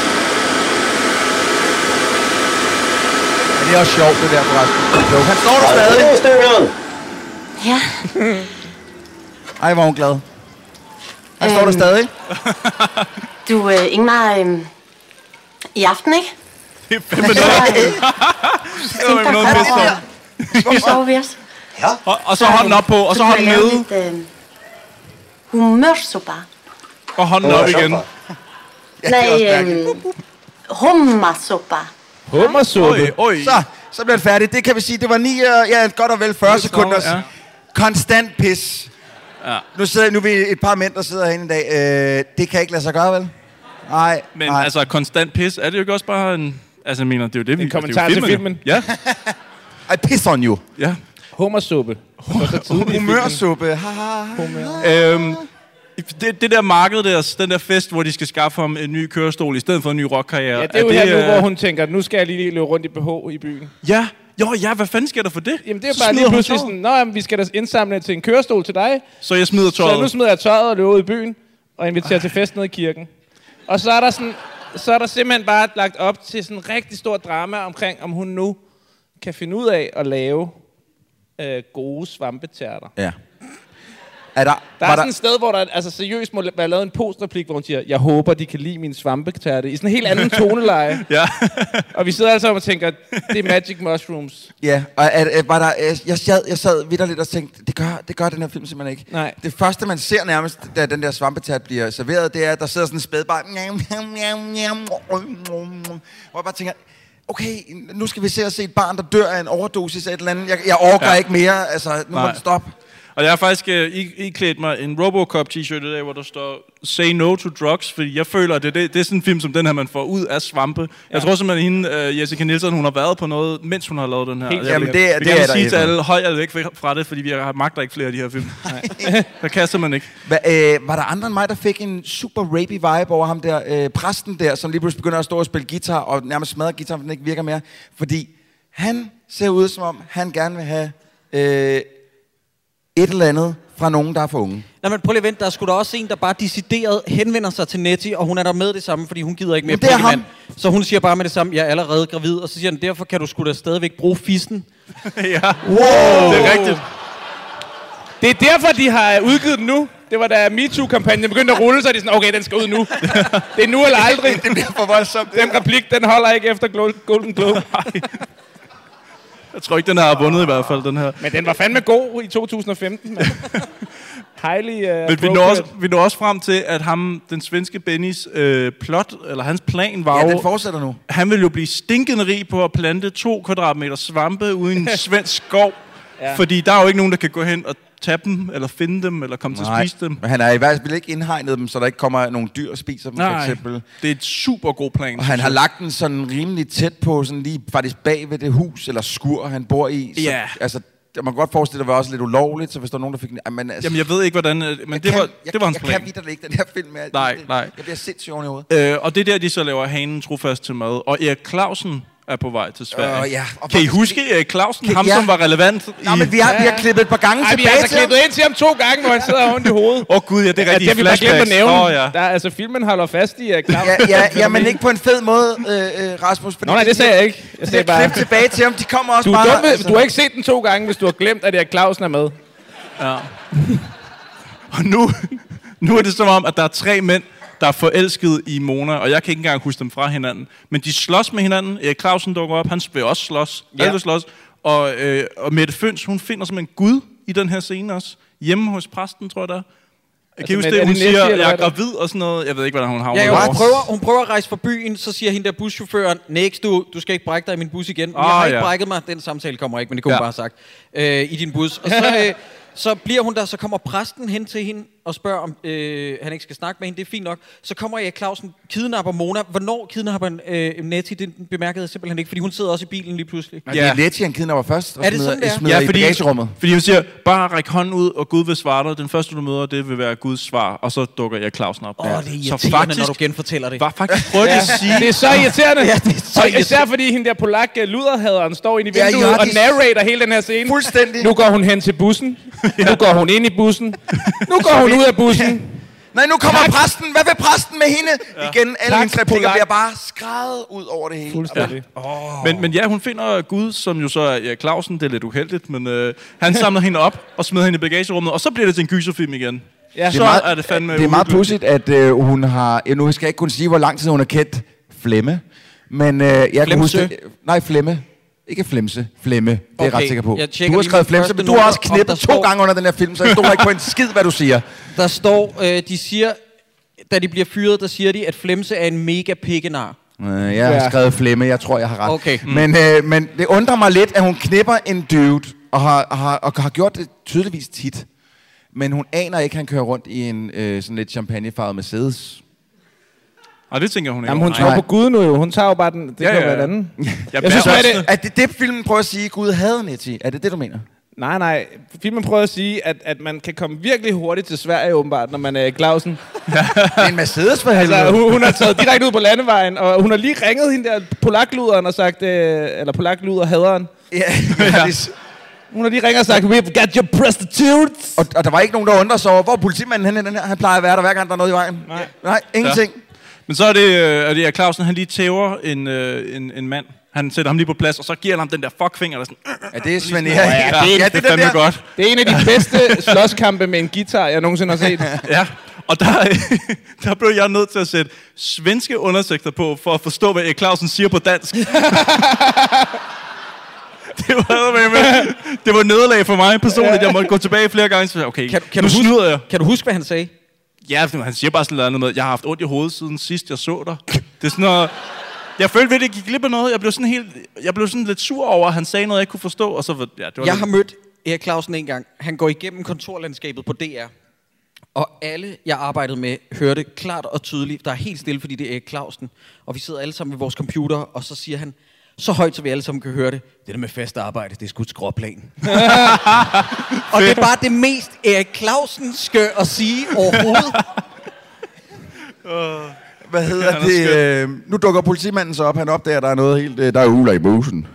S5: Men det er også sjovt, det der forresten. Jo, han står der stadig.
S10: Ja.
S5: Ej, hvor er hun glad. Han står der
S10: Øhm.
S5: stadig.
S10: Du, øh, Ingmar, øh, i aften, ikke?
S6: Det er
S10: fandme
S6: var jo noget pis om.
S10: Så sover vi også.
S6: Ja. Og, og så hånden op på, og så hånden
S10: nede.
S6: nede,
S10: Lidt, øh, humørsopa.
S6: og hånden op igen.
S10: Nej, øh, hummersopa.
S5: Hummersuppe. Så, så bliver det færdigt. Det kan vi sige, det var ni, øh, ja, godt og vel 40 sekunders
S6: ja.
S5: konstant pis.
S6: Ja.
S5: Nu, sidder, nu er vi et par mænd, der sidder herinde i dag. Øh, det kan ikke lade sig gøre, vel? Nej,
S6: Men altså, konstant pis, er det jo ikke også bare en... Altså, jeg mener, det er jo det, vi... En
S8: kommentar til filmen.
S6: Ja.
S5: I piss on you.
S6: Ja.
S8: Hummersuppe.
S5: humørsuppe. Ha, ha, ha.
S6: Øhm, det, det der marked der, den der fest, hvor de skal skaffe ham en ny kørestol i stedet for en ny rockkarriere.
S8: Ja, det er jo her nu,
S6: øh,
S8: hvor hun tænker, nu skal jeg lige løbe rundt i BH i byen.
S6: Ja, jo ja, hvad fanden sker der for det?
S8: Jamen, det er bare lige pludselig sådan, nå, jamen, vi skal da indsamle til en kørestol til dig.
S6: Så jeg smider
S8: Så nu
S6: tøjet.
S8: smider jeg tøjet og løber ud i byen og inviterer til fest nede i kirken. Og så er der sådan, så er der simpelthen bare lagt op til sådan en rigtig stor drama omkring, om hun nu kan finde ud af at lave øh, gode svampetærter.
S5: Ja. Er der,
S8: Der er
S5: var
S8: sådan et sted, hvor der altså, seriøst må være lavet en postreplik, hvor hun siger, jeg håber, de kan lide min svampetærte, i sådan en helt anden *laughs* toneleje.
S6: ja.
S8: og vi sidder altså og tænker, det er magic mushrooms.
S5: Ja, og at, at, var der, jeg, jeg sad, jeg sad vidderligt og tænkte, det gør, det gør den her film simpelthen ikke.
S8: Nej.
S5: Det første, man ser nærmest, da den der svampetært bliver serveret, det er, at der sidder sådan en spædbarn. Miau, miau, miau, miau, miau, miau, miau. Hvor jeg bare tænker, okay, nu skal vi se at se et barn, der dør af en overdosis af et eller andet. Jeg, jeg orker
S6: Ja.
S5: ja. ikke mere, altså, nu må
S6: Nej.
S5: den stoppe.
S6: Og jeg har faktisk øh, i, iklædt mig en Robocop-t-shirt i dag, hvor der står Say no to drugs, fordi jeg føler, at det, det, det er sådan en film som den her, man får ud af svampe. Ja. Jeg tror simpelthen, at hende, øh, Jessica Nielsen, hun har været på noget, mens hun har lavet den her.
S5: Helt
S6: Jeg
S5: Jamen,
S6: vil-
S5: det er- det
S6: vil gerne
S5: er der
S6: sige
S5: et
S6: til
S5: eller andet.
S6: alle, høj er væk fra- fra det, fordi vi har magter ikke flere af de her film. *laughs* der kaster
S5: *laughs*
S6: man ikke.
S5: Hva, øh, var der andre end mig, der fik en super rapey vibe over ham der, øh, præsten der, som lige pludselig begynder at stå og spille guitar, og nærmest smadrer guitaren, for den ikke virker mere? Fordi han ser ud, som om han gerne vil have øh, et eller andet fra nogen, der er for unge.
S7: Nej, men prøv lige at vente. Der er sgu da også en, der bare decideret henvender sig til Nettie, og hun er der med det samme, fordi hun gider ikke mere
S5: Men det er
S7: Pokemon. Så hun siger bare med det samme, jeg er allerede gravid, og så siger han, derfor kan du sgu da stadigvæk bruge fissen.
S6: ja.
S7: Wow.
S6: Det er rigtigt.
S8: Det er derfor, de har øh, udgivet den nu. Det var da MeToo-kampagnen begyndte at rulle, så er de sådan, okay, den skal ud nu. det er nu eller aldrig. det
S5: bliver for voldsomt.
S8: Den replik, den holder ikke efter Glo- Golden Globe.
S6: Jeg tror ikke, den har vundet i hvert fald, den her.
S8: Men den var fandme god i 2015, mand. Highly uh,
S6: Men vi når, også, vi når også frem til, at ham, den svenske Bennys øh, plot, eller hans plan var
S5: Ja,
S6: jo...
S5: den fortsætter nu.
S6: Han vil jo blive stinkende rig på at plante to kvadratmeter svampe ude i en svensk skov.
S5: Ja.
S6: ja. Fordi der er jo ikke nogen, der kan gå hen og tage dem, eller finde dem, eller komme til at spise dem.
S5: men han har i hvert fald ikke indhegnet dem, så der ikke kommer nogle dyr og spiser dem, for
S6: Nej.
S5: eksempel.
S6: Det er et super god plan.
S5: Og han
S6: synes
S5: har
S6: jeg.
S5: lagt den sådan rimelig tæt på, sådan lige faktisk bag ved det hus eller skur, han bor i. Så,
S6: Ja.
S5: Altså, man kan godt forestille, at det var også lidt ulovligt, så hvis der var nogen, der fik den... Ej, Men, altså,
S6: Jamen, jeg ved ikke, hvordan... øh, Men det,
S5: kan-
S6: var,
S5: jeg,
S6: det var hans
S5: jeg
S6: plan.
S5: Jeg kan vidt ikke den her film. Jeg,
S6: Nej, nej.
S5: Jeg bliver sindssygt oven i hovedet.
S6: Øh, og det er der, de så laver hanen trofast til mad. Og Erik Clausen er på vej til Sverige.
S5: Øh, ja. Og
S6: kan I
S5: hvorfor
S6: huske Erik Clausen?
S5: Kan-
S6: Ham,
S5: ja.
S6: som var relevant i...
S5: Nå, men vi har, vi har klippet et par gange
S8: Ej, vi
S5: tilbage
S8: har altså
S5: til ham.
S8: klippet ind til ham to gange, hvor han sidder og har ondt i hovedet.
S6: Åh oh, gud, ja, det er rigtigt.
S8: det har vi bare glemt at
S6: flashbacks.
S8: nævne.
S6: Åh, ja.
S8: Der, er- altså, filmen holder fast i, at Claus.
S5: Ja, ja, ja, men ikke på en fed måde, øh, øh, Rasmus. fordi
S8: Nå, nej, det sagde jeg ikke. Jeg
S5: det
S8: sagde
S5: er
S8: bare-
S5: klip tilbage til ham. De kommer også
S8: Du, er
S5: bare...
S8: dum, altså. du har ikke set den to gange, hvis du har glemt, at Erik Clausen er med.
S6: Ja. Og nu, *laughs* nu er det som om, at der er tre mænd, der er forelsket i Mona, og jeg kan ikke engang huske dem fra hinanden. Men de slås med hinanden. Erik Clausen dukker op, han vil også slås.
S7: Ja.
S6: Ja. Alle vil slås. Og, øh, og Mette Føns, hun finder simpelthen Gud i den her scene også. Hjemme hos præsten, tror jeg der. Kan I
S7: men
S6: huske
S7: Altså, er
S6: det?
S7: det
S6: Hun
S7: Nessie,
S6: siger,
S7: eller
S6: jeg er
S7: hvad er det?
S6: gravid og sådan noget. Jeg ved ikke, hvordan hun havner
S7: Ja, jo,
S6: derovre.
S7: hun, prøver, hun prøver at rejse fra byen, så siger hende der buschaufføren, Nix, du, du skal ikke brække dig i min bus igen. Men jeg har
S6: Ah,
S7: ikke
S6: ja.
S7: brækket mig, den samtale kommer ikke, men det kunne ja.
S6: Ja.
S7: hun bare have sagt, øh, i din bus. Og så,
S6: *laughs*
S7: øh, så bliver hun der, så kommer præsten hen til hende og spørger, om øh, han ikke skal snakke med hende, det er fint nok. Så kommer jeg Clausen, kidnapper Mona. Hvornår kidnapper han, øh, Nettie, det bemærkede jeg simpelthen ikke, fordi hun sidder også i bilen lige pludselig.
S5: Ja. Det er Letty, han kidnapper først. Og
S7: Er det
S5: smider,
S7: sådan, det er?
S5: Smider i bagagerummet.
S6: Fordi hun siger, bare ræk hånden ud, og Gud vil svare dig. Den første, du møder, det vil være Guds svar. Og så dukker jeg Clausen op.
S7: Åh, det er irriterende, faktisk, når du genfortæller det.
S6: Var faktisk prøvet at sige...
S8: Det er så irriterende.
S7: Ja, det er så
S8: og især
S7: irriterende.
S8: fordi hende der polak øh, luderhaderen står inde i
S5: Ja,
S8: vinduet
S5: I har
S8: og
S5: de-
S8: narrater hele den her scene.
S5: Fuldstændig.
S8: Nu går hun hen til bussen. Nu går hun ind i bussen. Nu går hun ud af bussen.
S5: Nej, nu kommer
S8: Tak.
S5: præsten. Hvad vil præsten med hende? Ja. Igen, alle
S8: Tak,
S5: hendes replikker
S8: Polak.
S5: bliver bare skrevet ud over det hele.
S6: Fuldstændig. Ja. Men, men ja, hun finder Gud, som jo så er ja, Clausen. Det er lidt uheldigt, men øh, han samler hende op og smider hende i bagagerummet, og så bliver det til en gyserfilm igen. Ja, så er det fandme
S5: det er meget
S6: uhyggeligt.
S5: pudsigt, at øh, hun har... ja, Nu skal jeg ikke kunne sige, hvor lang tid hun har kendt Flemme. Men øh, jeg kan
S7: Flemse?
S5: huske... Nej, Flemme. Ikke Flemse. Flemme. Det er jeg
S7: Okay,
S5: ret sikker på.
S7: jeg tjekker
S5: Du har
S7: lige
S5: skrevet
S7: mine
S5: Flemse,
S7: første
S5: men du har også
S7: noter, om der
S5: knippet to
S7: står-
S5: gange under den her film, så jeg stoler ikke på en
S7: *laughs*
S5: skid, hvad du siger.
S7: Der står, øh, de siger, da de bliver fyret, der siger de, at Flemse er en mega pikkenar.
S5: Øh, jeg har
S7: Ja.
S5: skrevet Flemme. Jeg tror, jeg har ret.
S7: Okay. Mm.
S5: Men, øh, men det undrer mig lidt, at hun knipper en dude, og har, og har, og har gjort det tydeligvis tit. Men hun aner ikke, at han kører rundt i en øh, sådan lidt champagnefarvet Mercedes.
S6: Og det tænker hun ikke
S8: Jamen, hun
S6: over.
S8: tager
S6: Nej.
S8: jo på Gud nu jo. Hun tager jo bare den. Det
S6: Ja,
S8: ja, kan
S6: ja,
S8: ja. være
S6: ja.
S8: en anden.
S6: Jeg
S8: jeg synes,
S5: er
S8: at
S5: det,
S8: det,
S5: at det, det filmen prøver at sige, at Gud havde Nettie. Er det det, du *laughs* mener?
S8: nej, nej. Filmen prøver at sige, at, at man kan komme virkelig hurtigt til Sverige, åbenbart, når man er i Clausen.
S5: en Mercedes for
S8: Altså,
S5: helvede.
S8: hun, hun har taget direkte ud på landevejen, og hun har lige ringet hende der polakluderen og sagt, øh, eller polakluder-haderen.
S5: *laughs* Ja.
S8: Hun har lige ringet og sagt, we've got your prostitutes.
S5: Og, og der var ikke nogen, der undrede sig over, hvor er politimanden henne i den her. Han plejer at være der, hver gang der er noget i vejen. Nej, Nej ingenting.
S6: Ja. Men så er det, øh, er det at Clausen, han lige tæver en, øh, en, en mand. Han sætter ham lige på plads, og så giver han ham den der fuckfinger, der sådan...
S5: Ja, det er Svend
S6: Ja, ja, det, ja, det, det er fandme
S8: der-
S6: godt.
S8: Det er en af de bedste slåskampe med en guitar, jeg nogensinde har set.
S6: ja, og der, *laughs* der blev jeg nødt til at sætte svenske undersøgter på, for at forstå, hvad Erik Clausen siger på
S7: *laughs*
S6: dansk. det, var, eddermame- det var et nederlag for mig personligt. Jeg måtte gå tilbage flere gange. Så, okay, kan,
S7: kan
S6: nu
S7: du huske-
S6: snyder jeg.
S7: Kan du huske, hvad han sagde?
S6: Ja, for han siger bare sådan noget andet med, jeg har haft ondt i hovedet siden sidst, jeg så dig. Det er sådan noget... Jeg følte ved, at jeg gik glip af noget. Jeg blev sådan, helt, jeg blev sådan lidt sur over, at han sagde noget, jeg ikke kunne forstå. Og så, var- ja, det var
S7: Jeg
S6: lidt-
S7: har mødt Erik Clausen en gang. Han går igennem kontorlandskabet på DR. Og alle, jeg arbejdede med, hørte klart og tydeligt, der er helt stille, fordi det er Erik Clausen. Og vi sidder alle sammen ved vores computer, og så siger han, så højt, så vi alle sammen kan høre det. Det der med fast arbejde, det er sgu et
S6: *laughs*
S7: skråplan. og det er bare det mest Erik Clausenske at sige overhovedet.
S5: Hvad
S6: *laughs*
S5: hedder
S6: Han er skøn.
S5: det? Øh, nu dukker politimanden så op. Han opdager, at der er noget helt... Øh, der er uler i busen.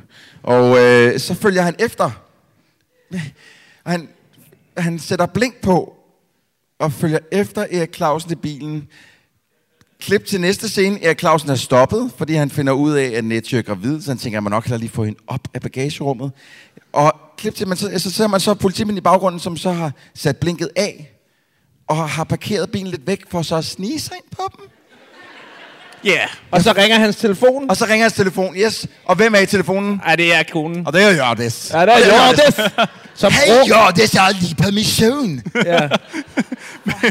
S5: Og øh, så følger han efter. *laughs* Og han, han sætter blink på og følger efter Erik Clausen til bilen. Klip til næste scene. Erik Clausen er stoppet, fordi han finder ud af, at Nettie er gravid, så han tænker, at man nok kan lige få hende op af bagagerummet. Og klip til, man, så, så ser man så politimanden i baggrunden, som så har sat blinket af, og har parkeret bilen lidt væk, for så at snige sig ind på dem.
S8: Ja. Yeah. Og så ringer hans telefon.
S5: Og så ringer hans telefon, yes. Og hvem er i telefonen?
S8: Ja, det er konen.
S5: Og det er Jordis.
S8: Ja, det er Hjortes. Som
S5: Hey
S8: brugte-
S5: Jordis, jeg har lige permission. *laughs*
S8: Ja.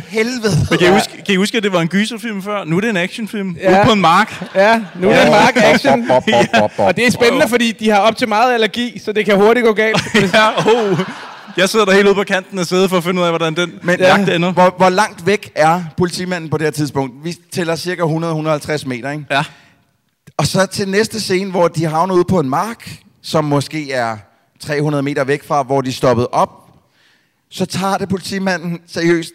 S5: Helvede.
S6: Men kan, I huske, kan I huske, at det var en gyserfilm før? Nu er det en actionfilm. Ja.
S8: Ja.
S6: Nu er på en mark.
S8: Ja, nu er det en mark action.
S5: ja.
S8: Og det er spændende, fordi de har op til meget allergi, så det kan hurtigt gå galt.
S6: *laughs* ja, oh. Jeg sidder der helt ude på kanten af sædet for at finde ud af, hvordan den
S5: Men
S6: Men, jagt
S5: ja,
S6: ender.
S5: hvor, hvor langt væk er politimanden på det her tidspunkt? Vi tæller cirka 100-150 meter, ikke?
S6: Ja.
S5: Og så til næste scene, hvor de havner ude på en mark, som måske er 300 meter væk fra, hvor de stoppede op. Så tager det politimanden seriøst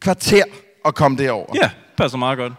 S5: kvarter at komme derover.
S6: Ja, passer meget godt.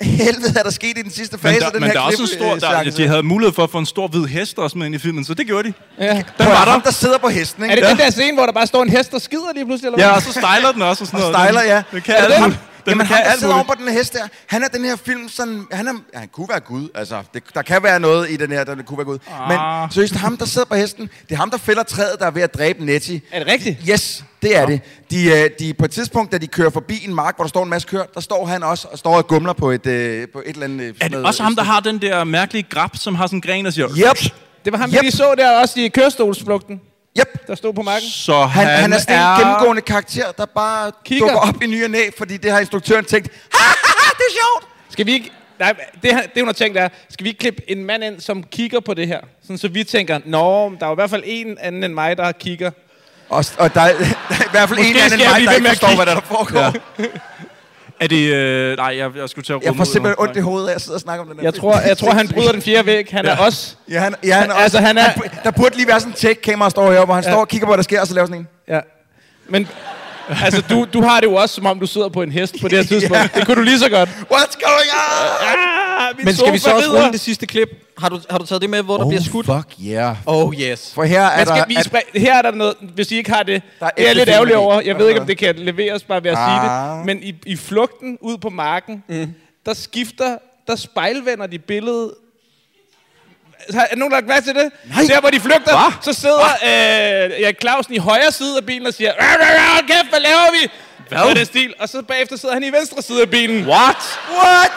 S5: Helvede er der sket i den sidste
S6: Men
S5: fase af
S6: der,
S5: den
S6: men
S5: her øh,
S6: der er også en stor...
S5: klip-
S6: Der,
S5: seance.
S6: de havde mulighed for at få en stor hvid hest også med ind i filmen, så det gjorde de.
S8: Ja. Den
S5: Prøv at
S6: var
S5: høre, ham,
S6: der.
S5: der sidder på hesten, ikke?
S8: Er det den der scene, hvor der bare står en hest, der skider lige pludselig? Eller
S6: Ja,
S8: hvad?
S6: og så stejler den også og sådan
S5: Og
S6: noget.
S5: stejler, ja.
S6: Den, den kan
S5: Er det
S6: alt
S5: den?
S6: muligt. Den
S5: Jamen,
S6: kan
S5: han, der
S6: alt
S5: sidder
S6: muligt.
S5: over på den her hest der, han er den her film sådan... Han, er, ja, han kunne være Gud, altså. Det, der kan være noget i den her, der kunne være Gud. Ah. Men seriøst, ham, der sidder på hesten, det er ham, der fælder træet, der er ved at dræbe Nettie.
S8: Er det rigtigt?
S5: Yes, det
S6: Ah.
S5: er det. De, øh, de, på et tidspunkt, da de kører forbi en mark, hvor der står en masse køer, der står han også og står og gumler på et, øh, på et eller andet... øh,
S6: Er
S5: sådan
S6: det
S5: noget-
S6: også ham, der har den der mærkelige grab, som har sådan en gren, der siger...
S5: Yep.
S8: Det var ham, yep. vi så der også i kørestolsflugten.
S5: Yep.
S8: Der stod på marken.
S6: Så
S5: Han, han, han er sådan en gennemgående karakter, der bare
S8: Kigger.
S5: Kigger. dukker op i ny og næ, fordi det har instruktøren tænkt, det er sjovt.
S8: Skal vi ikke... Nej, det, her- det hun har tænkt er, skal vi ikke klippe en mand ind, som kigger på det her? Sådan, så vi tænker, nå, der er jo i hvert fald en anden end mig, der kigger.
S5: Og, og der, er, *laughs* der er i hvert fald
S8: Måske
S5: en eller anden
S8: skal jeg
S5: mig,
S8: blive
S5: der
S8: ved
S5: ikke
S8: med at
S5: forstår,
S8: kigge.
S5: hvad der, er, der foregår.
S6: Ja. Er det... Øh, nej, jeg, jeg skulle til at rulle
S5: Jeg får
S6: ud nu.
S5: simpelthen ondt i
S6: Nej.
S5: hovedet af at sidde og snakke om den der
S8: Jeg
S5: film.
S8: tror, jeg tror han bryder den fjerde væg. Han ja. er
S6: Ja.
S8: også...
S5: Ja, han, ja, han er
S8: Altså,
S5: også,
S8: han er-
S5: han, der burde lige være sådan en tech-kamera, står heroppe, hvor han
S8: Ja.
S5: står og kigger på, hvad der sker, og så laver sådan en.
S8: Ja. Men altså, du, du har det jo også, som om du sidder på en hest på det her tidspunkt.
S5: Ja.
S8: Det kunne du lige så godt.
S5: What's going on?
S8: Ah, min
S7: Men skal vi
S8: sofa
S7: så også
S8: rider.
S7: rulle det sidste klip? Har du, har du taget det med, hvor der
S5: Oh,
S7: bliver skudt?
S5: fuck yeah.
S7: Oh yes.
S5: For her er
S8: Man skal,
S5: der...
S8: vi spre- her er der noget, hvis I ikke har det,
S5: er
S8: det er jeg lidt
S5: ægte
S8: ærgerlig
S5: filmidé.
S8: over. Jeg ved ikke, om det kan leveres bare ved at sige
S5: Ah.
S8: det. Men i, i flugten ud på marken, mm. der skifter, der spejlvender de billedet. Har er nogen lagt mærke til det? Nej. Der, hvor de flygter, Hva? så sidder øh, Erik Clausen i højre side af bilen og siger, "Rah, rah, rah, kæft, hvad laver vi?
S6: Hvad?
S8: Noget af Den stil. Og så bagefter sidder han i venstre side af bilen.
S6: What?
S8: What?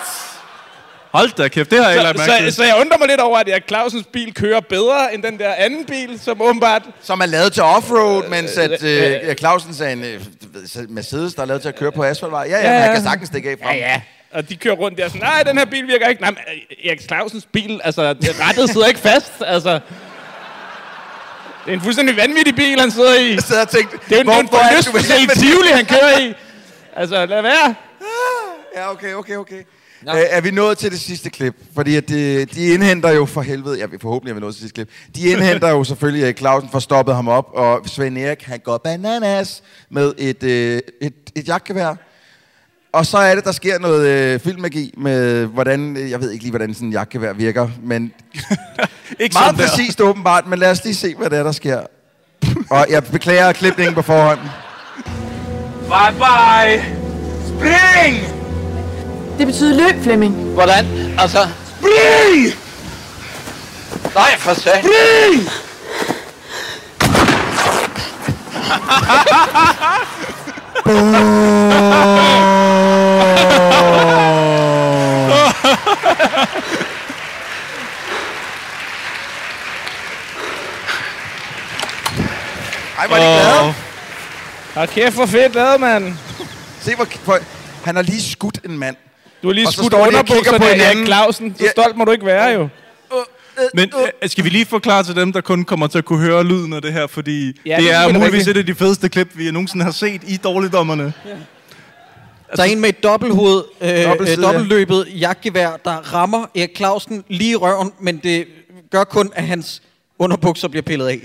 S6: Hold da kæft, det har jeg ikke lagt
S8: så,
S6: mærke
S8: så,
S6: til.
S8: så jeg undrer mig lidt over, at Erik Clausens bil kører bedre end den der anden bil, som åbenbart...
S5: Som er lavet til offroad, mens at øh, Clausen sagde, en øh, du ved, så- Mercedes, der er lavet til at køre på asfaltvej. Ja, ja, ja,
S8: Ja,
S5: ja. han
S8: ja.
S5: kan sagtens stikke af fra
S8: Ja, ja. Og de kører rundt der sådan, nej, den her bil virker ikke. Nej, men øh, Erik Clausens bil, altså, det rettet sidder ikke fast, altså. Det er en fuldstændig vanvittig bil, han sidder i. Jeg
S5: sidder og tænkte,
S8: det er jo en,
S5: hvor-
S8: det er en
S5: hvor er det, *laughs* du
S8: forlystelse
S5: vil
S8: i
S5: hen med det?
S8: Tivoli, han kører i. Altså, lad være.
S5: Ja, okay, okay, okay. Æ, er vi nået til det sidste klip? Fordi at de, de indhenter jo for helvede... Ja, vi- forhåbentlig er vi nået til det sidste klip. De indhenter jo selvfølgelig Erik Clausen for stoppet ham op, og Svend Erik, han går bananas med et, øh, et, et jagtgevær. Og så er det, der sker noget øh, filmmagi med, hvordan... øh, Jeg ved ikke lige, hvordan sådan en jagtgevær virker, *laughs* men...
S6: ikke
S5: meget
S6: sådan der.
S5: præcist åbenbart, men lad os lige se, hvad det er, der sker. og jeg beklager klipningen på forhånd.
S13: Bye bye! Spring!
S1: Det betyder løb, Flemming.
S11: Hvordan? Altså...
S13: Spring!
S11: Nej, for satan.
S13: Spring!
S5: Ej, hvor er de glade.
S8: Og kæft, hvor fedt lavet, mand.
S5: Se, hvor... hvor han har lige skudt en mand.
S8: Du har lige
S5: Og så
S8: skudt
S5: står de og
S8: underbukserne
S5: kigger på
S8: på Erik
S5: hinanden.
S8: Clausen. Så
S5: Ja.
S8: stolt må du ikke være, jo.
S6: Men øh, skal vi lige forklare til dem, der kun kommer til at kunne høre lyden af det her, fordi
S8: Ja,
S6: ja,
S8: det
S6: det
S8: er
S6: er
S8: helt
S6: muligvis
S8: rigtigt.
S6: et af de fedeste klip, vi nogensinde har set i Dårligdommerne.
S7: Der er en med et dobbelthoved, øh,
S6: Dobbeltside,
S7: øh,
S6: Altså- ja.
S7: dobbeltløbet jagtgevær, der rammer Erik Clausen lige i røven, men det gør kun, at hans underbukser bliver pillet af.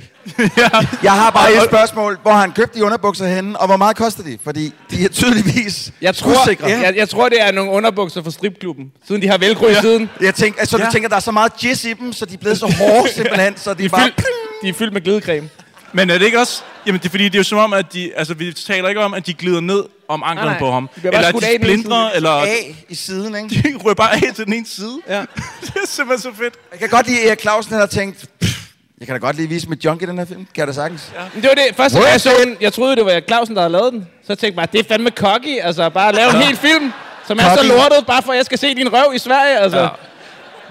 S5: Jeg har bare et spørgsmål. Hvor har han købt de underbukser henne, og hvor meget koster de? Fordi de er tydeligvis
S8: Jeg tror,
S5: usikre.
S8: jeg, jeg tror, det er nogle underbukser fra stripklubben, siden de har velcro i
S5: Ja.
S8: siden.
S5: Jeg tænker, altså, du
S8: Ja.
S5: tænker, der er så meget jizz i dem, så de er blevet så
S6: *laughs*
S5: hårde simpelthen, så de,
S8: De er
S5: bare...
S8: fyldt- de er fyldt med glidecreme.
S6: Men er det ikke også... Jamen, det er fordi, det er jo som om, at de... Altså, vi taler ikke om, at de glider ned om anklen
S5: Nej, nej.
S6: på ham.
S5: De bliver bare
S6: Eller at
S5: skudt
S6: de
S5: af den ene
S6: splindrer,
S5: side.
S6: eller...
S5: Af i siden, ikke?
S6: *laughs* De ryger bare af til den ene side. Ja. det er simpelthen så fedt.
S5: Jeg kan godt lide, at Erik Clausen han har tænkt... "Pff, Jeg kan da godt lige vise mit junk i den her film. Kan jeg da sagtens? Ja.
S8: Men det var det. Første gang
S5: Hvor er
S8: jeg så den, jeg troede, det var Erik Clausen, der havde lavet den. Så tænkte jeg bare, det er fandme cocky. Altså, bare at lave en
S5: Ja.
S8: hel film, som er så
S5: Cocky.
S8: lortet, bare for at jeg skal se din røv i Sverige. Altså.
S6: Ja.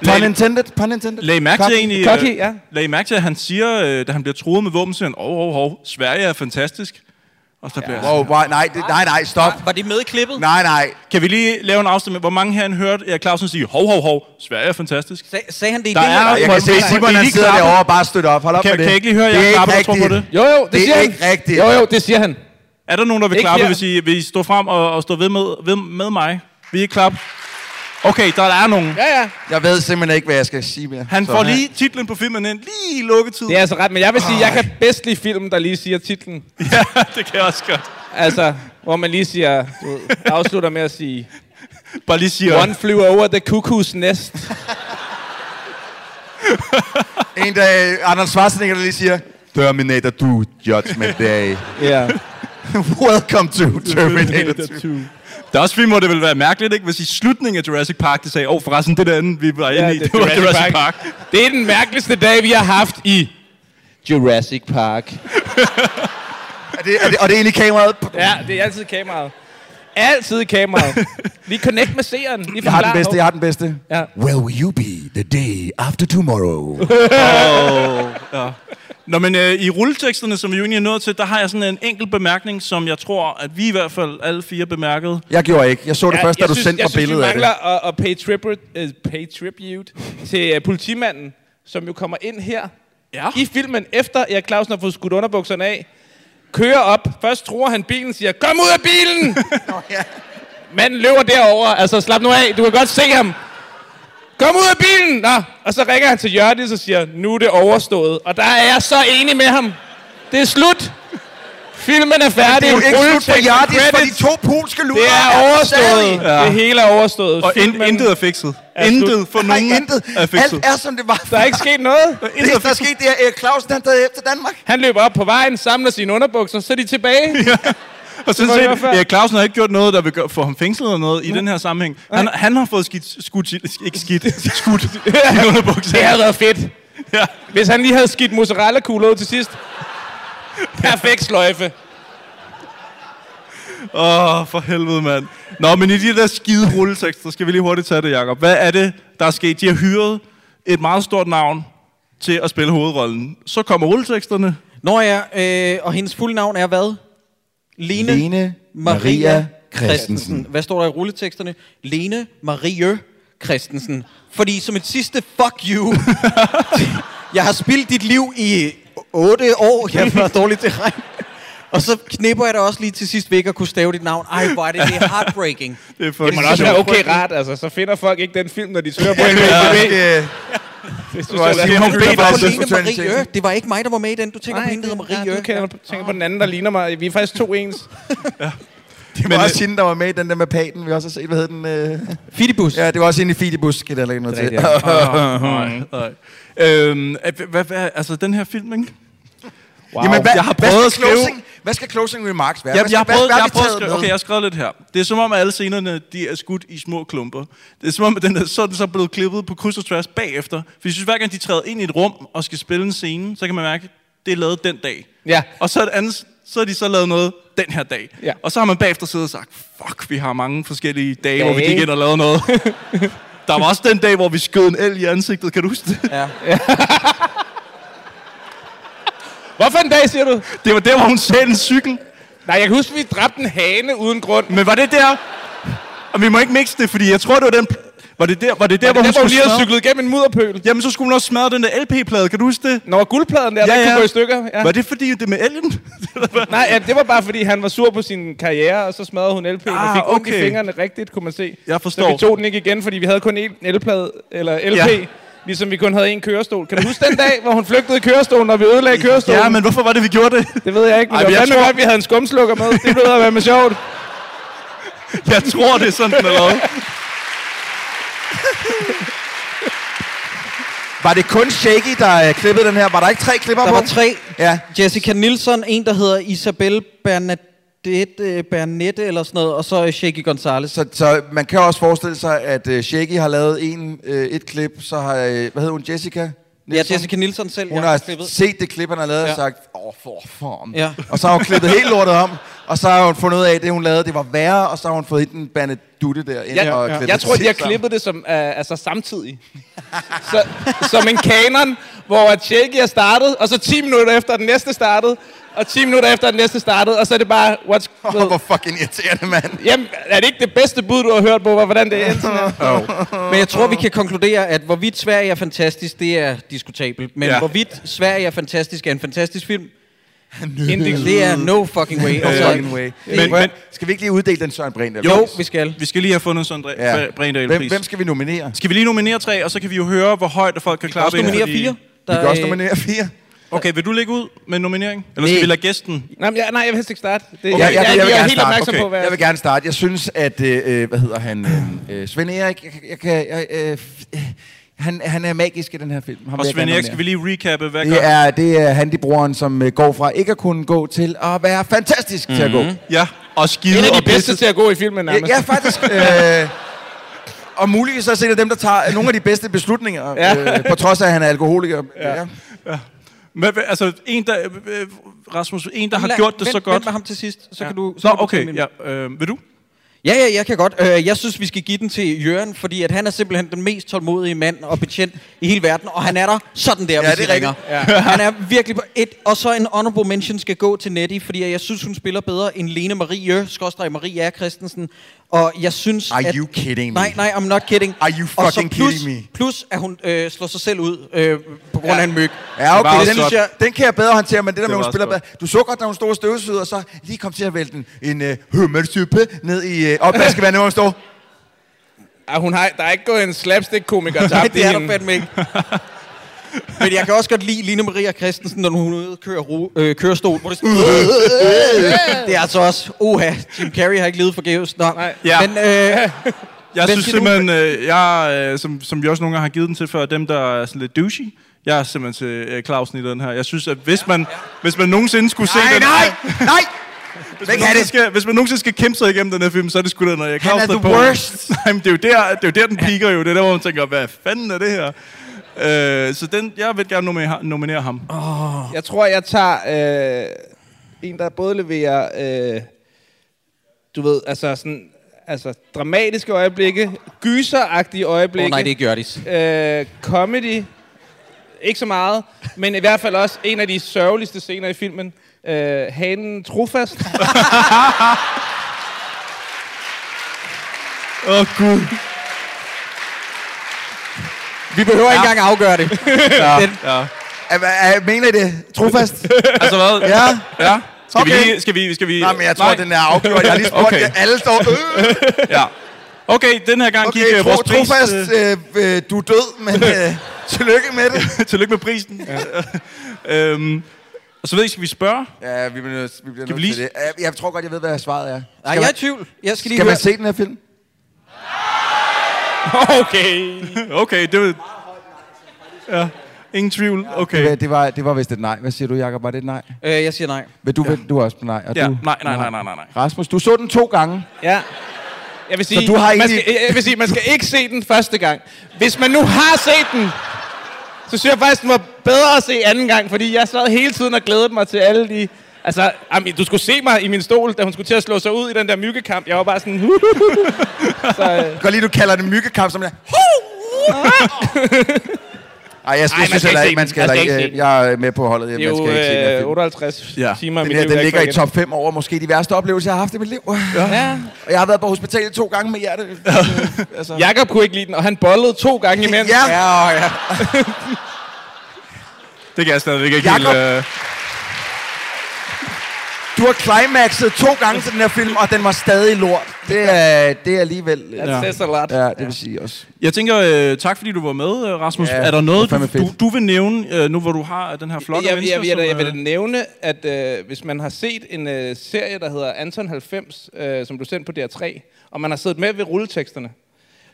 S8: Ja.
S5: Pun intended, pun intended.
S6: Lag I mærke til
S5: Cocky.
S6: egentlig...
S8: Cocky,
S6: øh,
S8: ja.
S6: Lag I mærke til, at han siger, øh, da han bliver truet med våben, siger han, hov, hov, hov, Sverige er fantastisk. Og så bliver jeg
S5: Wow,
S6: sådan her.
S5: wow, nej, det, nej, nej, stop.
S7: Var det med i klippet?
S5: Nej, nej.
S6: Kan vi lige lave en afstemning? Hvor mange herinde hørte Erik Clausen sige, hov, hov, hov, Sverige er fantastisk?
S7: Sag, sagde han det i
S6: Der
S7: det her?
S6: er
S5: Jeg kan se, Simon han sidder derovre og bare støtter op. Hold op
S6: Kan-
S5: med det.
S6: kan jeg ikke lige høre,
S5: Det er
S6: Jacob
S5: ikke
S6: Apper, der tror på
S5: rigtigt.
S8: Jo, jo, det,
S5: Det er
S8: siger
S5: ikke
S8: han.
S5: rigtigt.
S8: Jo, jo, det siger han.
S6: Er der nogen, der vil
S8: Ikke
S6: klappe,
S8: her.
S6: hvis I, vil I stå frem og, og stå ved med, ved, med mig? Vil I klappe? Okay, der er nogen.
S8: Ja, ja.
S5: Jeg ved simpelthen ikke, hvad jeg skal sige mere.
S6: Han
S5: Så-
S6: får lige titlen på filmen ind, lige i lukketid.
S8: Det er altså ret, men jeg vil sige, at jeg kan bedst lide filmen, der lige siger titlen.
S6: Ja, det kan jeg også godt.
S8: Altså, hvor man lige siger, du ved, afslutter med at sige,
S6: Bare lige siger...
S8: One flew over the cuckoo's nest.
S5: En dag, Arnold Schwarzenegger der lige siger, Terminator 2, Judgment
S8: *laughs*
S5: Day.
S8: Ja.
S5: Welcome to Terminator 2.
S6: Det er også fint, hvor det ville være mærkeligt, ikke? hvis i slutningen af Jurassic Park, de sagde, åh, oh, forresten, det der anden, vi var inde
S8: Ja,
S6: i, det, var Jurassic Park.
S8: Det er den mærkeligste dag, vi har haft i Jurassic Park.
S5: Er det, er det, og det er inde i kameraet.
S8: Ja, det er altid kameraet. Altid kameraet. Lige connect med seeren. Lige
S5: Jeg har den
S8: forklar,
S5: bedste,
S8: hov.
S5: jeg har den bedste.
S8: Ja.
S5: Where will you be the day after tomorrow?
S6: Ja. Nå, men øh, i rulleteksterne, som vi jo egentlig er nået til, der har jeg sådan en enkelt bemærkning, som jeg tror, at vi i hvert fald alle fire bemærkede.
S5: jeg gjorde ikke. Jeg så det ja, først, da
S8: jeg
S5: du
S8: synes-
S5: sendte mig billedet
S8: Jeg
S5: af
S8: synes, vi
S5: det.
S8: mangler at, at pay, tribute, uh, pay tribute til uh, politimanden, som jo kommer ind her
S6: ja.
S8: i filmen, efter Erik Clausen har fået skudt underbukserne af. Kører op. Først tror han bilen, siger, kom ud af
S5: *laughs*
S8: bilen! Manden løber derover, altså slap nu af, du kan godt se ham. Kom ud af bilen! Nå. Og så ringer han til Jørgens og siger, nu er det overstået. Og der er jeg så enig med ham. Det er slut. Filmen er
S5: Men
S8: færdig.
S5: det er jo ikke slut for
S8: Rulletekst og
S5: Hjartis, for
S8: credits.
S5: de to polske luder
S8: Det er
S5: er
S8: overstået.
S5: stadig-
S8: Det hele er overstået.
S6: Og in,
S8: Filmen-
S6: intet er fikset.
S8: er
S6: intet
S8: slut.
S6: for nogen
S5: Nej, intet.
S6: er fikset.
S5: Alt er, som det var.
S8: Der er ikke sket noget.
S5: Det, der er sket, det er Erik Clausen, han taget efter Danmark.
S8: Han løber op på vejen, samler sine underbukser, så er de tilbage. ja.
S6: Og sådan set, ja, Clausen har ikke gjort noget, der vil gøre, få ham fængslet eller noget i den her sammenhæng. Han, han har fået skidt, skudt, sin- ikke skidt, skudt sin underbukser.
S8: Det havde været fedt.
S6: Ja.
S8: Hvis han lige havde skidt mozzarella-kugler ud til sidst. Perfekt sløjfe.
S6: Åh, oh, for helvede, mand. Nå, men i de der skide rulletekster, skal vi lige hurtigt tage det, Jacob. Hvad er det, der er sket? De har hyret et meget stort navn til at spille hovedrollen. Så kommer rulleteksterne.
S7: Nå ja, øh, og hendes fulde navn er hvad? Lene,
S5: Lene Maria Christensen.
S7: Hvad står der i rulleteksterne? Lene Marie Christensen. Fordi som et sidste fuck you, jeg har spildt dit liv i 8 år, jeg var dårlig til regn. Og så knipper jeg dig også lige til sidst væk og kunne stave dit navn. Ej, hvor er det, det er heartbreaking.
S6: det, er
S8: Det må da også være okay rart, altså. Så finder folk ikke den film, når de søger på en
S5: Det,
S8: Hvis du
S5: Det var
S8: selv er-
S5: Simon
S8: Hun
S5: Peter
S8: beder
S5: Bass.
S8: på
S5: Lene Marie Ø.
S7: Det var ikke mig, der var med i den. Du tænker
S8: Nej,
S7: på hende, der hedder Marie
S8: Ja, du kender, tænker på den anden, der ligner mig. Vi er faktisk to ens.
S5: det var
S8: øh,
S5: også hende, der var med i den der med paten, vi også har set. Hvad hed den? Øh?
S7: Fidibus.
S5: Ja, det var også hende i Fidibus, skal jeg lægge noget til.
S6: Nej, nej. Øhm, at- hvad, hvad, altså, den her film, ikke? Wow.
S5: Jamen, *laughs* hvad,
S6: jeg har prøvet
S5: hvad
S6: at
S5: skal
S6: skrive...
S5: closing, hvad skal closing remarks være?
S6: Jeg,
S5: Hvad
S6: jeg har
S5: skal- hvad-
S6: prøvet,
S5: hvad
S6: jeg
S5: har
S6: har
S5: vi
S6: prøvet at
S5: taget
S6: skrive,
S5: med?
S6: okay, jeg har skrevet lidt her. Det er som om, at alle scenerne de er skudt i små klumper. Det er som om, at den er, så er den så blevet klippet på kryds og tværs bagefter. For jeg synes, hver gang de træder ind i et rum og skal spille en scene, så kan man mærke, at det er lavet den dag.
S8: Ja.
S6: Og så er det andet, så har de så lavet noget den her dag.
S8: Ja.
S6: Og så har man bagefter siddet og sagt, fuck, vi har mange forskellige dage, hvor vi
S8: Dage.
S6: gik ind og lavede noget. *laughs* Der var også den dag, hvor vi skød en el i ansigtet, kan du huske det?
S7: Ja.
S8: Hvorfor en dag, siger du?
S6: Det var der, hvor hun sagde en cykel.
S8: Nej, jeg kan huske, vi dræbte en hane uden grund.
S6: Men var det der? Og vi må ikke mixe det, fordi jeg tror, det var den... Var det der, var det der,
S8: Var det
S6: hvor,
S8: der, hvor hun lige
S6: skulle
S8: havde
S6: smadre-
S8: cyklet igennem en mudderpøl?
S6: Jamen, så skulle hun også smadre den der LP-plade, kan du huske det?
S8: Nå, guldpladen der, ja, der kunne gå i stykker. Ja.
S6: Var det fordi, det med Ellen?
S8: Nej, ja, det var bare, fordi han var sur på sin karriere, og så smadrede hun LP'en ah, og
S6: Ah,
S8: fik ondt i
S6: okay.
S8: fingrene rigtigt, kunne man se.
S6: Jeg
S8: Så
S6: forstår.
S8: vi tog den ikke igen, fordi vi havde kun én LP, eller LP ja.
S6: Ja.
S8: ligesom vi kun havde én kørestol. Kan du huske den dag, hvor hun flygtede i kørestolen, og vi ødelagde kørestolen?
S6: Ja, men hvorfor var det, vi gjorde det?
S8: Det ved jeg ikke, men
S6: Ej,
S8: Ej,
S6: men
S8: jeg
S6: jeg
S8: fandme
S6: tror-
S8: godt, vi havde en skumslukker med. Det blev at være med sjovt.
S6: Jeg tror, det er sådan, den er lavet.
S5: Var det kun Shaky, der øh, klippede den her? Var der ikke tre klipper
S7: Der
S5: på
S7: var
S5: den?
S7: tre.
S5: Ja.
S7: Jessica Nielsen, en der hedder Isabel Bernadette, øh, Bernette eller sådan noget, og så Shaky Gonzalez.
S5: Så, så man kan også forestille sig, at uh, Shaggy har lavet en, uh, et klip, så har, uh, hvad hedder hun, Jessica? Nielsen?
S7: Jessica Nielsen selv,
S5: Hun
S7: ja,
S5: har
S7: klippet.
S5: set det klip, han har lavet ja.
S7: Ja.
S5: og sagt, åh, for form.
S7: Ja.
S5: Og så har hun klippet helt lortet om, og så har hun fundet ud af, at det, hun lavede, det var værre, og så har hun fået hende en banedutte der ind
S8: Ja,
S5: og
S8: ja.
S5: klippet
S8: Jeg tror, de har
S5: det sammen.
S8: klippet det som, øh, altså samtidig. så, som en kanon, hvor at Shaky er startet, og så 10 minutter efter at den næste startede, og 10 minutter efter at den næste startede, og så er det bare... What's,
S5: *laughs* Åh, hvor fucking irriterende, mand.
S8: Jamen, er det ikke det bedste bud, du har hørt på, hvordan det er endt sådan her?
S7: Men jeg tror, vi kan konkludere, at hvorvidt Sverige er fantastisk, det er diskutabelt. Men
S6: Ja.
S7: ja. hvorvidt Sverige er fantastisk, er en fantastisk
S5: *laughs*
S7: film,
S5: Index.
S7: det er no fucking way.
S6: Øh,
S5: No
S7: Altså,
S5: fucking way. Men, men, skal vi ikke lige uddele den Søren Brindahl?
S7: Jo, vi skal.
S6: Vi skal lige have fundet sådan en
S5: Ja.
S6: ja. Brindal,
S5: Hvem, hvem skal vi nominere?
S6: Skal vi lige nominere tre, og så kan vi jo høre, hvor højt folk kan klare
S7: også nominere fire.
S5: Der,
S8: Øh,
S5: vi kan også nominere fire.
S6: Okay, vil du lægge ud med en nominering? Eller skal vi lade gæsten?
S8: Nej, men jeg, nej, jeg vil helst ikke starte. Det,
S5: Okay, jeg, jeg, jeg, jeg,
S8: er
S5: jeg,
S8: helt opmærksom på, hvad
S5: jeg vil gerne starte. Jeg synes, at, øh, hvad hedder han, øh, øh, Svend Erik, jeg, jeg, kan- jeg, øh, f- øh, han, han er magisk i den her film. Ham
S6: Og
S5: vil jeg
S6: Svend
S5: gerne
S6: Erik, skal
S5: nominere.
S6: vi lige recappe, hvad
S5: Det
S6: gør?
S5: er, det er handybroren, som øh, går fra ikke at kunne gå til at være fantastisk mm-hmm. til at gå.
S6: Ja, og skide
S8: En af
S6: og
S8: de bedste
S6: pisse.
S8: til at gå i filmen, nærmest.
S5: Ja, ja faktisk. Øh, og muligvis også en af dem, der tager nogle af de bedste beslutninger,
S8: Ja.
S5: ja. øh, på trods af, at han er alkoholiker. Ja. Ja.
S6: Men, hvad- altså, en der, øh, øh, Rasmus, en der har
S7: Lad-
S6: gjort det så
S7: vent-
S6: godt.
S7: Vent med ham til sidst, så
S6: Ja.
S7: kan du... Så
S6: Nå,
S7: kan du tage
S6: okay,
S7: min-
S6: ja, øh, vil du?
S7: Ja, ja, jeg kan godt. Øh, Jeg synes, vi skal give den til Jørgen, fordi at han er simpelthen den mest tålmodige mand og betjent i hele verden, og han er der sådan der, ja, hvis
S5: det
S7: det
S5: er
S7: I ringer. Ja. *laughs* Han er virkelig på et, og så en honorable mention skal gå til Nettie, fordi jeg synes, hun spiller bedre end Lene Marie, skorstræk Marie R. Christensen, og jeg synes,
S5: Are
S7: at...
S5: you kidding me?
S7: Nej, nej, I'm not kidding.
S5: Are you
S7: Og så
S5: fucking
S7: plus,
S5: kidding me?
S7: Plus, at hun øh, slår sig selv ud øh, på grund af en myg.
S5: Ja,
S6: var
S5: okay,
S6: også
S5: den, synes
S6: godt.
S5: jeg, den kan jeg bedre håndtere, men det der med,
S6: var
S5: hun
S6: også
S5: spiller bedre.
S6: godt.
S5: Du så godt, når hun stod og støvsugede, og så lige kom til at vælte en, en øh, hummelsuppe ned i øh, opvaskevandet, hvor hun står.
S8: Ah, hun har, der er ikke gået en slapstick-komiker tabt
S7: Nej,
S8: i
S7: *laughs* det er der
S8: hende.
S7: fandme ikke. Men jeg kan også godt lide Line Maria Christensen, når hun er ude og kører ro- øh, kørestol, hvor det er sådan... det er altså også... Oha, Jim Carrey har ikke levet forgæves. Nå, Nej.
S6: Ja.
S7: Men, øh,
S6: Jeg
S7: Hvem
S6: synes
S7: siger du?
S6: simpelthen, øh, jeg, øh, som, som vi også nogle gange har givet den til før, dem der er sådan lidt douchey, jeg er simpelthen til øh, Clausen i den her. Jeg synes, at hvis man, hvis man nogensinde skulle se den...
S7: nej, nej!
S6: Hvis man,
S7: Væk af
S6: nogensinde
S7: det!
S6: skal, hvis man nogensinde skal kæmpe sig igennem den her film, så er det sgu da, når jeg
S7: Han er
S6: Clausen
S7: the
S6: på. *laughs*
S7: worst.
S6: Nej, men det er, jo der, det er jo der, den piker jo. Det er der, hvor man tænker, hvad fanden er det her? Øh, så den, jeg vil gerne nominere, nominere ham.
S8: Oh. Jeg tror, jeg tager øh, en, der både leverer, øh, du ved, altså sådan, altså dramatiske øjeblikke, gyseragtige øjeblikke.
S7: Åh, nej, det er Hjørdis.
S8: Øh, comedy, ikke så meget, men i hvert fald også en af de sørgeligste scener i filmen. Øh, hanen trofast.
S6: Åh, oh, Gud.
S7: Vi behøver ikke engang afgøre det.
S5: Ja.
S7: Den,
S6: Ja.
S5: Er, er, er- mener I det? *laughs* Trofast?
S6: Altså hvad?
S5: Ja.
S6: ja. Skal vi
S5: Okay.
S6: lige... Skal vi, skal vi
S5: Nej, men jeg tror, den er afgjort. Jeg har lige spurgt, okay. alle står... *laughs* Øh,
S6: ja. Okay, den her gang gik
S5: okay,
S6: øh,
S5: tro,
S6: vores pris...
S5: trofast,
S6: øh,
S5: øh, øh, du er død, men øh, tillykke med det.
S6: *laughs* Tillykke med prisen. Ja. *laughs* øhm, og så ved jeg, ikke, skal vi spørge?
S5: Ja, vi bliver, vi bliver
S6: skal
S5: Skal
S6: vi
S5: vi
S6: lige...
S5: det? Øh, Jeg tror godt, jeg ved, hvad svaret er.
S7: Nej, jeg er i tvivl. Jeg skal lige
S5: Skal
S7: høre.
S5: man se den her film?
S6: Okay, *laughs* okay, det vil... Ja, ingen tvivl. Okay.
S5: Det var, det var, det var vist et nej. Hvad siger du, Jacob? Var det et nej?
S7: øh, jeg siger nej.
S5: Men du, ja. du er også på nej. Og
S6: Ja,
S5: du,
S6: nej, nej, nej, nej, nej, nej.
S5: Rasmus, du så den to gange.
S8: Ja. Jeg vil
S5: Så
S8: sige,
S5: du har
S8: man,
S5: egentlig-
S8: skal, jeg vil sige, man skal ikke se den første gang. Hvis man nu har set den, så synes jeg faktisk, den var bedre at se anden gang, fordi jeg sad hele tiden og glædede mig til alle de... Altså, jamen, du skulle se mig i min stol, da hun skulle til at slå sig ud i den der myggekamp. Jeg var bare sådan... *laughs* øh, så, øh,
S5: Jeg kan godt lide, du kalder det myggekamp, som jeg... Ej, jeg,
S8: Ej, man
S5: jeg synes
S8: skal
S5: heller
S8: ikke
S5: ikke, man
S8: se
S5: skal
S8: den. Man
S5: heller
S8: skal ikke
S5: ikke... øh,
S8: se
S5: Jeg er med på holdet. Man
S8: det er jo
S5: skal ikke se den her
S8: øh,
S5: film.
S8: 58 ja. timer af
S5: Den,
S8: mit
S5: her,
S8: liv,
S5: den
S8: jeg ikke
S5: ligger
S8: får
S5: i
S8: igen.
S5: top 5 over måske de værste oplevelser, jeg har haft i mit liv.
S8: Ja.
S5: Og jeg har været på hospitalet to gange med
S8: *laughs*
S5: hjerte. øh, altså.
S8: Jakob kunne ikke lide den, og han bollede to gange imens.
S5: Ja.
S7: Ja, ja.
S6: Det kan jeg stadigvæk ikke
S5: Jakob.
S6: helt... Øh...
S5: Du har climaxet to gange til den her film, og den var stadig lort. Det er, det er alligevel... øh,
S6: That says a lot.
S5: Ja, det vil sige også.
S6: Jeg tænker, øh, tak fordi du var med, øh, Rasmus.
S5: Ja,
S6: er der
S5: det
S6: noget,
S5: var
S6: du,
S5: fandme
S6: du, du vil nævne, øh, nu hvor du har øh, den her flok af
S8: jeg,
S6: mennesker?
S8: jeg, jeg, jeg, jeg
S6: som,
S8: vil
S6: øh,
S8: da nævne, at øh, hvis man har set en øh, serie, der hedder Anton 90, øh, som blev sendt på DR3, og man har siddet med ved rulleteksterne,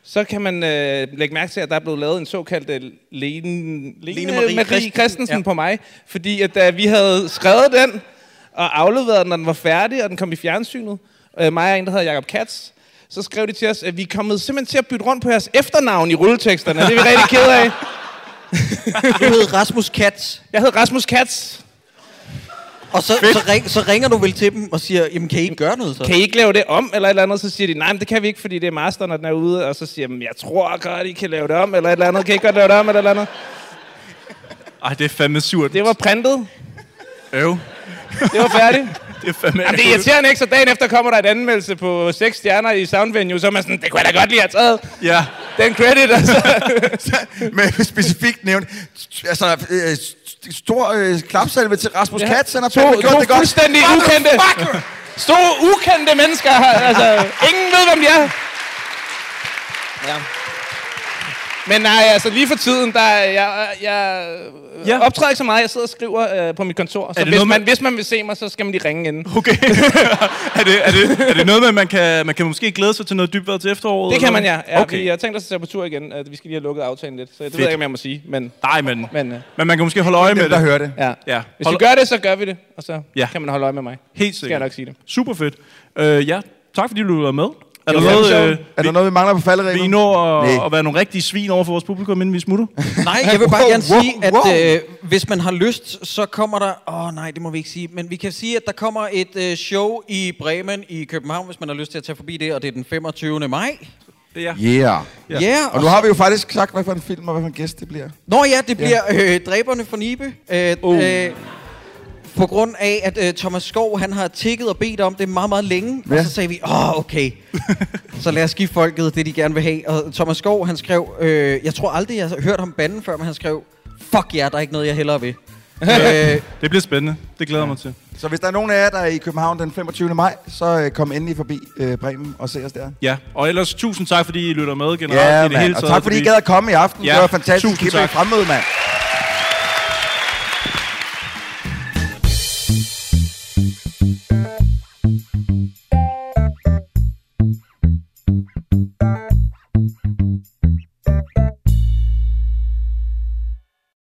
S8: så kan man øh, lægge mærke til, at der er blevet lavet en såkaldt øh, Lene, Lene, Lene Marie, Marie Christensen, Christensen ja. på mig. Fordi at, da vi havde skrevet den, og afleveret den, når den var færdig, og den kom i fjernsynet, øh, mig og en, der hedder Jacob Katz, så skrev de til os, at vi er kommet simpelthen til at bytte rundt på jeres efternavn i rulleteksterne. Det er vi rigtig kede af.
S7: Du hed Rasmus Katz.
S8: Jeg hed Rasmus Katz.
S7: Og så, så, ring, så ringer du vel til dem og siger, jamen kan I ikke gøre noget så?
S8: kan I ikke lave det om, eller et eller andet? Så siger de, nej, men det kan vi ikke, fordi det er masteren, og den er ude. Og så siger de, jeg tror godt, I kan lave det om, eller et eller andet. Kan I ikke godt lave det om, eller et eller andet?
S6: Ej, det er fandme surt.
S8: Det var printet.
S6: Øv.
S8: Det var færdigt.
S6: Det er fandme...
S8: Jamen, det er irriterende, ikke? Så dagen efter kommer der et anmeldelse på seks stjerner i Soundvenue, så er man sådan, det kunne jeg da godt lige have taget.
S6: Ja.
S8: Den credit, altså.
S5: Men specifikt nævnt, altså, øh, st- stor øh, klapsalve til Rasmus
S8: Ja.
S5: Katz, han har
S8: To-
S5: fandme gjort
S8: to
S5: det godt.
S8: fuldstændig ukendte.
S5: Motherfucker!
S8: Store ukendte mennesker. Altså, ingen ved, hvem de er. Ja. Men nej, altså lige for tiden, der er- jeg, jeg ja. optræder ikke så meget. Jeg sidder og skriver øh, på mit kontor. Så
S6: det
S8: hvis
S6: noget,
S8: man,
S6: man-
S8: hvis man vil se mig, så skal man lige ringe inden.
S6: Okay. *laughs* er, det, er, det, er det noget med, at man kan, man kan måske glæde sig til noget dybvejr til efteråret?
S8: Det kan man,
S6: eller
S8: ja.
S6: hvad?
S8: ja okay.
S6: Okay.
S8: Vi har tænkt os at tage på tur igen. Øh, Vi skal lige have lukket aftalen lidt. Så det Fedt. ved jeg ikke, om jeg må sige. Men,
S6: Nej, men,
S8: men, øh,
S6: men man kan måske holde øje med
S5: Dem,
S6: det.
S5: der hører det.
S8: ja.
S6: Ja.
S8: Hvis
S6: Hold-
S8: vi gør det, så gør vi det. Og så
S6: Ja.
S8: ja. kan man holde øje med mig.
S6: Helt
S8: Skal jeg
S6: sikkert.
S8: nok sige det.
S6: Super fedt. Øh, ja, tak fordi du var med. Er
S5: Det
S6: der
S5: var
S6: noget,
S5: fandme
S6: øh,
S5: sjovt. er der noget, vi mangler på
S6: vi
S5: falderæbet?
S6: når at,
S5: Nej.
S6: at være nogle rigtige svin over for vores publikum, inden
S5: *laughs*
S6: vi smutter?
S7: Nej, jeg vil bare
S5: Wow,
S7: gerne
S5: wow,
S7: sige, at
S5: wow.
S7: øh, hvis man har lyst, så kommer der... Åh oh, nej, det må vi ikke sige. Men vi kan sige, at der kommer et øh, show i Bremen i København, hvis man har lyst til at tage forbi det. Og det er den 25. maj.
S6: Ja.
S5: Yeah.
S7: Ja, yeah,
S5: Og nu har vi jo faktisk sagt, hvad for en film og hvad for en gæst det bliver.
S7: Nå ja, det bliver øh, Dræberne for Nibe. Øh,
S5: Oh.
S7: øh, på grund af, at øh, Thomas Skov, han har tikket og bedt om det meget, meget længe. Ja.
S5: Ja.
S7: Og så sagde vi, åh, oh, okay. så lad os give folket det, de gerne vil have. Og Thomas Skov, han skrev, øh, jeg tror aldrig, jeg har hørt ham banden før, men han skrev, fuck jer, yeah, der er ikke noget, jeg hellere vil. øh,
S6: Det bliver spændende. Det glæder jeg mig til.
S5: Så hvis der er nogen af jer, der er i København den 25. maj, så øh, kom endelig forbi øh, Bremen og se os der.
S6: Ja, og ellers tusind tak, fordi I lytter med generelt i
S5: Ja,
S6: det hele
S5: mand.
S6: taget.
S5: Og tak fordi I gad at komme i aften.
S6: Ja,
S5: Det var fantastisk.
S6: tusind
S5: Kæmpe
S6: tak.
S5: fremmøde, mand.